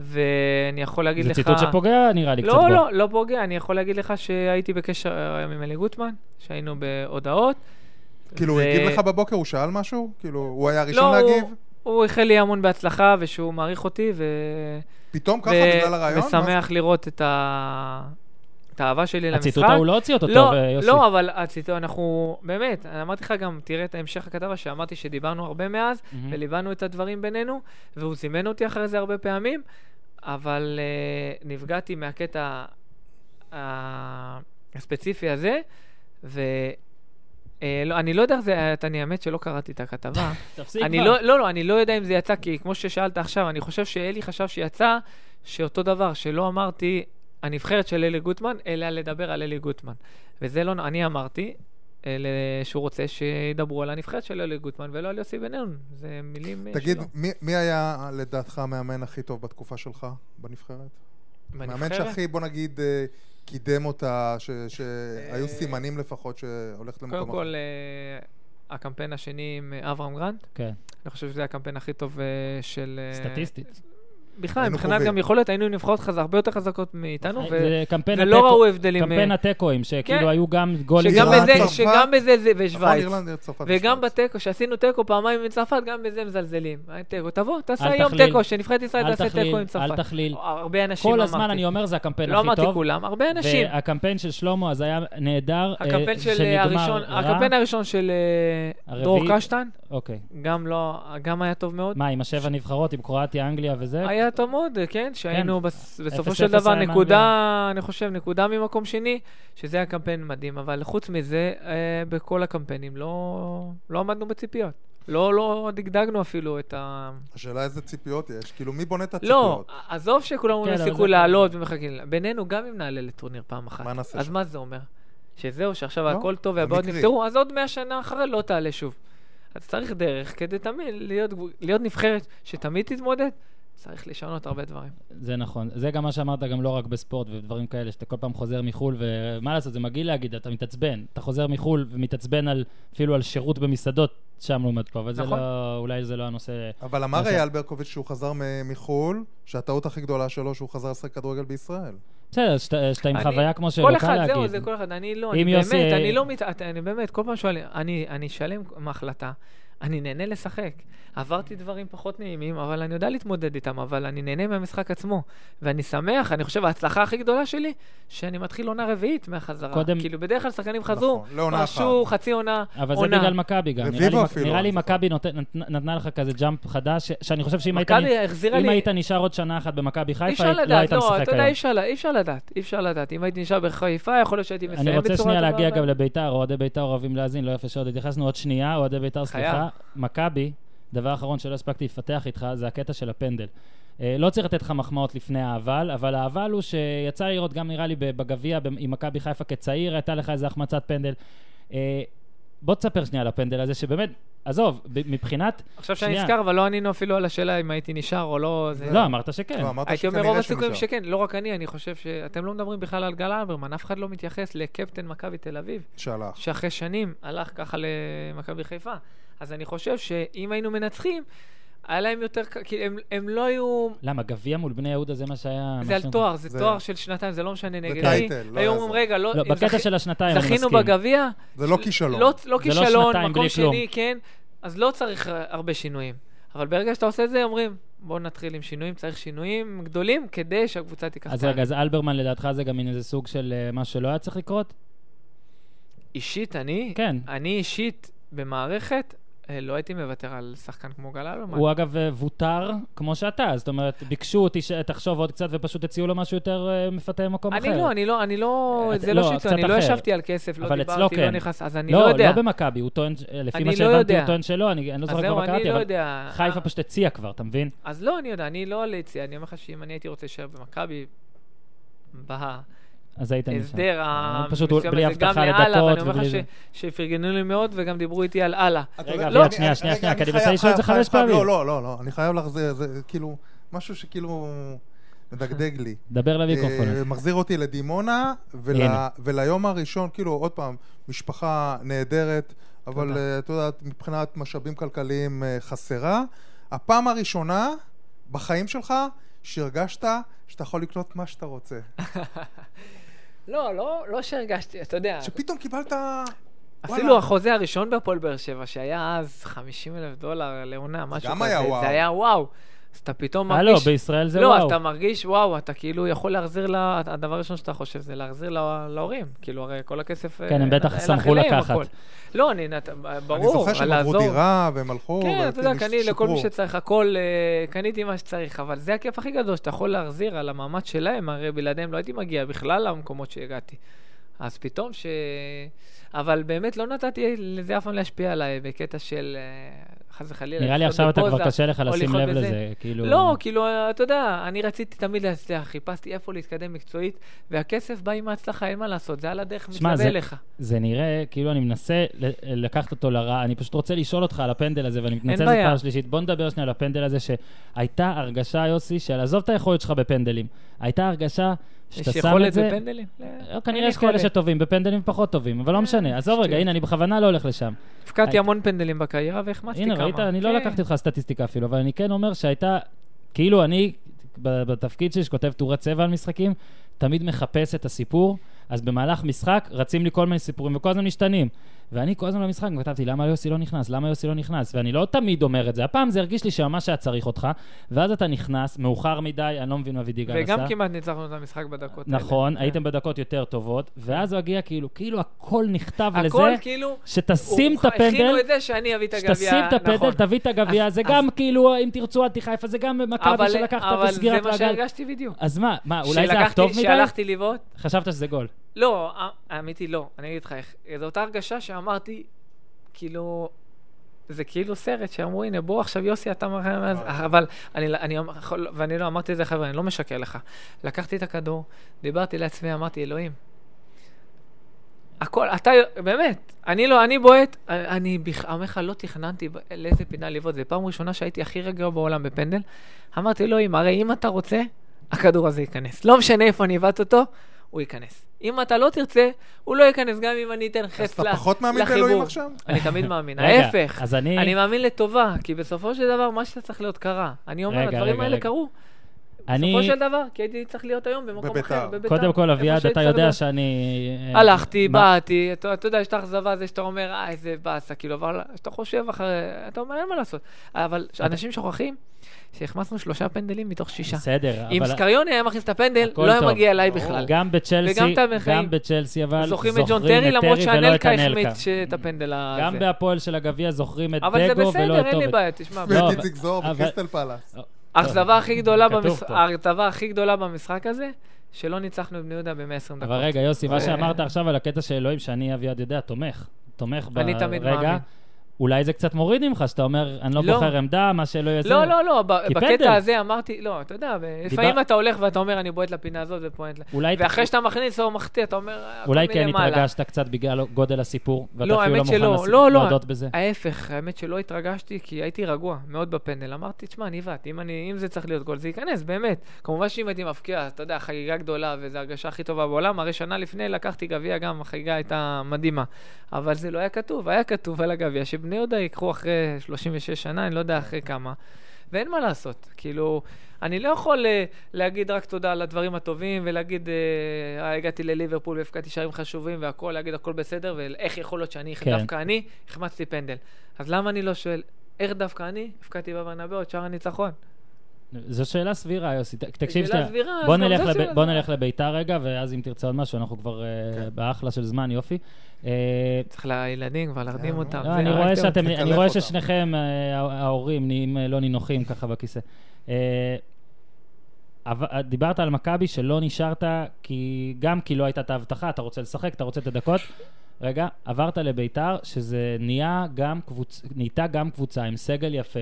B: ואני יכול להגיד
A: זה
B: לך...
A: ציטוט שפוגע, נראה לי קצת בו.
B: לא, לא, לא פוגע. אני יכול להגיד לך שהייתי בקשר היום עם אלי גוטמן, שהיינו בהודעות.
C: כאילו, הוא
B: ו-
C: הגיב לך בבוקר, הוא שאל משהו? כאילו, הוא היה הראשון
B: לא,
C: להגיב?
B: הוא, הוא איחל לי המון בהצלחה, ושהוא מעריך אותי, ו...
C: פתאום ככה
B: ו-
C: בגלל הרעיון? מה זה?
B: ושמח לראות את ה... את האהבה שלי למשחק.
A: הציטוט ההוא לא הוציא אותו
B: לא,
A: טוב, אה, יוסי.
B: לא, אבל הציטוט, אנחנו, באמת, אני אמרתי לך גם, תראה את המשך הכתבה, שאמרתי שדיברנו הרבה מאז,
A: מהמם.
B: וליבנו את הדברים בינינו, והוא זימן אותי אחרי זה הרבה פעמים, אבל uh, נפגעתי מהקטע ה- הספציפי הזה, ואני לא, אני לא יודע איך זה, את- אני האמת שלא קראתי את הכתבה.
A: תפסיק
B: אני
A: כבר.
B: לא, לא, לא, אני לא יודע אם זה יצא, כי כמו ששאלת עכשיו, אני חושב שאלי חשב שיצא, שאותו דבר, שלא אמרתי הנבחרת של אלי גוטמן, אלא לדבר על אלי גוטמן. וזה לא, נ- אני אמרתי אה, ל- שהוא רוצה שידברו על הנבחרת של אלי גוטמן ולא על יוסי בן נון. זה מילים אה,
C: תגיד,
B: שלו.
C: מי, מי היה לדעתך המאמן הכי טוב בתקופה שלך בנבחרת? מאמן
B: בנבחרת?
C: שהכי, בוא נגיד, אה, קידם אותה, ש- שהיו
B: אה,
C: סימנים לפחות שהולכת נכון, למקום
B: קודם
C: אחר.
B: כל, אה, הקמפיין השני עם אה, אברהם גרנט,
A: כן,
B: אני חושב שזה הקמפיין הכי טוב אה, של... אה,
A: סטטיסטית.
B: בכלל,
C: היינו
B: מבחינת
C: קרובים.
B: גם יכולת, היינו נבחרות חז- הרבה יותר חזקות מאיתנו, ו-
A: אה, זה קמפיין
B: ולא
A: התיקו-
B: ראו הבדלים. אה,
A: קמפיין התיקואים,
B: כן.
A: שכאילו היו גם גולים.
B: שגם
A: של-
C: איראן,
B: בזה,
C: צרפת.
B: שגם בזה זה,
C: נכון,
B: ושווייץ.
C: אירלנד, צרפת
B: וגם
C: ושווייץ.
B: בתיקו, שעשינו תיקו פעמיים עם צרפת, גם בזה מזלזלים. אה, תיקו, תבוא, תעשה
A: אל
B: היום
A: תכליל.
B: תיקו, שנבחרת ישראל
A: אל
B: תעשה
A: תכליל,
B: תיקו עם צרפת.
A: אל תכליל.
B: הרבה אנשים
A: כל
B: לא אמרתי.
A: הזמן אני אומר, זה הקמפיין
B: לא
A: הכי
B: אמרתי
A: טוב.
B: כולם, הרבה אנשים.
A: והקמפיין של שלמה אז היה נהדר. אה,
B: הקמפיין של
A: שנגמר
B: אה, הראשון,
A: רע.
B: הקמפיין הראשון של אה,
A: הרביעי.
B: דרור קשטן,
A: אוקיי.
B: גם לא, גם היה טוב מאוד.
A: מה, עם השבע נבחרות, עם קרואטיה, אנגליה וזה?
B: היה טוב מאוד, אה, כן, שהיינו בס- בסופו
A: אפס
B: של
A: אפס
B: דבר
A: היה עם
B: נקודה, אני חושב, נקודה ממקום שני, שזה היה קמפיין מדהים, אבל חוץ מזה, אה, בכל הקמפיינים לא לא עמדנו בציפיות. לא, לא דגדגנו אפילו את ה...
C: השאלה איזה ציפיות יש, כאילו מי בונה את
B: לא,
C: הציפיות?
B: עזוב שכולם אומרים
A: כן, אבל
B: סיכוי
A: זה-
B: לעלות ומחכים. לה. בינינו, גם אם נעלה לטורניר פעם אחת,
C: מה נעשה
B: אז
C: שם?
B: מה זה אומר? שזהו, שעכשיו
C: לא,
B: הכל טוב
C: זה
B: והבעיות
C: מקרי.
B: נפתרו, אז עוד 100 שנה אחרי לא תעלה שוב. אז צריך דרך כדי תמיד להיות, להיות נבחרת שתמיד תתמודד, צריך לשנות הרבה דברים.
A: זה נכון. זה גם מה שאמרת, גם לא רק בספורט ודברים כאלה, שאתה כל פעם חוזר מחו"ל, ומה לעשות, זה מגעיל להגיד, אתה מתעצבן. אתה חוזר מחו"ל ומתעצבן על, אפילו על שירות במסעדות, שם לעומת פה, אבל זה
B: נכון.
A: לא, אולי זה לא הנושא.
C: אבל אמר
A: נכון.
C: אייל ברקוביץ' שהוא חזר מ- מחו"ל, שהטעות הכי גדולה שלו שהוא חזר לשחק כדורגל בישראל.
A: בסדר, שאתה שאתה עם
B: אני-
A: חוויה כמו שלא
B: כל
A: קל
B: אחד,
A: להגיד.
B: זהו, זה כל אחד. אני לא,
A: אם
B: אני
A: יוסי-
B: באמת, אני לא מת... אני באמת, כל פעם שואלים, אני אני שלם עם ההחלטה, אני נהנה לשחק. עברתי דברים פחות נעימים, אבל אני יודע להתמודד איתם, אבל אני נהנה מהמשחק עצמו. ואני שמח, אני חושב, ההצלחה הכי גדולה שלי, שאני מתחיל עונה רביעית מהחזרה.
A: קודם-
B: כאילו, בדרך כלל שחקנים חזרו,
C: נכון, לעונה אחת.
B: פרשו חצי עונה,
A: אבל זה
B: עונה.
A: בגלל מכבי גם. נראה לי-
C: רביבו אפילו,
A: נראה לי
C: אני זוכר.
A: מכבי נות- נת- נתנה לך כזה ג'אמפ חדש, ש- שאני חושב שאם היית...
B: מכבי החזירה
A: אם
B: לי...
A: היית נשאר עוד שנה אחת במכבי
B: אי
A: חיפה,
B: אפשר
A: לא
B: לדעת,
A: היית
B: לא,
A: משחק
B: אתה יודע, אי
A: היום.
B: אפשר לדעת, אי אפשר לדעת, אי אפשר לדעת. אם הייתי נשאר בחיפה, יכול להיות שהייתי מסיים
A: אני
B: בצורה טובה.
A: רוצה שנייה להגיע
B: אבל-
A: גם לביתר, אוהדי ביתר אוהבים להאזין, לא יפה שעוד התייחסנו. עוד שנייה, אוהדי ביתר,
B: חייב.
A: סליחה. מכבי, דבר אחרון שלא הספקתי לפתח איתך, זה הקטע של הפנדל. אה, לא צריך לתת לך מחמאות לפני האבל, אבל האבל הוא שיצא לי לראות גם נראה לי בגביע ב- עם מכבי חיפה כצעיר, הייתה לך איזו החמצת פנדל. אה, בוא תספר שנייה על הפנדל הזה, שבאמת, עזוב, ב- מבחינת...
B: עכשיו שאני
A: שנייה.
B: נזכר, אבל לא ענינו אפילו על השאלה אם הייתי נשאר או לא. זה-
A: לא, אמרת שכן.
C: לא, אמרת
B: כן, הייתי אומר
C: שכנראה
B: רוב
C: שהוא
B: הסיכויים
C: נשאר.
B: שכן, לא רק אני, אני חושב שאתם לא מדברים בכלל על גל אלברמן, אף אחד לא מתייחס לקפטן מכבי תל אביב,
C: שהלך.
B: שאחרי שנים הלך ככה למכבי חיפה. אז אני חושב שאם היינו מנצחים, היה להם יותר, ק- כי הם- הם לא היו...
A: למה, גביע מול בני יהודה זה מה שהיה...
B: זה
A: אה, מה
B: על
A: ש-
B: תואר, זה
C: זה-
B: תואר של שנתיים, זה לא משנה נגד מי.
C: טייטל, לא
B: היו
C: יעזור.
B: אומרים, רגע, לא...
A: לא,
B: אם
A: בקטע
B: זכי-
A: של השנתיים, אני מסכים.
B: זכינו בגביע,
C: זה לא כישלון.
B: לא, לא
A: זה לא
B: כישלון,
A: שנתיים
B: מקום
A: בלי כלום.
B: שני, כן, אז לא צריך אה, הרבה שינויים. אבל ברגע שאתה עושה את זה, אומרים, בואו נתחיל עם שינויים, צריך שינויים גדולים כדי שהקבוצה תיקח
A: אז
B: צעד.
A: רגע, אז אלברמן לדעתך זה גם מין איזה סוג של אה, מה שלא היה צריך לקרות?
B: אישית, אני,
A: כן.
B: אני אישית במערכת, אה, לא הייתי מוותר על שחקן כמו גל אלומן.
A: הוא אגב אה, וותר כמו שאתה, זאת אומרת, ביקשו אותי שתחשוב עוד קצת ופשוט הציעו לו משהו יותר אה, מפתה במקום אחר.
B: אני לא, אני לא, אני לא,
A: אה,
B: זה
A: את-
B: לא
A: לא,
B: שיטה,
A: קצת
B: אני לא
A: אחר.
B: ישבתי על כסף, לא
A: אבל אצלו
B: דיברתי, לא
A: כן.
B: נכנס, אז אני
A: לא,
B: לא יודע.
A: לא במכבי, הוא טוען, ש- אה, לפי
B: אני
A: מה
B: לא
A: שהבנתי,
B: יודע.
A: הוא טוען שלא, אני אני לא
B: אז
A: זוכר
B: זהו,
A: כבר
B: אני
A: קראתי,
B: לא
A: אבל
B: יודע.
A: חיפה
B: אה,
A: פשוט הציעה כבר, אתה מבין?
B: אז לא, אני יודע, אני לא על היציאה, אני אומר לך שאם אני הייתי רוצה להישאר במכבי, בה...
A: אז היית נשאר.
B: ההסדר
A: אה,
B: ה...
A: פשוט
B: מסוים
A: בלי
B: הזה, גם
A: הבטחה
B: לאללה,
A: לדקות
B: ואני אומר
A: ובלי
B: לך
A: זה.
B: ש- שפרגנו לי מאוד, וגם דיברו איתי על אללה.
C: אתה
A: רגע,
C: יודע-
A: אביעד,
C: לא,
A: שנייה,
C: אני-
A: שנייה,
C: רגע,
A: שנייה, כי
C: אני
A: אני מנסה
C: חייב-
A: לשאול את זה
C: חייב-
A: חמש
C: חייב-
A: פעמים.
C: לא, לא, לא, לא, אני חייב להחזיר, זה כאילו, משהו שכאילו מדגדג לי.
A: דבר למיקרופון.
C: אה, מחזיר אותי לדימונה, ול-
A: הנה.
C: וליום הראשון, כאילו, עוד פעם, משפחה נהדרת, אבל אה, את יודעת, מבחינת משאבים כלכליים אה, חסרה. הפעם הראשונה בחיים שלך שהרגשת שאתה יכול לקנות מה שאתה
B: אה,
C: רוצה.
B: לא, לא, לא שהרגשתי, אתה יודע.
C: שפתאום קיבלת
B: אפילו החוזה הראשון בהפועל באר שבע, שהיה אז 50 אלף דולר לעונה, משהו
C: גם
B: כזה,
C: היה וואו.
B: זה היה וואו. אז אתה פתאום
A: אה, לא,
B: מרגיש...
A: בישראל זה
B: לא,
A: וואו.
B: אז אתה מרגיש, וואו, אתה כאילו יכול להחזיר, לה, הדבר הראשון שאתה חושב זה להחזיר לה, להורים. כאילו, הרי כל הכסף...
A: כן, הם
B: אה,
A: בטח
B: הלך
A: שמחו
B: אליהם,
A: לקחת.
B: הכל. לא, אני, נת- ברור,
C: אני זוכר
B: אבל
C: שהם עברו
B: לעזור.
C: דירה והם הלכו,
B: כן, אתה יודע,
C: וכאילו
B: קניתי לכל מי
C: שיפרו.
B: שצריך, הכל, אה, קניתי מה שצריך, אבל זה הכיף הכי גדול, שאתה יכול להחזיר על המאמץ שלהם, הרי בלעדיהם לא הייתי מגיע בכלל למקומות שהגעתי. אז פתאום ש... אבל באמת לא נתתי לזה אף פעם להשפיע עליי, בקטע של, אה, חס וחלילה,
A: נראה לי
B: לחיות
A: עכשיו אתה
B: בפוזה,
A: כבר קשה לך
B: או
A: לשים
B: לחיות
A: לב
B: בזה.
A: לזה, כאילו...
B: לא, כאילו, אה, אתה יודע, אני רציתי תמיד להצליח, חיפשתי איפה להתקדם מקצועית, והכסף בא עם ההצלחה, אין מה לעשות, זה על הדרך
A: שמע,
B: מתלווה
A: זה-
B: אליך.
A: זה נראה כאילו אני מנסה ל- לקחת אותו לרע, אני פשוט רוצה לשאול אותך על הפנדל הזה, ואני מתנצל זאת
B: בעיה.
A: פעם שלישית. בוא נדבר שנייה על הפנדל הזה, שהייתה הרגשה, יוסי, של עזוב את היכולת שלך בפנדלים. הייתה הרגשה
B: יש
A: שאתה שם את
B: יכולת
A: זה...
B: בפנדלים? לא,
A: לא,
B: אין
A: כנראה יש כאלה
B: יכולת.
A: שטובים, בפנדלים פחות טובים, אבל לא
B: כן,
A: משנה. עזוב רגע,
B: שטויות.
A: הנה, אני בכוונה לא הולך לשם.
B: הפקעתי
A: היית-
B: המון פנדלים בקריירה והחמצתי כמה.
A: הנה, ראית, אני לא
B: כן.
A: לקחתי אותך סטטיסטיקה אפילו, אבל אני כן אומר שהייתה, כאילו אני, ב- בתפקיד שלי שכותב תאורת צבע על משחקים, תמיד מחפש את הסיפור, אז במהלך משחק רצים לי כל מיני סיפורים וכל הזמן משתנים. ואני כל הזמן במשחק כתבתי, למה יוסי לא נכנס? למה יוסי לא נכנס? ואני לא תמיד אומר את זה. הפעם זה הרגיש לי שממש היה צריך אותך, ואז אתה נכנס, מאוחר מדי, אני לא מבין מה וידיגל עשה.
B: וגם כמעט ניצחנו את המשחק בדקות האלה.
A: נכון,
B: כן.
A: הייתם בדקות יותר טובות, ואז הוא הגיע כאילו, כאילו הכל נכתב
B: הכל
A: לזה,
B: כאילו...
A: שתשים
B: הוא-
A: את הפנדל,
B: הכינו את זה שאני אביא את הגביע,
A: שתשים את הפדל,
B: נכון.
A: תביא את הגביע,
B: אז-
A: זה
B: אז-
A: גם כאילו, אם תרצו, אל תחיפה, זה גם מכבי
B: אבל-
A: שלקחת
B: אבל זה
A: וסגירת
B: מה
A: רגל.
B: שהרגשתי בדיוק.
A: אז מה, מה, אולי זה היה
B: שלקחתי-
A: טוב מדי?
B: שהלכתי לבעוט?
A: חשבת שזה גול.
B: לא, האמת היא לא. אני אגיד לך איך. זו אותה הרגשה שאמרתי, כאילו... זה כאילו סרט שאמרו, הנה, בוא עכשיו, יוסי, אתה מראה... אז- אבל אני, לא- אני, יכול- ואני לא אמרתי את זה, חבר'ה, אני לא משקר לך. לקחתי את הכדור, דיברתי לעצמי, אמרתי, אלוהים, הכל, אתה, באמת, אני לא, אני בועט, אני בכ- אומר לך, לא תכננתי ב- לאיזה פינה לבעוט, זו פעם ראשונה שהייתי הכי רגוע בעולם בפנדל. אמרתי, אלוהים, הרי אם אתה רוצה, הכדור הזה ייכנס. לא משנה איפה אני אבעט אותו, הוא ייכנס. אם אתה לא תרצה, הוא לא ייכנס, גם אם אני אתן חץ
C: אז אתה
B: לה-
C: פחות מאמין
B: לחיבור.
C: באלוהים עכשיו?
B: אני תמיד מאמין,
A: רגע,
B: ההפך.
A: אז אני-
B: אני מאמין לטובה, כי בסופו של דבר, מה שאתה צריך להיות קרה. אני אומר,
A: רגע,
B: הדברים
A: רגע,
B: האלה
A: רגע.
B: קרו.
A: אני,
B: בסופו של דבר, כי הייתי צריך להיות היום במקום
C: בביתר.
B: אחר, בביתר.
A: קודם כל,
B: איפה
A: אביעד,
B: שהייתי
A: אתה
B: צריך
A: יודע
B: להיות.
A: שאני... אה,
B: הלכתי,
A: מה-
B: באתי, אתה אתה יודע, יש את האכזבה הזה שאתה אומר, אה, איזה באסה, כאילו, אבל כשאתה חושב אחרי, אתה אומר, אין מה לעשות. אבל אנשים שוכחים שהחמצנו שלושה פנדלים מתוך שישה.
A: בסדר,
B: אם
A: אבל...
B: סקריוני היה מכניס את הפנדל,
A: הכל
B: לא היה
A: טוב.
B: מגיע אליי
C: ברור.
A: גם
B: בכלל. וגם
A: בצ'לסי,
B: את המחאים.
A: גם בצ'לסי, אבל
B: זוכרים את ג'ון טרי, למרות שאנלקה החמיץ את הפנדל
A: גם
B: הזה.
A: בהפועל של הגביע זוכרים את דגו ולא
B: אבל
A: את
B: זה
A: טוב.
B: בסדר, אין לי בעיה, תשמע.
A: לא,
C: ואת
A: אבל-
C: איציק זוהר
A: אבל-
C: בקריסטל פלאס.
B: האכזבה הכי גדולה
A: כתוב
B: במש-
A: פה.
B: האכזבה הכי גדולה במשחק הזה, שלא ניצחנו את בני יהודה ב-120 דקות.
A: אבל רגע, יוסי, מה
B: זה-
A: שאמרת עכשיו על הקטע של אלוהים, שאני אביעד יודע, תומך. תומך ברגע.
B: אני תמיד מאמין.
A: אולי זה קצת מוריד ממך, שאתה אומר, אני לא
B: לא.
A: בוחר עמדה, מה שלא יהיה זה.
B: לא, לא, לא, ב-
A: כי פנדל.
B: בקטע הזה אמרתי, לא, אתה יודע, ב- לפעמים אתה הולך ואתה אומר, אני בועט לפינה הזאת ופועט ל...
A: אולי-
B: ואחרי שאתה מכניס או מחטיא, אתה אומר, "אה, "הכל
A: אולי כן
B: מלמעלה".
A: התרגשת קצת בגלל גודל הסיפור, ואתה
B: לא,
A: אפילו לא
B: האמת
A: מוכן
B: שלא,
A: לס-
B: לא, לא.
A: להודות בזה.
B: ההפך, האמת שלא התרגשתי, כי הייתי רגוע מאוד בפנדל. אמרתי, תשמע, אני הבנתי, אם, אני- אם זה צריך להיות גול, זה ייכנס, באמת. כמובן שאם הייתי מפקיע, אתה יודע, חגיגה גדולה, וזו הרגשה הכי טובה בעולם, הרי שנה לפני לקחתי גביע גם, החגיגה הייתה מדהימה. אבל זה לא היה כתוב, היה כתוב על הגביע שבני יהודה ייקחו אחרי 36 שנה, אני לא יודע אחרי כמה. ואין מה לעשות, כאילו, אני לא יכול אה, להגיד רק תודה על הדברים הטובים ולהגיד, אה, "אה, הגעתי לליברפול והפקדתי שערים חשובים והכול, להגיד הכל בסדר, ואיך יכול להיות שאני,
A: כן.
B: כן. דווקא אני, החמצתי פנדל. אז למה אני לא שואל, איך דווקא אני הפקדתי בבנאבו את שער הניצחון?
A: זו שאלה סבירה, יוסי. ת- תקשיב
B: אה, שאלה
A: שנייה.
B: סבירה,
A: בוא
B: אז גם
A: נלך
B: זו
A: לב-
B: שאלה
A: בוא
B: סבירה.
A: נלך לביתר רגע, ואז אם תרצה עוד משהו, אנחנו כבר אה,
C: כן.
A: באחלה של זמן, יופי. אה,
B: צריך לילדים כבר להרדים
C: לא,
B: אותם.
A: לא,
B: זה
A: אני רואה
B: הרגתם אותי.
A: שאתם,
C: תקלף
A: אני רואה
C: אותם.
A: ששניכם, אה, הה- ההורים, נהיים אה, לא נינוחים ככה בכיסא. אה, אבל- אה, דיברת על מכבי שלא נשארת, כי גם כי לא הייתה את ההבטחה, אתה רוצה לשחק, אתה רוצה את הדקות. רגע, עברת לביתר, שזה נהיה גם קבוצ... נהייתה גם קבוצה עם סגל יפה,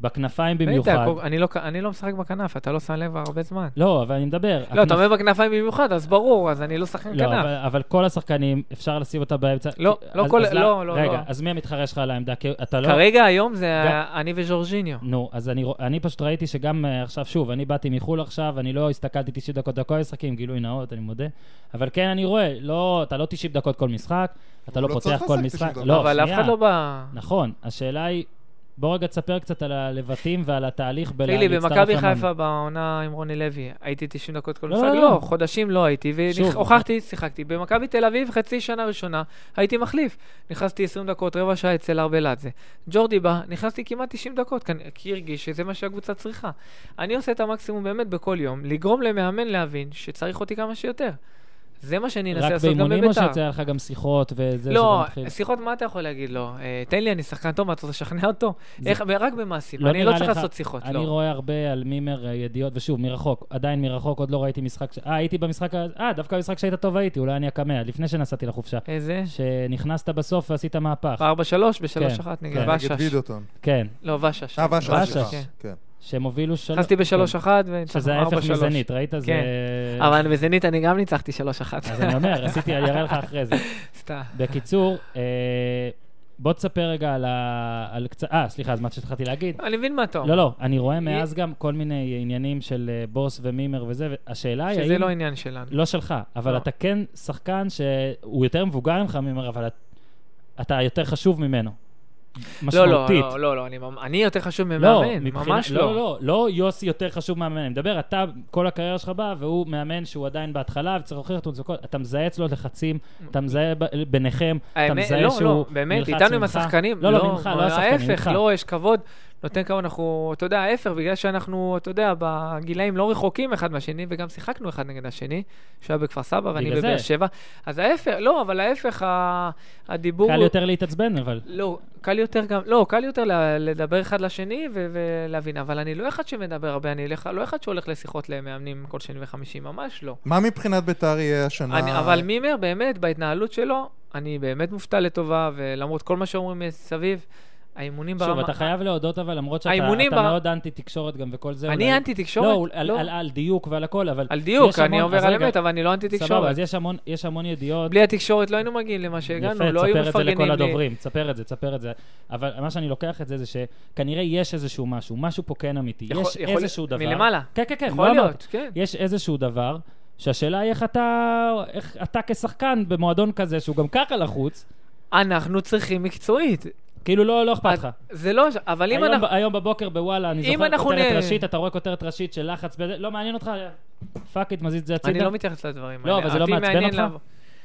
A: בכנפיים
B: ראית,
A: במיוחד.
B: קור- אני לא- אני לא משחק בכנף, אתה לא שם לב הרבה זמן.
A: לא, אבל אני מדבר.
B: לא, אתה
A: הכנף-
B: אומר בכנפיים במיוחד, אז ברור, אז אני לא שחקן
A: לא,
B: כנף.
A: אבל, אבל כל השחקנים, אפשר לשים אותה באמצע.
B: לא, לא
A: אז-
B: כל-
A: אז
B: לא, לא,
A: רגע,
B: לא.
A: אז מי המתחרה שלך על העמדה? כי אתה לא...
B: כרגע היום זה
A: גם-
B: אני וז'ורג'יניו.
A: נו, אז אני, רוא- אני פשוט ראיתי שגם אה, עכשיו, שוב, אני באתי מחו"ל עכשיו, אני לא הסתכלתי 90 דקות על כל המשחקים, גילוי נאות, אני מודה. אבל כן, אני רואה, לא, אתה לא 90 דקות כל משחק, אתה לא
C: לא
A: פותח
C: צריך
A: כל
C: לשחק 90
A: משחק.
C: דקות.
A: לא,
B: אבל אף
A: שנייה.
B: אחד לא בא...
A: נכון, השאלה היא, בוא רגע תספר קצת על הלבטים ועל התהליך בלה-
B: חילי,
A: להצטרף
B: במכבי
A: למאמן.
B: חיפה בעונה עם רוני לוי, הייתי 90 דקות כל
A: לא,
B: משחק?
A: לא,
B: לא,
A: לא.
B: חודשים לא הייתי,
A: שוב.
B: והוכחתי, שיחקתי. במכבי תל אביב, חצי שנה ראשונה, הייתי מחליף. נכנסתי 20 דקות, רבע שעה אצל ארבלאדזה. ג'ורדי בא, נכנסתי כמעט 90 דקות, כנ- כי הרגיש שזה מה שהקבוצה צריכה. אני עושה את המקסימום באמת בכל יום, לגרום למאמן להבין שצריך אותי כמה שיותר. זה מה שאני אנסה
A: רק
B: לעשות גם
A: באימונים או
B: בביתר.
A: שיצא לך גם שיחות וזה?
B: לא,
A: שזה מתחיל?
B: שיחות, מה אתה יכול להגיד לו? אה, תן לי, אני שחקן טוב, מה, אתה רוצה לשכנע אותו?
A: זה-
B: איך- רק במעשים,
A: לא
B: אני לא
A: נראה
B: צריך
A: לך-
B: לעשות שיחות,
A: אני
B: לא.
A: רואה הרבה על מימר אה, ידיעות, ושוב, מרחוק, עדיין מרחוק, עוד לא ראיתי משחק... ש- אה, הייתי במשחק... ה- אה, דווקא במשחק שהיית טוב הייתי, אולי אני אקמע, לפני שנסעתי לחופשה.
B: איזה?
A: שנכנסת בסוף ועשית
B: אה.
A: מהפך.
B: 4-3 ב-3-1
A: כן.
B: נגד
A: נגד
B: ושש.
D: נגד וידוטון.
A: כן,
B: לא, ושש.
D: אה,
A: ושש.
D: ושש, סליחה.
B: כן.
D: כן.
A: שהם הובילו שלוש...
B: נכנסתי
A: כן.
B: ב-3-1 וניצחנו 4-3.
A: שזה ההפך מזנית, ראית? זה...
B: כן. אבל אני מזנית אני גם ניצחתי 3-1.
A: אז אני אומר, עשיתי, אני אראה לך אחרי זה.
B: סתם.
A: בקיצור, אה, בוא תספר רגע על ה... על קצת... אה, סליחה, אז מה שהתחלתי להגיד.
B: אני מבין מה אתה אומר.
A: לא, לא, אני
B: אה?
A: רואה מאז גם כל מיני עניינים של אה, בוס ומימר וזה, והשאלה היא...
B: שזה
A: האם-
B: לא עניין שלנו.
A: לא שלך, אבל
B: לא.
A: אתה כן שחקן שהוא יותר מבוגר ממך, מימר, אבל את- אתה יותר חשוב ממנו.
B: לא, לא,
A: משמעותית. לא,
B: לא, לא, לא, אני ממ- אני יותר חשוב ממאמן,
A: מבחינה-
B: ממש
A: לא,
B: לא.
A: לא, לא יוסי יותר חשוב מהמאמן. אני מדבר, אתה, כל הקריירה שלך באה, והוא מאמן שהוא עדיין בהתחלה, וצריך להוכיח אותו, וזה הכל. אתה מזהה אצלו לחצים, אתה מזהה ב- ביניכם, אתה
B: האמת,
A: מזהה
B: לא,
A: שהוא
B: לא, באמת,
A: נלחץ
B: איתנו עם
A: ממך.
B: השחקנים.
A: לא, לא, ממך, לא השחקנים,
B: ההפך,
A: ממך.
B: לא, יש כבוד. נותן כמה אנחנו, אתה יודע, ההפך, בגלל שאנחנו, אתה יודע, בגילאים לא רחוקים אחד מהשני, וגם שיחקנו אחד נגד השני, שהיה בכפר סבא ואני
A: בגלל זה.
B: בבאר שבע. אז ההפך, לא, אבל ההפך, ה- הדיבור...
A: קל יותר להתעצבן, אבל...
B: לא, קל יותר גם, לא, קל יותר ל- לדבר אחד לשני ו- ולהבין, אבל אני לא אחד שמדבר הרבה, אני לך- לא אחד שהולך לשיחות למאמנים כל שני וחמישי, ממש לא.
D: מה מבחינת ביתר יהיה השנה?
B: אני, אבל מימר, באמת, בהתנהלות שלו, אני באמת מופתע לטובה, ולמרות כל מה שאומרים מסביב, האימונים ברמה...
A: שוב, אתה חייב להודות, אבל למרות שאתה
B: האימונים
A: אתה
B: בר-
A: מאוד אנטי תקשורת גם וכל זה.
B: אני
A: אולי-
B: אנטי תקשורת,
A: לא, על-
B: לא.
A: על- על דיוק ועל הכל, אבל...
B: על דיוק,
A: יש
B: אני
A: המון-
B: עובר
A: אז
B: על
A: רגע,
B: אמת, אבל אני לא אנטי
A: סבבה,
B: תקשורת.
A: אז יש המון- יש המון ידיעות.
B: בלי התקשורת לא היינו מגיעים למה שהגענו, לא היו
A: יפה, תספר את זה
B: מפרגנים
A: לכל
B: לי.
A: הדוברים, תספר את זה, תספר את זה. אבל מה שאני לוקח את זה, זה שכנראה יש איזשהו משהו, משהו פה כן אמיתי.
B: יכול-
A: יש
B: יכול-
A: איזשהו דבר.
B: מלמעלה.
A: כן, כן, כן,
B: יכול
A: לא אמרתי.
B: להיות, כן.
A: יש איזשהו דבר, שהשאלה היא איך אתה, איך אתה כשחקן במועדון כזה, שהוא גם ככה לחוץ,
B: אנחנו צריכים מקצועית.
A: כאילו לא לא אכפת לך.
B: זה לא, אבל אם
A: היום
B: אנחנו...
A: ב- היום בבוקר בוואלה, אני
B: אם
A: זוכר
B: אנחנו
A: כותרת
B: נ-
A: ראשית, אתה רואה כותרת ראשית של לחץ, בזה, לא מעניין אותך, פאק איט, מזיז את זה
B: אני
A: הצידה.
B: לא מתייחס לדברים
A: לא,
B: האלה.
A: אבל זה לא
B: אותי
A: מעצבן
B: מעניין
A: אותך?
B: לעבור.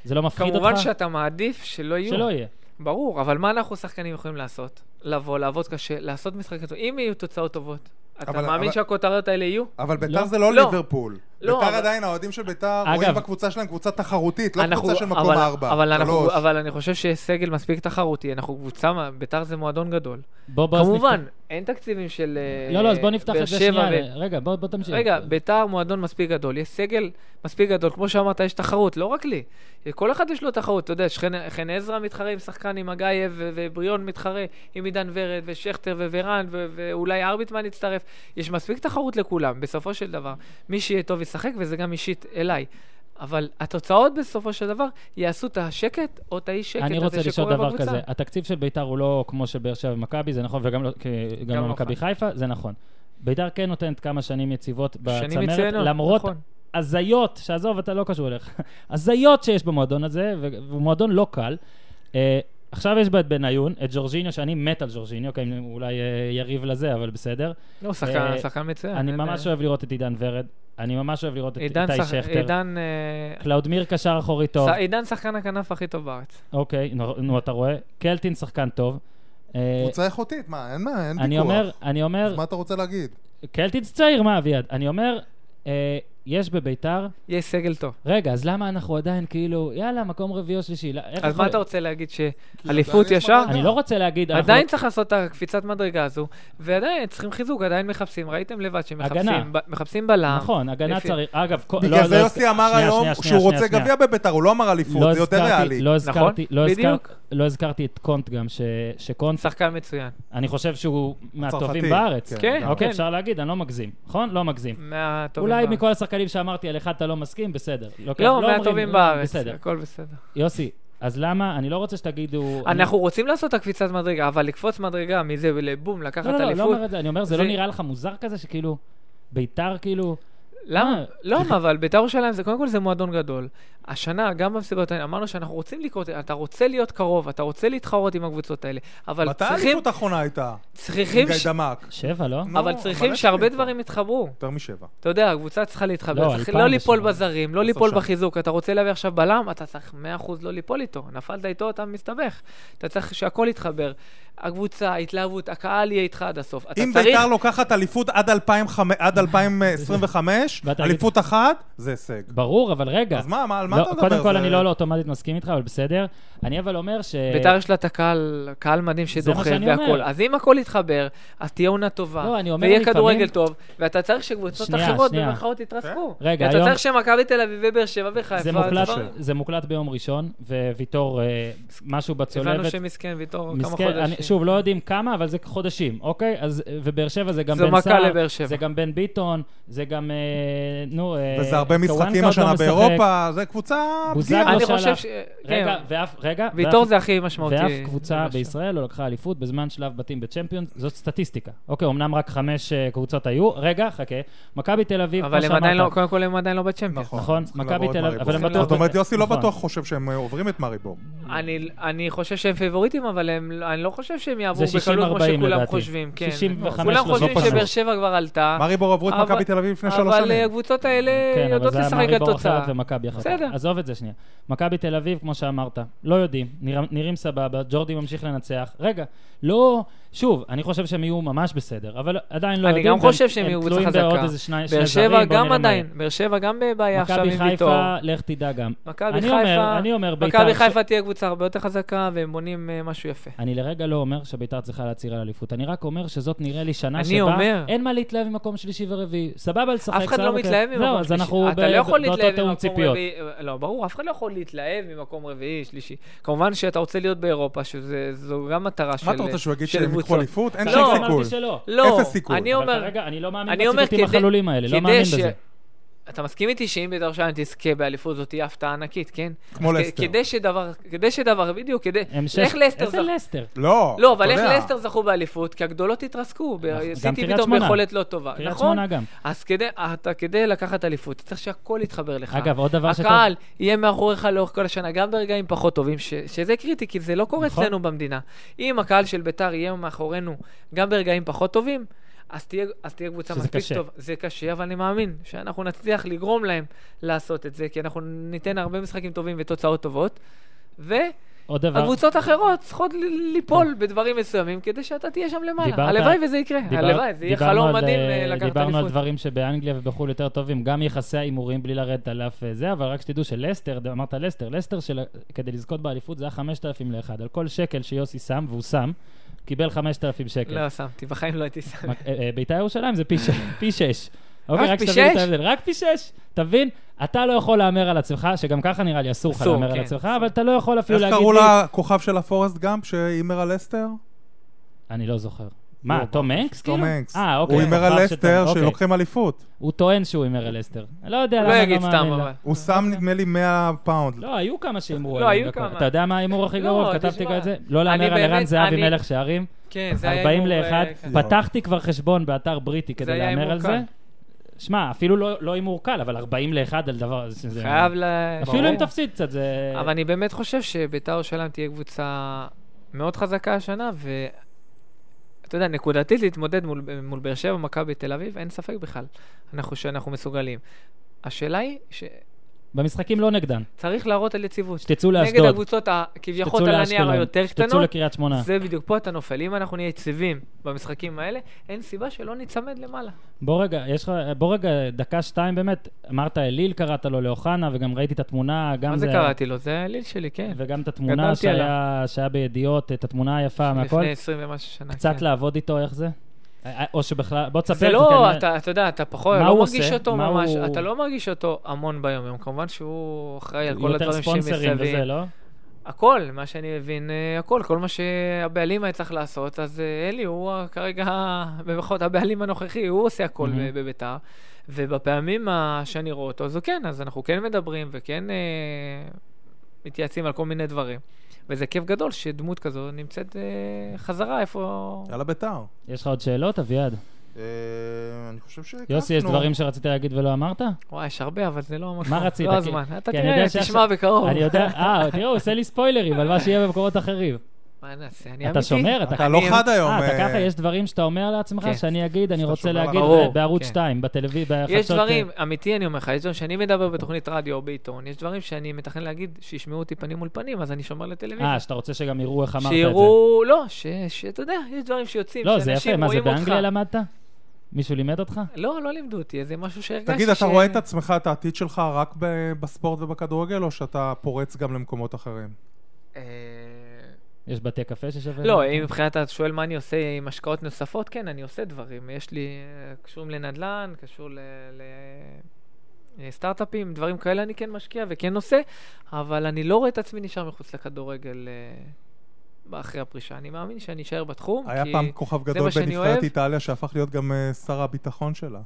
A: זה לא מפחיד אותך?
B: כמובן שאתה מעדיף שלא יהיו.
A: שלא יהיה.
B: ברור, אבל מה אנחנו שחקנים יכולים לעשות? לבוא, לעבוד קשה, לעשות משחק טוב. אם יהיו תוצאות טובות, אתה
D: אבל-
B: מאמין
D: אבל-
B: שהכותרות האלה יהיו?
D: אבל
A: לא.
D: ביתר זה לא
B: לא.
D: ליברפול.
B: לא,
D: ביתר
B: אבל-
D: עדיין, האוהדים של ביתר
A: אגב-
D: רואים בקבוצה שלהם קבוצה תחרותית, לא
B: אנחנו-
D: קבוצה של מקום
B: אבל-
D: ארבע,
B: אבל אנחנו-
D: שלוש.
B: אבל אני חושב שיש סגל מספיק תחרותי, אנחנו קבוצה, מה- ביתר זה מועדון גדול.
A: בוא, בוא, אז
B: כמובן, אין תקציבים של אה,
A: לא, לא, אז בוא נפתח
B: באר
A: את זה
B: שבע
A: שנייה.
B: ו-
A: רגע, בוא, בוא תמשיך.
B: רגע, ביתר מועדון מספיק גדול, יש סגל מספיק גדול, כמו שאמרת, יש תחרות, לא רק לי. כל אחד יש לו תחרות, אתה יודע, שחן- חן עזרא מתחרה עם שחקן, עם אגייב, ו- ובריון מתחרה עם עידן ורד, ושכטר, וורן, ו- ואולי ארביטמן יצטרף. יש מספיק תחרות לכולם, בסופו של דבר. מי שיהיה טוב ישחק, וזה גם אישית אליי. אבל התוצאות בסופו של דבר יעשו את השקט או את האי שקט
A: אני רוצה
B: הזה
A: לשאול
B: שקורה
A: דבר
B: בקבוצה.
A: כזה, התקציב של ביתר הוא לא כמו של באר שבע ומכבי, זה נכון, וגם לא- כי- גם
B: גם
A: לא
B: לא
A: מכבי חיפה, זה נכון. ביתר כן נותנת כמה שנים יציבות
B: שנים
A: בצמרת,
B: מצוינות,
A: למרות
B: נכון.
A: הזיות, שעזוב, אתה לא קשור אליך, הזיות שיש במועדון הזה, ו- והוא מועדון לא קל. אה, עכשיו יש בה את בניון, את ג'ורג'יניו, שאני מת על ג'ורג'יניו, כי אני אולי אה, יריב לזה, אבל בסדר.
B: לא, שחקן,
A: אה,
B: שחקן מצוין.
A: אני
B: אין,
A: ממש
B: אה,
A: אוהב לראות את עידן ורד, אני ממש אוהב לראות את
B: עידן
A: איתי
B: שח-
A: שכטר.
B: עידן... אה,
A: קלאודמיר קשר אחורי טוב.
B: ש- עידן שחקן הכנף הכי טוב בארץ.
A: אוקיי, נו, נו, אתה רואה? קלטין שחקן טוב. אה,
D: קבוצה איכותית, מה, אין מה, אין ויכוח.
A: אני אומר, אני אומר,
D: אז מה אתה רוצה להגיד?
A: קלטינס צעיר, מה אביעד? אני אומר, אה, יש בביתר,
B: יש סגל טוב.
A: רגע, אז למה אנחנו עדיין כאילו, יאללה, מקום רביעי או שלישי? לא- איך
B: אז
A: יכול- כאילו,
B: מה אתה רוצה להגיד,
D: כי
B: שאליפות
D: עדיין יש
B: ישר?
D: מדרגה.
A: אני לא רוצה להגיד, אנחנו-
B: עדיין צריך לעשות את הקפיצת מדרגה הזו, ועדיין צריכים חיזוק, עדיין מחפשים, ראיתם לבד
A: הגנה.
B: שמחפשים, ב- מחפשים בלם.
A: נכון, הגנה
B: לפי-
A: צריך, אגב, כל- לא,
D: בגלל
A: לא
D: זה יוסי
A: הזכ-
D: אמר
A: שנייה,
D: היום
A: שנייה,
D: שהוא
A: שנייה,
D: רוצה
A: שנייה.
D: גביע בביתר, הוא לא אמר אליפות,
A: לא
D: זה יותר
A: הזכרתי-
D: ריאלי.
A: לא הזכרתי, לא הזכר-
B: נכון? בדיוק.
A: לא הזכרתי את קונט גם, ש- שקונט,
B: שחקן מצוין.
A: אני חושב שהוא מהטובים
D: צרפתי,
A: בארץ.
D: כן,
B: כן,
A: אוקיי,
B: כן.
A: אפשר להגיד, אני לא מגזים, נכון? לא מגזים.
B: מהטובים
A: אולי
B: בארץ.
A: מכל השחקנים שאמרתי, על אחד אתה לא מסכים, בסדר. לוקח-
B: לא,
A: אומרים,
B: מהטובים
A: אה,
B: בארץ.
A: בסדר.
B: הכל בסדר.
A: יוסי, אז למה, אני לא רוצה שתגידו... אני- לא,
B: אנחנו רוצים לעשות את הקפיצת מדרגה, אבל לקפוץ מדרגה מזה לבום, לקחת
A: לא, לא, לא, לא
B: אליפות,
A: אומר את זה, אני אומר, זה לא
B: זה-
A: נראה לך מוזר כזה שכאילו, ביתר כאילו,
B: למה? לא, למה, אבל בית"ר ירושלים, זה- קודם כל זה מועדון גדול. השנה, גם במסיבות האלה, אמרנו שאנחנו רוצים לקרות, אתה רוצה להיות קרוב, אתה רוצה להתחרות עם הקבוצות האלה, אבל
C: מתי
B: צריכים,
C: האליפות האחרונה הייתה? עם
B: צריכים, ש-
C: גיידמק.
A: שבע, לא?
C: נו,
B: אבל
C: מלא
B: צריכים
C: שנים
B: שהרבה
C: כבר.
B: דברים יתחברו.
C: יותר משבע.
B: אתה יודע, הקבוצה צריכה להתחבר,
A: לא,
B: צריך
A: אלפיים
B: לא ליפול
A: ושבע.
B: בזרים, לא
C: עשר
B: ליפול
C: שנים.
B: בחיזוק. אתה רוצה להביא עכשיו בלם, אתה צריך 100% לא ליפול איתו. נפלת איתו, אתה מסתבך. אתה צריך שהכל יתחבר. הקבוצה, ההתלהבות, הקהל יהיה איתך עד הסוף. אתה
C: אם
B: צריך...
C: ביתר לא- לוקחת אליפות עד 2005 עד 2025,
A: ואתה תגיד-
C: אליפות אחת, זה הישג.
A: ברור, אבל רגע.
C: אז מה, מה- על מה
A: לא,
C: אתה מדבר?
A: קודם כל,
C: זה-
A: אני לא לא אוטומטית מסכים איתך, אבל בסדר. אני אבל אומר ש...
B: ביתר יש לה את הקהל, קהל מדהים שדוחף
A: שאני אומר.
B: והכול. אז אם הכל יתחבר, אז תהיה עונה טובה,
A: לא, אני אומר
B: ויהיה
A: לפעמים-
B: כדורגל טוב, ואתה צריך שקבוצות
A: שנייה,
B: אחרות
A: שנייה.
B: במרכאות יתרסקו.
A: רגע,
B: ואתה
A: היום-
B: צריך שמכבי תל אביב ובאר שבע וחיפה...
A: זה מוקלט,
B: כבר-
A: זה מוקלט ביום ראשון, וויטור אה, משהו
B: הבנו
A: בצולבת.
B: שמסכן ויטור כמה
A: מסכן, אני,
B: חודשים.
A: שוב, לא יודעים כמה, אבל זה חודשים, אוקיי? אז, אה, ובאר שבע זה גם
B: זו
A: בן
B: מכה
A: סער,
B: לבאר שבע.
A: זה גם בן ביטון, זה גם, אה, נו, אה,
C: וזה הרבה
A: טוואנקה
C: משחקים
A: עוד לא
C: השנה
A: משחק.
C: באירופה, זה קבוצה...
A: בוזגלו
C: פגיעה.
B: אני
A: שלח.
B: חושב ש...
A: לא רגע,
B: כן.
A: ואף, רגע,
B: ויטור
A: ואף-
B: זה הכי משמעותי.
A: ואף קבוצה
B: בבאר שבע.
A: בישראל לא לקחה אליפות בזמן שלב בתים בצ'מפיונס, זאת סטטיסטיקה. אוקיי, אמנם רק חמש אה, קבוצות היו, רגע, חכה. מכבי תל אביב, כמו
B: אבל הם עדיין לא,
A: שאמרת,
B: קודם כל הם עדיין לא בצ'מפיונס.
A: נכון,
C: צריכים
A: מכבי
C: לעבור את
A: תל אביב,
C: מארי
A: אבל הם
C: בור.
A: בטוח...
C: זאת אומרת, יוסי לא
A: נכון.
C: בטוח חושב שהם אה, עוברים את מארי בור.
B: אני, אני חושב שהם פייבוריטים, אבל הם, אני לא חושב שהם יעברו
A: זה 60-40
B: בקלות כמו שכולם
A: לדעתי.
B: חושבים. כן.
A: 65
B: כולם
A: לא
B: חושבים
A: פנו.
B: שבאר שבע כבר עלתה,
C: מארי בור עברו את
B: אה, אבל-
C: מכבי תל אביב לפני שלוש
B: אבל אה,
C: שנים.
B: הקבוצות האלה
A: כן, אבל
B: יודעות
A: זה היה
B: לשחק
A: מארי בור
B: לתוצאה.
A: אחרת ומכבי אחרת.
B: בסדר.
A: עזוב את זה שנייה. מכבי תל אביב, כמו שאמרת, לא יודעים, נרא- נראים סבבה, ג'ורדי ממשיך לנצח. רגע, לא... שוב, אני חושב שהם יהיו ממש בסדר, אבל עדיין לא
B: אני
A: יודעים.
B: גם חושב שהם
A: והם-
B: יהיו
A: הם
B: קבוצה
A: תלויים בעוד
B: חזקה.
A: איזה שני שני
B: באר
A: זרים,
B: שבע
A: בואו נראה
B: גם
A: מה
B: עדיין,
A: יהיה.
B: באר שבע גם בבעיה עכשיו
A: מכבי
B: עם ויטור.
A: חיפה, לך תדע גם.
B: מכבי
A: אני
B: חיפה-
A: אומר- אני אומר בית"ר...
B: מכבי
A: ש-
B: חיפה תהיה קבוצה הרבה יותר חזקה, והם בונים אה, משהו יפה.
A: אני לרגע לא אומר שביתר צריכה להצהיר על אליפות, אני רק אומר שזאת נראה לי שנה
B: אני
A: שבה
B: אומר.
A: אין מה להתלהב ממקום שלישי ורביעי. סבבה לשחק,
B: אף אחד לא
A: סבבה,
B: מתלהב
A: כן.
B: ממקום
A: לא,
B: שלישי.
A: אז אנחנו
B: אתה
A: ב-
B: לא יכול
A: ב- באותו
B: להתלהב
A: תיאום
B: ממקום
A: ציפיות.
B: רביעי. לא, ברור, אף אחד לא יכול להתלהב ממקום רביעי, שלישי. כמובן שאתה רוצה להיות באירופה, שזו גם מטרה של
C: מה אתה רוצה שהוא יגיד
B: של
C: שהם ייקחו
B: קבוצות.
C: אליפות? אין
A: לא,
C: שום
A: אמרתי
C: סיכוי.
A: שלא.
B: לא,
C: אפס סיכוי.
B: אני
A: אבל
B: אומר,
A: כרגע, אני לא מאמין
B: אני אומר,
A: בציטוטים
B: כדי-
A: החלולים האלה, לא
B: כדי
A: מאמין
B: ש-
A: בזה.
B: אתה מסכים איתי שאם בית"ר ירושלים תזכה באליפות זאת תהיה הפתעה ענקית, כן?
C: כמו
B: אז כ-
C: לסטר.
B: כדי שדבר, כדי שדבר, בדיוק, כדי...
A: המשך-
B: איך לסטר
A: איזה
B: זכו?
A: לסטר?
C: לא,
B: לא, אבל
C: אתה
B: איך
C: יודע.
B: לסטר זכו באליפות? כי הגדולות התרסקו, ב-
A: גם
B: סיטי
A: קריית
B: פתאום
A: שמונה.
B: ביכולת לא טובה.
A: קריית
B: נכון?
A: שמונה גם.
B: אז כדי, אתה, כדי לקחת אליפות, אתה צריך שהכל יתחבר לך.
A: אגב, עוד דבר שטוב-
B: הקהל יהיה מאחוריך לאורך כל השנה, גם ברגעים פחות טובים, ש, שזה קריטי, כי זה לא קורה
A: נכון.
B: אצלנו במדינה. אם הקהל של ביתר יהיה מאחורינו גם ברגעים פחות טובים, אז תהיה, אז תהיה קבוצה
A: שזה
B: מספיק
A: קשה.
B: טוב. זה קשה, אבל אני מאמין שאנחנו נצליח לגרום להם לעשות את זה, כי אנחנו ניתן הרבה משחקים טובים ותוצאות טובות. והקבוצות
A: עוד דבר, לא.
B: האחרות צריכות ל- ליפול בדברים מסוימים כדי שאתה תהיה שם למעלה.
A: דיברת-
B: הלוואי וזה יקרה,
A: דיבר-
B: הלוואי, זה יהיה
A: דיברנו
B: חלום
A: על,
B: מדהים
A: אה,
B: אה, לקחת
A: דיברנו על
B: אליפות.
A: דברים שבאנגליה ובחו"ל יותר טובים, גם יחסי ההימורים בלי לרדת על אף אה, זה, אבל רק שתדעו שלסטר, אמרת לסטר, לסטר של- כדי לזכות באליפות זה היה 5,000 לאחד, על כל שקל שיוסי שם, והוא שם, קיבל 5,000 שקל.
B: לא שמתי, בחיים לא הייתי שם.
A: מק- אה, אה, בית"ר ירושלים זה פי ש- פי שש.
B: רק
A: אוקיי,
B: פי
A: שתבין את
B: שש?
A: ההבדל. רק פי שש, תבין? אתה לא יכול להמר על עצמך, שגם ככה נראה לי אסור לך
B: אסור,
A: להמר על
B: כן,
A: עצמך,
B: אסור.
A: אבל אתה לא יכול אפילו
C: איך
A: להגיד לי...
C: קראו לכוכב של הפורסט גאמפ שהימר על לסטר?
B: כן.
A: אני לא זוכר. מה,
C: לא,
A: תום הנקס?
C: תום
A: כאילו?
C: הנקס.
A: אה, אוקיי.
C: הוא הימר
A: כוכב
C: על
A: של
C: לסטר
A: תום- אוקיי.
C: שלוקחים אליפות.
A: הוא טוען שהוא הימר על לסטר. לא יודע
B: לא
A: למה,
B: יגיד
A: מאמין
B: סתם,
A: לה.
B: אבל...
C: הוא שם נדמה לי 100 פאונד.
A: לא, היו כמה שהימרו
B: לא,
A: עליו.
B: היו
A: דקות.
B: כמה.
A: אתה יודע מה ההימור הכי
B: לא,
A: גרוע?
B: תשמע.
A: כתבתי גם את זה. לא
B: אני
A: להמר על ערן
B: באמת-
A: זהבי
B: אני-
A: מלך שערים.
B: כן, זה היה...
A: 40
B: הימור, אה,
A: ל-1.
B: כזה.
A: פתחתי כבר חשבון באתר בריטי
B: זה
A: כדי
B: היה
A: להמר
B: הימור
A: על זה.
B: קל.
A: שמע, אפילו לא לא הימור קל, אבל 40 ל-1 על דבר... זה- זה-
B: חייב ל...
A: אפילו אם
B: כן, ברור.
A: תפסיד קצת, זה...
B: אבל אני באמת חושב שביתר ירושלים תהיה קבוצה מאוד חזקה השנה, ו... אתה יודע, נקודתית להתמודד מול, מול באר שבע, מכבי תל אביב, אין ספק בכלל אנחנו, שאנחנו מסוגלים. השאלה היא שצריך
A: במשחקים לא נגדן.
B: להראות על יציבות.
A: שתצאו
B: נגד
A: לאשדוד,
B: הקבוצות ה-
A: לא, שתצאו
B: כביכול על הנייר
A: לאשקלון,
B: היותר
A: שתצאו
B: קטנות,
A: לקריית שמונה.
B: זה בדיוק, פה אתה נופל. אם אנחנו נהיה יציבים במשחקים האלה, אין סיבה שלא ניצמד למעלה.
A: בוא רגע, יש לך, בוא רגע, דקה, שתיים באמת, אמרת אליל, קראת לו לאוחנה, וגם ראיתי את התמונה, גם
B: מה זה קראתי לו? זה האליל שלי, כן.
A: וגם את התמונה
B: גדלתי עליו.
A: שהיה, שהיה בידיעות, את התמונה היפה מהכל.
B: לפני 20 ומשהו שנה.
A: קצת
B: כן.
A: לעבוד איתו, איך זה? אה, אה, או שבכלל, בוא תספר.
B: זה
A: לי,
B: לא,
A: כי אני-
B: אתה, אתה יודע, אתה פחות,
A: מה
B: לא
A: הוא
B: מרגיש
A: עושה?
B: אותו
A: מה
B: ממש,
A: הוא-
B: אתה לא מרגיש אותו המון ביום יום, כמובן שהוא אחראי על כל
A: יותר
B: הדברים
A: ספונסרים וזה,
B: שמסביב.
A: לא?
B: הכל, מה שאני מבין, אה, הכל, כל מה שהבעלים היה צריך לעשות, אז אה, אלי הוא ה- כרגע, במירכאות, הבעלים הנוכחי, הוא עושה הכל
A: מהמם.
B: ב- בביתר, ובפעמים ה- שאני רואה אותו, אז הוא כן, אז אנחנו כן מדברים וכן אה, מתייעצים על כל מיני דברים. וזה כיף גדול שדמות כזו נמצאת אה, חזרה איפה...
C: יאללה ביתר.
A: יש לך עוד שאלות, אביעד?
D: אה, אני חושב שהקפנו.
A: יוסי, יש דברים שרצית להגיד ולא אמרת?
B: וואי, יש הרבה, אבל זה לא המקום.
A: מה רצית?
B: לא
A: כי-
B: הזמן. אתה
A: כי אני יודע
B: תראה,
A: שעכשיו-
B: תשמע בקרוב.
A: אני יודע, אה, תראה, הוא עושה לי ספוילרים על מה שיהיה במקומות אחרים.
B: מה נעשה? אני אמיתי.
A: אתה שומר, אתה...
D: אתה לא
B: אני-
D: חד היום.
A: אה, אתה
D: אה,
A: ככה, יש דברים שאתה אומר לעצמך
B: כן.
A: שאני אגיד, אני
D: שאתה
A: רוצה
D: שומר על
A: להגיד
B: הרוב.
A: ב- בערוץ
B: כן.
A: 2, בטלוויזיה, בחדשות...
B: יש דברים,
A: אה,
B: אמיתי אני אומר לך, יש דברים שאני מדבר בתוכנית רדיו או בעיתון, יש דברים שאני מתכנן להגיד שישמעו אותי פנים מול פנים, אז אני שומר לטלוויזיה.
A: אה, שאתה רוצה שגם יראו איך אמרת את זה.
B: שיראו, לא, ש- שאתה יודע, יש דברים שיוצאים,
A: לא, זה יפה,
B: שאנשים
A: מה זה,
B: רואים אותך.
A: באנגליה למדת? מישהו לימד אותך?
B: לא, לא לימדו אותי, זה משהו שהרגשתי
C: תגיד,
B: ש-
C: אתה רואה את עצמך, את העתיד שלך, רק ב- בספורט ובכדורגל, או שאתה פורץ גם למקומות אחרים?
B: אה,
A: יש בתי קפה ששווה?
B: לא,
A: ללכת?
B: אם מבחינת אתה שואל מה אני עושה עם השקעות נוספות, כן, אני עושה דברים. יש לי, אה, קשורים לנדל"ן, קשור ל... ל- אה, סטארט-אפים, דברים כאלה אני כן משקיע וכן עושה, אבל אני לא רואה את עצמי נשאר מחוץ לכדורגל אה, אחרי הפרישה. אני מאמין שאני אשאר בתחום,
C: היה
B: כי...
C: פעם כוכב
B: זה
C: גדול
B: מה שאני
C: בנבחרת
B: אוהב.
C: איטליה שהפך להיות גם אה, שר הביטחון שלה.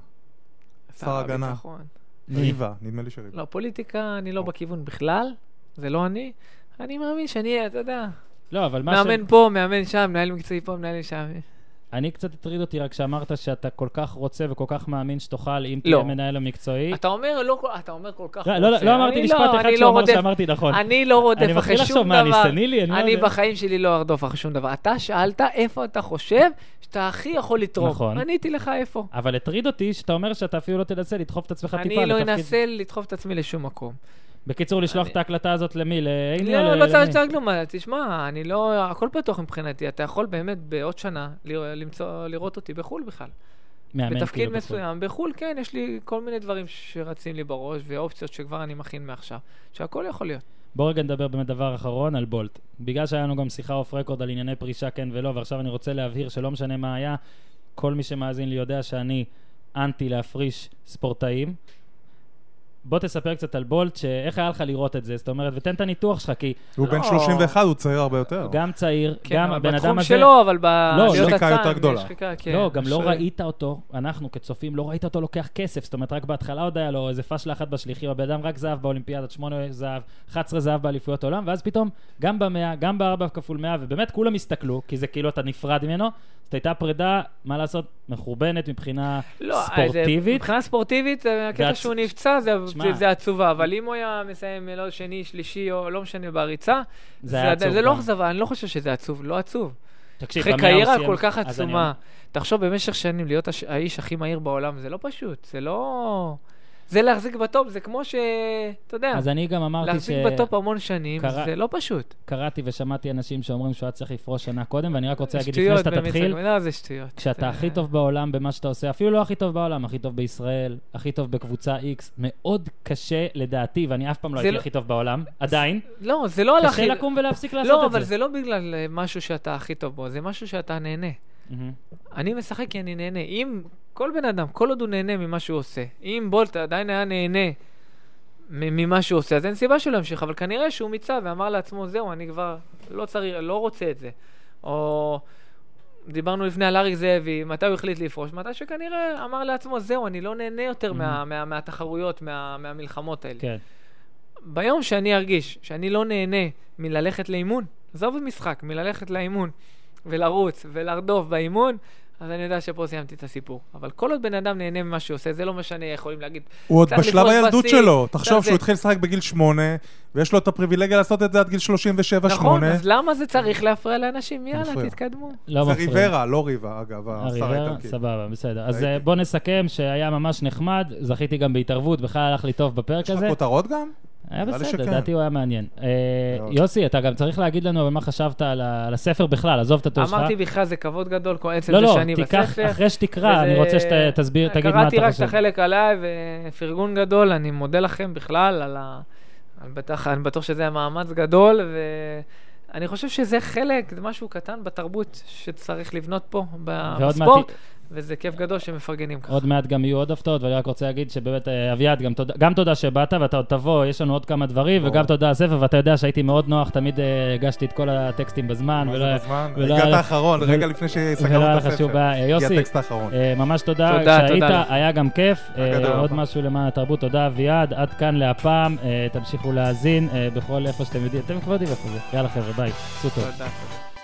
B: שר
C: שר הגנה. אוקיי.
B: הביטחון.
A: מי?
C: ריבה, נדמה לי שריבה.
B: לא, פוליטיקה, אני
C: אוקיי.
B: לא בכיוון בכלל, זה לא אני. אני מאמין שאני אהיה, אתה יודע,
A: לא, אבל מה ש...
B: מאמן פה, מאמן שם, מנהל מקצועי פה, מנהל שם.
A: אני קצת הטריד אותי רק שאמרת שאתה כל כך רוצה וכל כך מאמין שתוכל אם
B: לא.
A: תהיה מנהל המקצועי.
B: אתה אומר, לא, כל- אתה אומר כל כך
A: לא, לא,
B: רוצה.
A: לא אמרתי
B: אני
A: משפט
B: לא,
A: אחד
B: אני לא
A: שאומר
B: רודף-
A: שאמרתי נכון.
B: אני לא רודף
A: אני
B: אחרי
A: מתחיל לחשוב
B: שום
A: מה, אני
B: דבר.
A: סנילי? אני לא
B: אני
A: יודע.
B: בחיים שלי לא ארדוף אחרי שום דבר. אתה שאלת איפה אתה חושב שאתה הכי יכול
A: נכון.
B: לתרום. עניתי לך איפה.
A: אבל הטריד אותי שאתה אומר שאתה אפילו לא תנסה לדחוף את עצמך טיפה
B: אני לא
A: לתפקיד-
B: אנסה לדחוף את עצמי לשום מקום.
A: בקיצור, לשלוח
B: אני-
A: את ההקלטה הזאת למי? לעיני או
B: לא,
A: ל-
B: לא צריך
A: למי?
B: לשתוק כלום, אבל תשמע, אני לא, הכל פתוח מבחינתי, אתה יכול באמת בעוד שנה ל- למצוא, לראות אותי בחו"ל בכלל.
A: מאמן,
B: בתפקיד
A: כאילו, בחו"ל.
B: מסוים, בחו"ל כן, יש לי כל מיני דברים שרצים לי בראש, ואופציות שכבר אני מכין מעכשיו, שהכל יכול להיות.
A: בוא רגע נדבר באמת דבר אחרון על בולט. בגלל שהיה לנו גם שיחה אוף רקורד על ענייני פרישה כן ולא, ועכשיו אני רוצה להבהיר שלא משנה מה היה, כל מי שמאזין לי יודע שאני אנטי להפריש ספורטאים. בוא תספר קצת על בולט, שאיך היה לך לראות את זה, זאת אומרת, ותן את הניתוח שלך, כי
C: הוא בן
B: לא.
C: 31, הוא צעיר הרבה יותר.
A: גם צעיר,
B: כן,
A: גם
B: אבל
A: הבן
B: בתחום
A: אדם הזה...
B: שלו, אבל בעליות
A: יש
C: שחיקה
B: הצאן,
C: יותר
B: יש
C: גדולה.
B: שחיקה, כן.
A: לא, גם לא
B: ש-
A: ראית אותו, אנחנו כצופים, לא ראית אותו לוקח כסף, זאת אומרת, רק בהתחלה עוד היה לו איזה פאשלה אחת בשליחים, הבן אדם רק זהב באולימפיאדת, שמונה זהב, 11 זהב באליפויות העולם, ואז פתאום, גם במאה, גם בארבע כפול מאה, ובאמת כולם הסתכלו, כי זה כאילו אתה נפרד ממנו, זאת הייתה פרידה, מה לעשות, מחורבנת מבחינה
B: לא, אה, זה-
A: ספורטיבית.
B: מבחינה ספורטיבית, אה,
A: ועצ-
B: הקטע שהוא נפצע, זה-
A: שמע.
B: זה- זה עצובה, אבל אם הוא היה מסיים, לא, שני, שלישי, או לא משנה, בריצה,
A: זה
B: זה
A: היה
B: עדיין-
A: עצוב
B: זה לא
A: גם.
B: אכזבה, אני לא חושב שזה עצוב, לא עצוב.
A: תקשיב,
B: אחרי
A: במאה הוא
B: קריירה
A: סיים-
B: כל כך
A: אז אני
B: עצומה, תחשוב, במשך שנים להיות הש- האיש הכי מהיר בעולם, זה לא פשוט, זה לא... זה להחזיק בטופ, זה כמו ש... אתה יודע,
A: אז אני גם אמרתי
B: להחזיק בטופ המון שנים,
A: קרה-
B: זה לא פשוט.
A: שקראתי ושמעתי אנשים שאומרים שהוא היה צריך לפרוש שנה קודם, ואני רק רוצה להגיד לפני
B: שטויות,
A: שאתה
B: באמת,
A: תתחיל,
B: לא, זה שטויות. אה,
A: כשאתה
B: זה-
A: הכי טוב בעולם במה שאתה עושה, אפילו לא הכי טוב בעולם, הכי טוב בישראל, הכי טוב בקבוצה X, מאוד קשה לדעתי, ואני אף פעם לא
B: זה
A: הייתי
B: לא-
A: הכי טוב בעולם, עדיין,
B: לא, זה לא על הכי...
A: קשה לקום ולהפסיק
B: לא,
A: לעשות
B: אבל
A: את זה.
B: זה לא בגלל אה, משהו שאתה הכי טוב בו, זה משהו שאתה נהנה.
A: מהמם.
B: אני משחק כי אני נהנה. אם כל בן אדם, כל עוד הוא נהנה ממה שהוא עושה, אם בולט עדיין היה נהנה מ- ממה שהוא עושה, אז אין סיבה שהוא לא ימשיך, אבל כנראה שהוא מיצה ואמר לעצמו, זהו, אני כבר לא צריך, לא רוצה את זה. או דיברנו לפני על אריק זאבי, מתי הוא החליט לפרוש? מתי שכנראה אמר לעצמו, זהו, אני לא נהנה
A: Mm-hmm.
B: יותר מה, מה, מהתחרויות, מה, מהמלחמות האלה.
A: כן.
B: ביום שאני ארגיש שאני לא נהנה מללכת לאימון, עזוב את משחק, מללכת לאימון ולרוץ ולרדוף באימון, אז אני יודע שפה סיימתי את הסיפור. אבל כל עוד בן אדם נהנה ממה שהוא עושה, זה לא משנה, יכולים להגיד.
D: הוא עוד
B: צריך
D: בשלב
B: לפרוס
D: הילדות
B: בשיא,
D: שלו.
B: צריך
D: תחשוב
B: זה.
D: שהוא התחיל לשחק בגיל שמונה, ויש לו את הפריבילגיה לעשות את זה עד גיל 37-8.
B: נכון, אז למה זה צריך להפריע לאנשים?
D: מפריע.
B: יאללה, תתקדמו.
A: לא
D: זה
A: מפריע.
D: ריברה, לא ריבה, אגב, השר
A: הריברה,
D: האיטלקי.
A: סבבה, בסדר. אז
D: ראיתי.
A: אה, בוא נסכם שהיה ממש נחמד, זכיתי גם בהתערבות, בכלל הלך לי טוב בפרק
D: יש לך
A: הזה.
D: כותרות גם?
A: היה
D: נראה לי
A: בסדר,
D: שכן.
A: לדעתי הוא היה מעניין. אה,
D: מאוד.
A: יוסי, אתה גם צריך להגיד לנו אבל מה חשבת על ה- על הספר בכלל, עזוב את הטור שלך.
B: אמרתי בכלל, זה כבוד גדול, כל עצם
A: לא,
B: זה
A: לא,
B: שאני בספר.
A: תיקח, אחרי שתקרא, אני
B: וזה- אה,
A: רוצה שתסביר, תגיד מה אתה חושב.
B: קראתי רק את החלק עליי, ופרגון גדול, אני מודה לכם בכלל על ה... אני בטח, אני בטוח שזה היה מאמץ גדול, ואני חושב שזה חלק, זה משהו קטן בתרבות שצריך לבנות פה, ב-
A: ועוד
B: בספורט,
A: מעט-
B: וזה כיף גדול שמפרגנים ככה.
A: עוד מעט גם יהיו עוד הפתעות, ואני רק רוצה להגיד שבאמת, אה, אביעד, גם תודה- גם תודה שבאת, ואתה עוד תבוא, יש לנו עוד כמה דברים,
D: ברור.
A: וגם תודה על הספר, ואתה יודע שהייתי מאוד נוח, תמיד אה, הגשתי את כל הטקסטים בזמן,
D: מה
A: אה, ולא
D: זה בזמן?
A: ולא
D: הגעת
A: היה-
D: האחרון,
A: ולא-
D: רגע לפני
A: ולא היה
D: שסגרנו את
A: לך שום
D: הספר.
A: בעיה. אה,
D: כי
A: יוסי,
D: הטקסט נכון. האחרון.
A: אה, ממש תודה
B: תודה,
A: שהיית,
B: תודה לך.
A: היה גם כיף. אה,
D: גדול.
A: עוד משהו למען התרבות, תודה אביעד, עד כאן להפעם, אה, תמשיכו להאזין אה, בכל איפה שאתם יודעים, אתם כבר יודעים איפה זה. יאללה חבר'ה, ביי, עשו טוב.
B: תודה.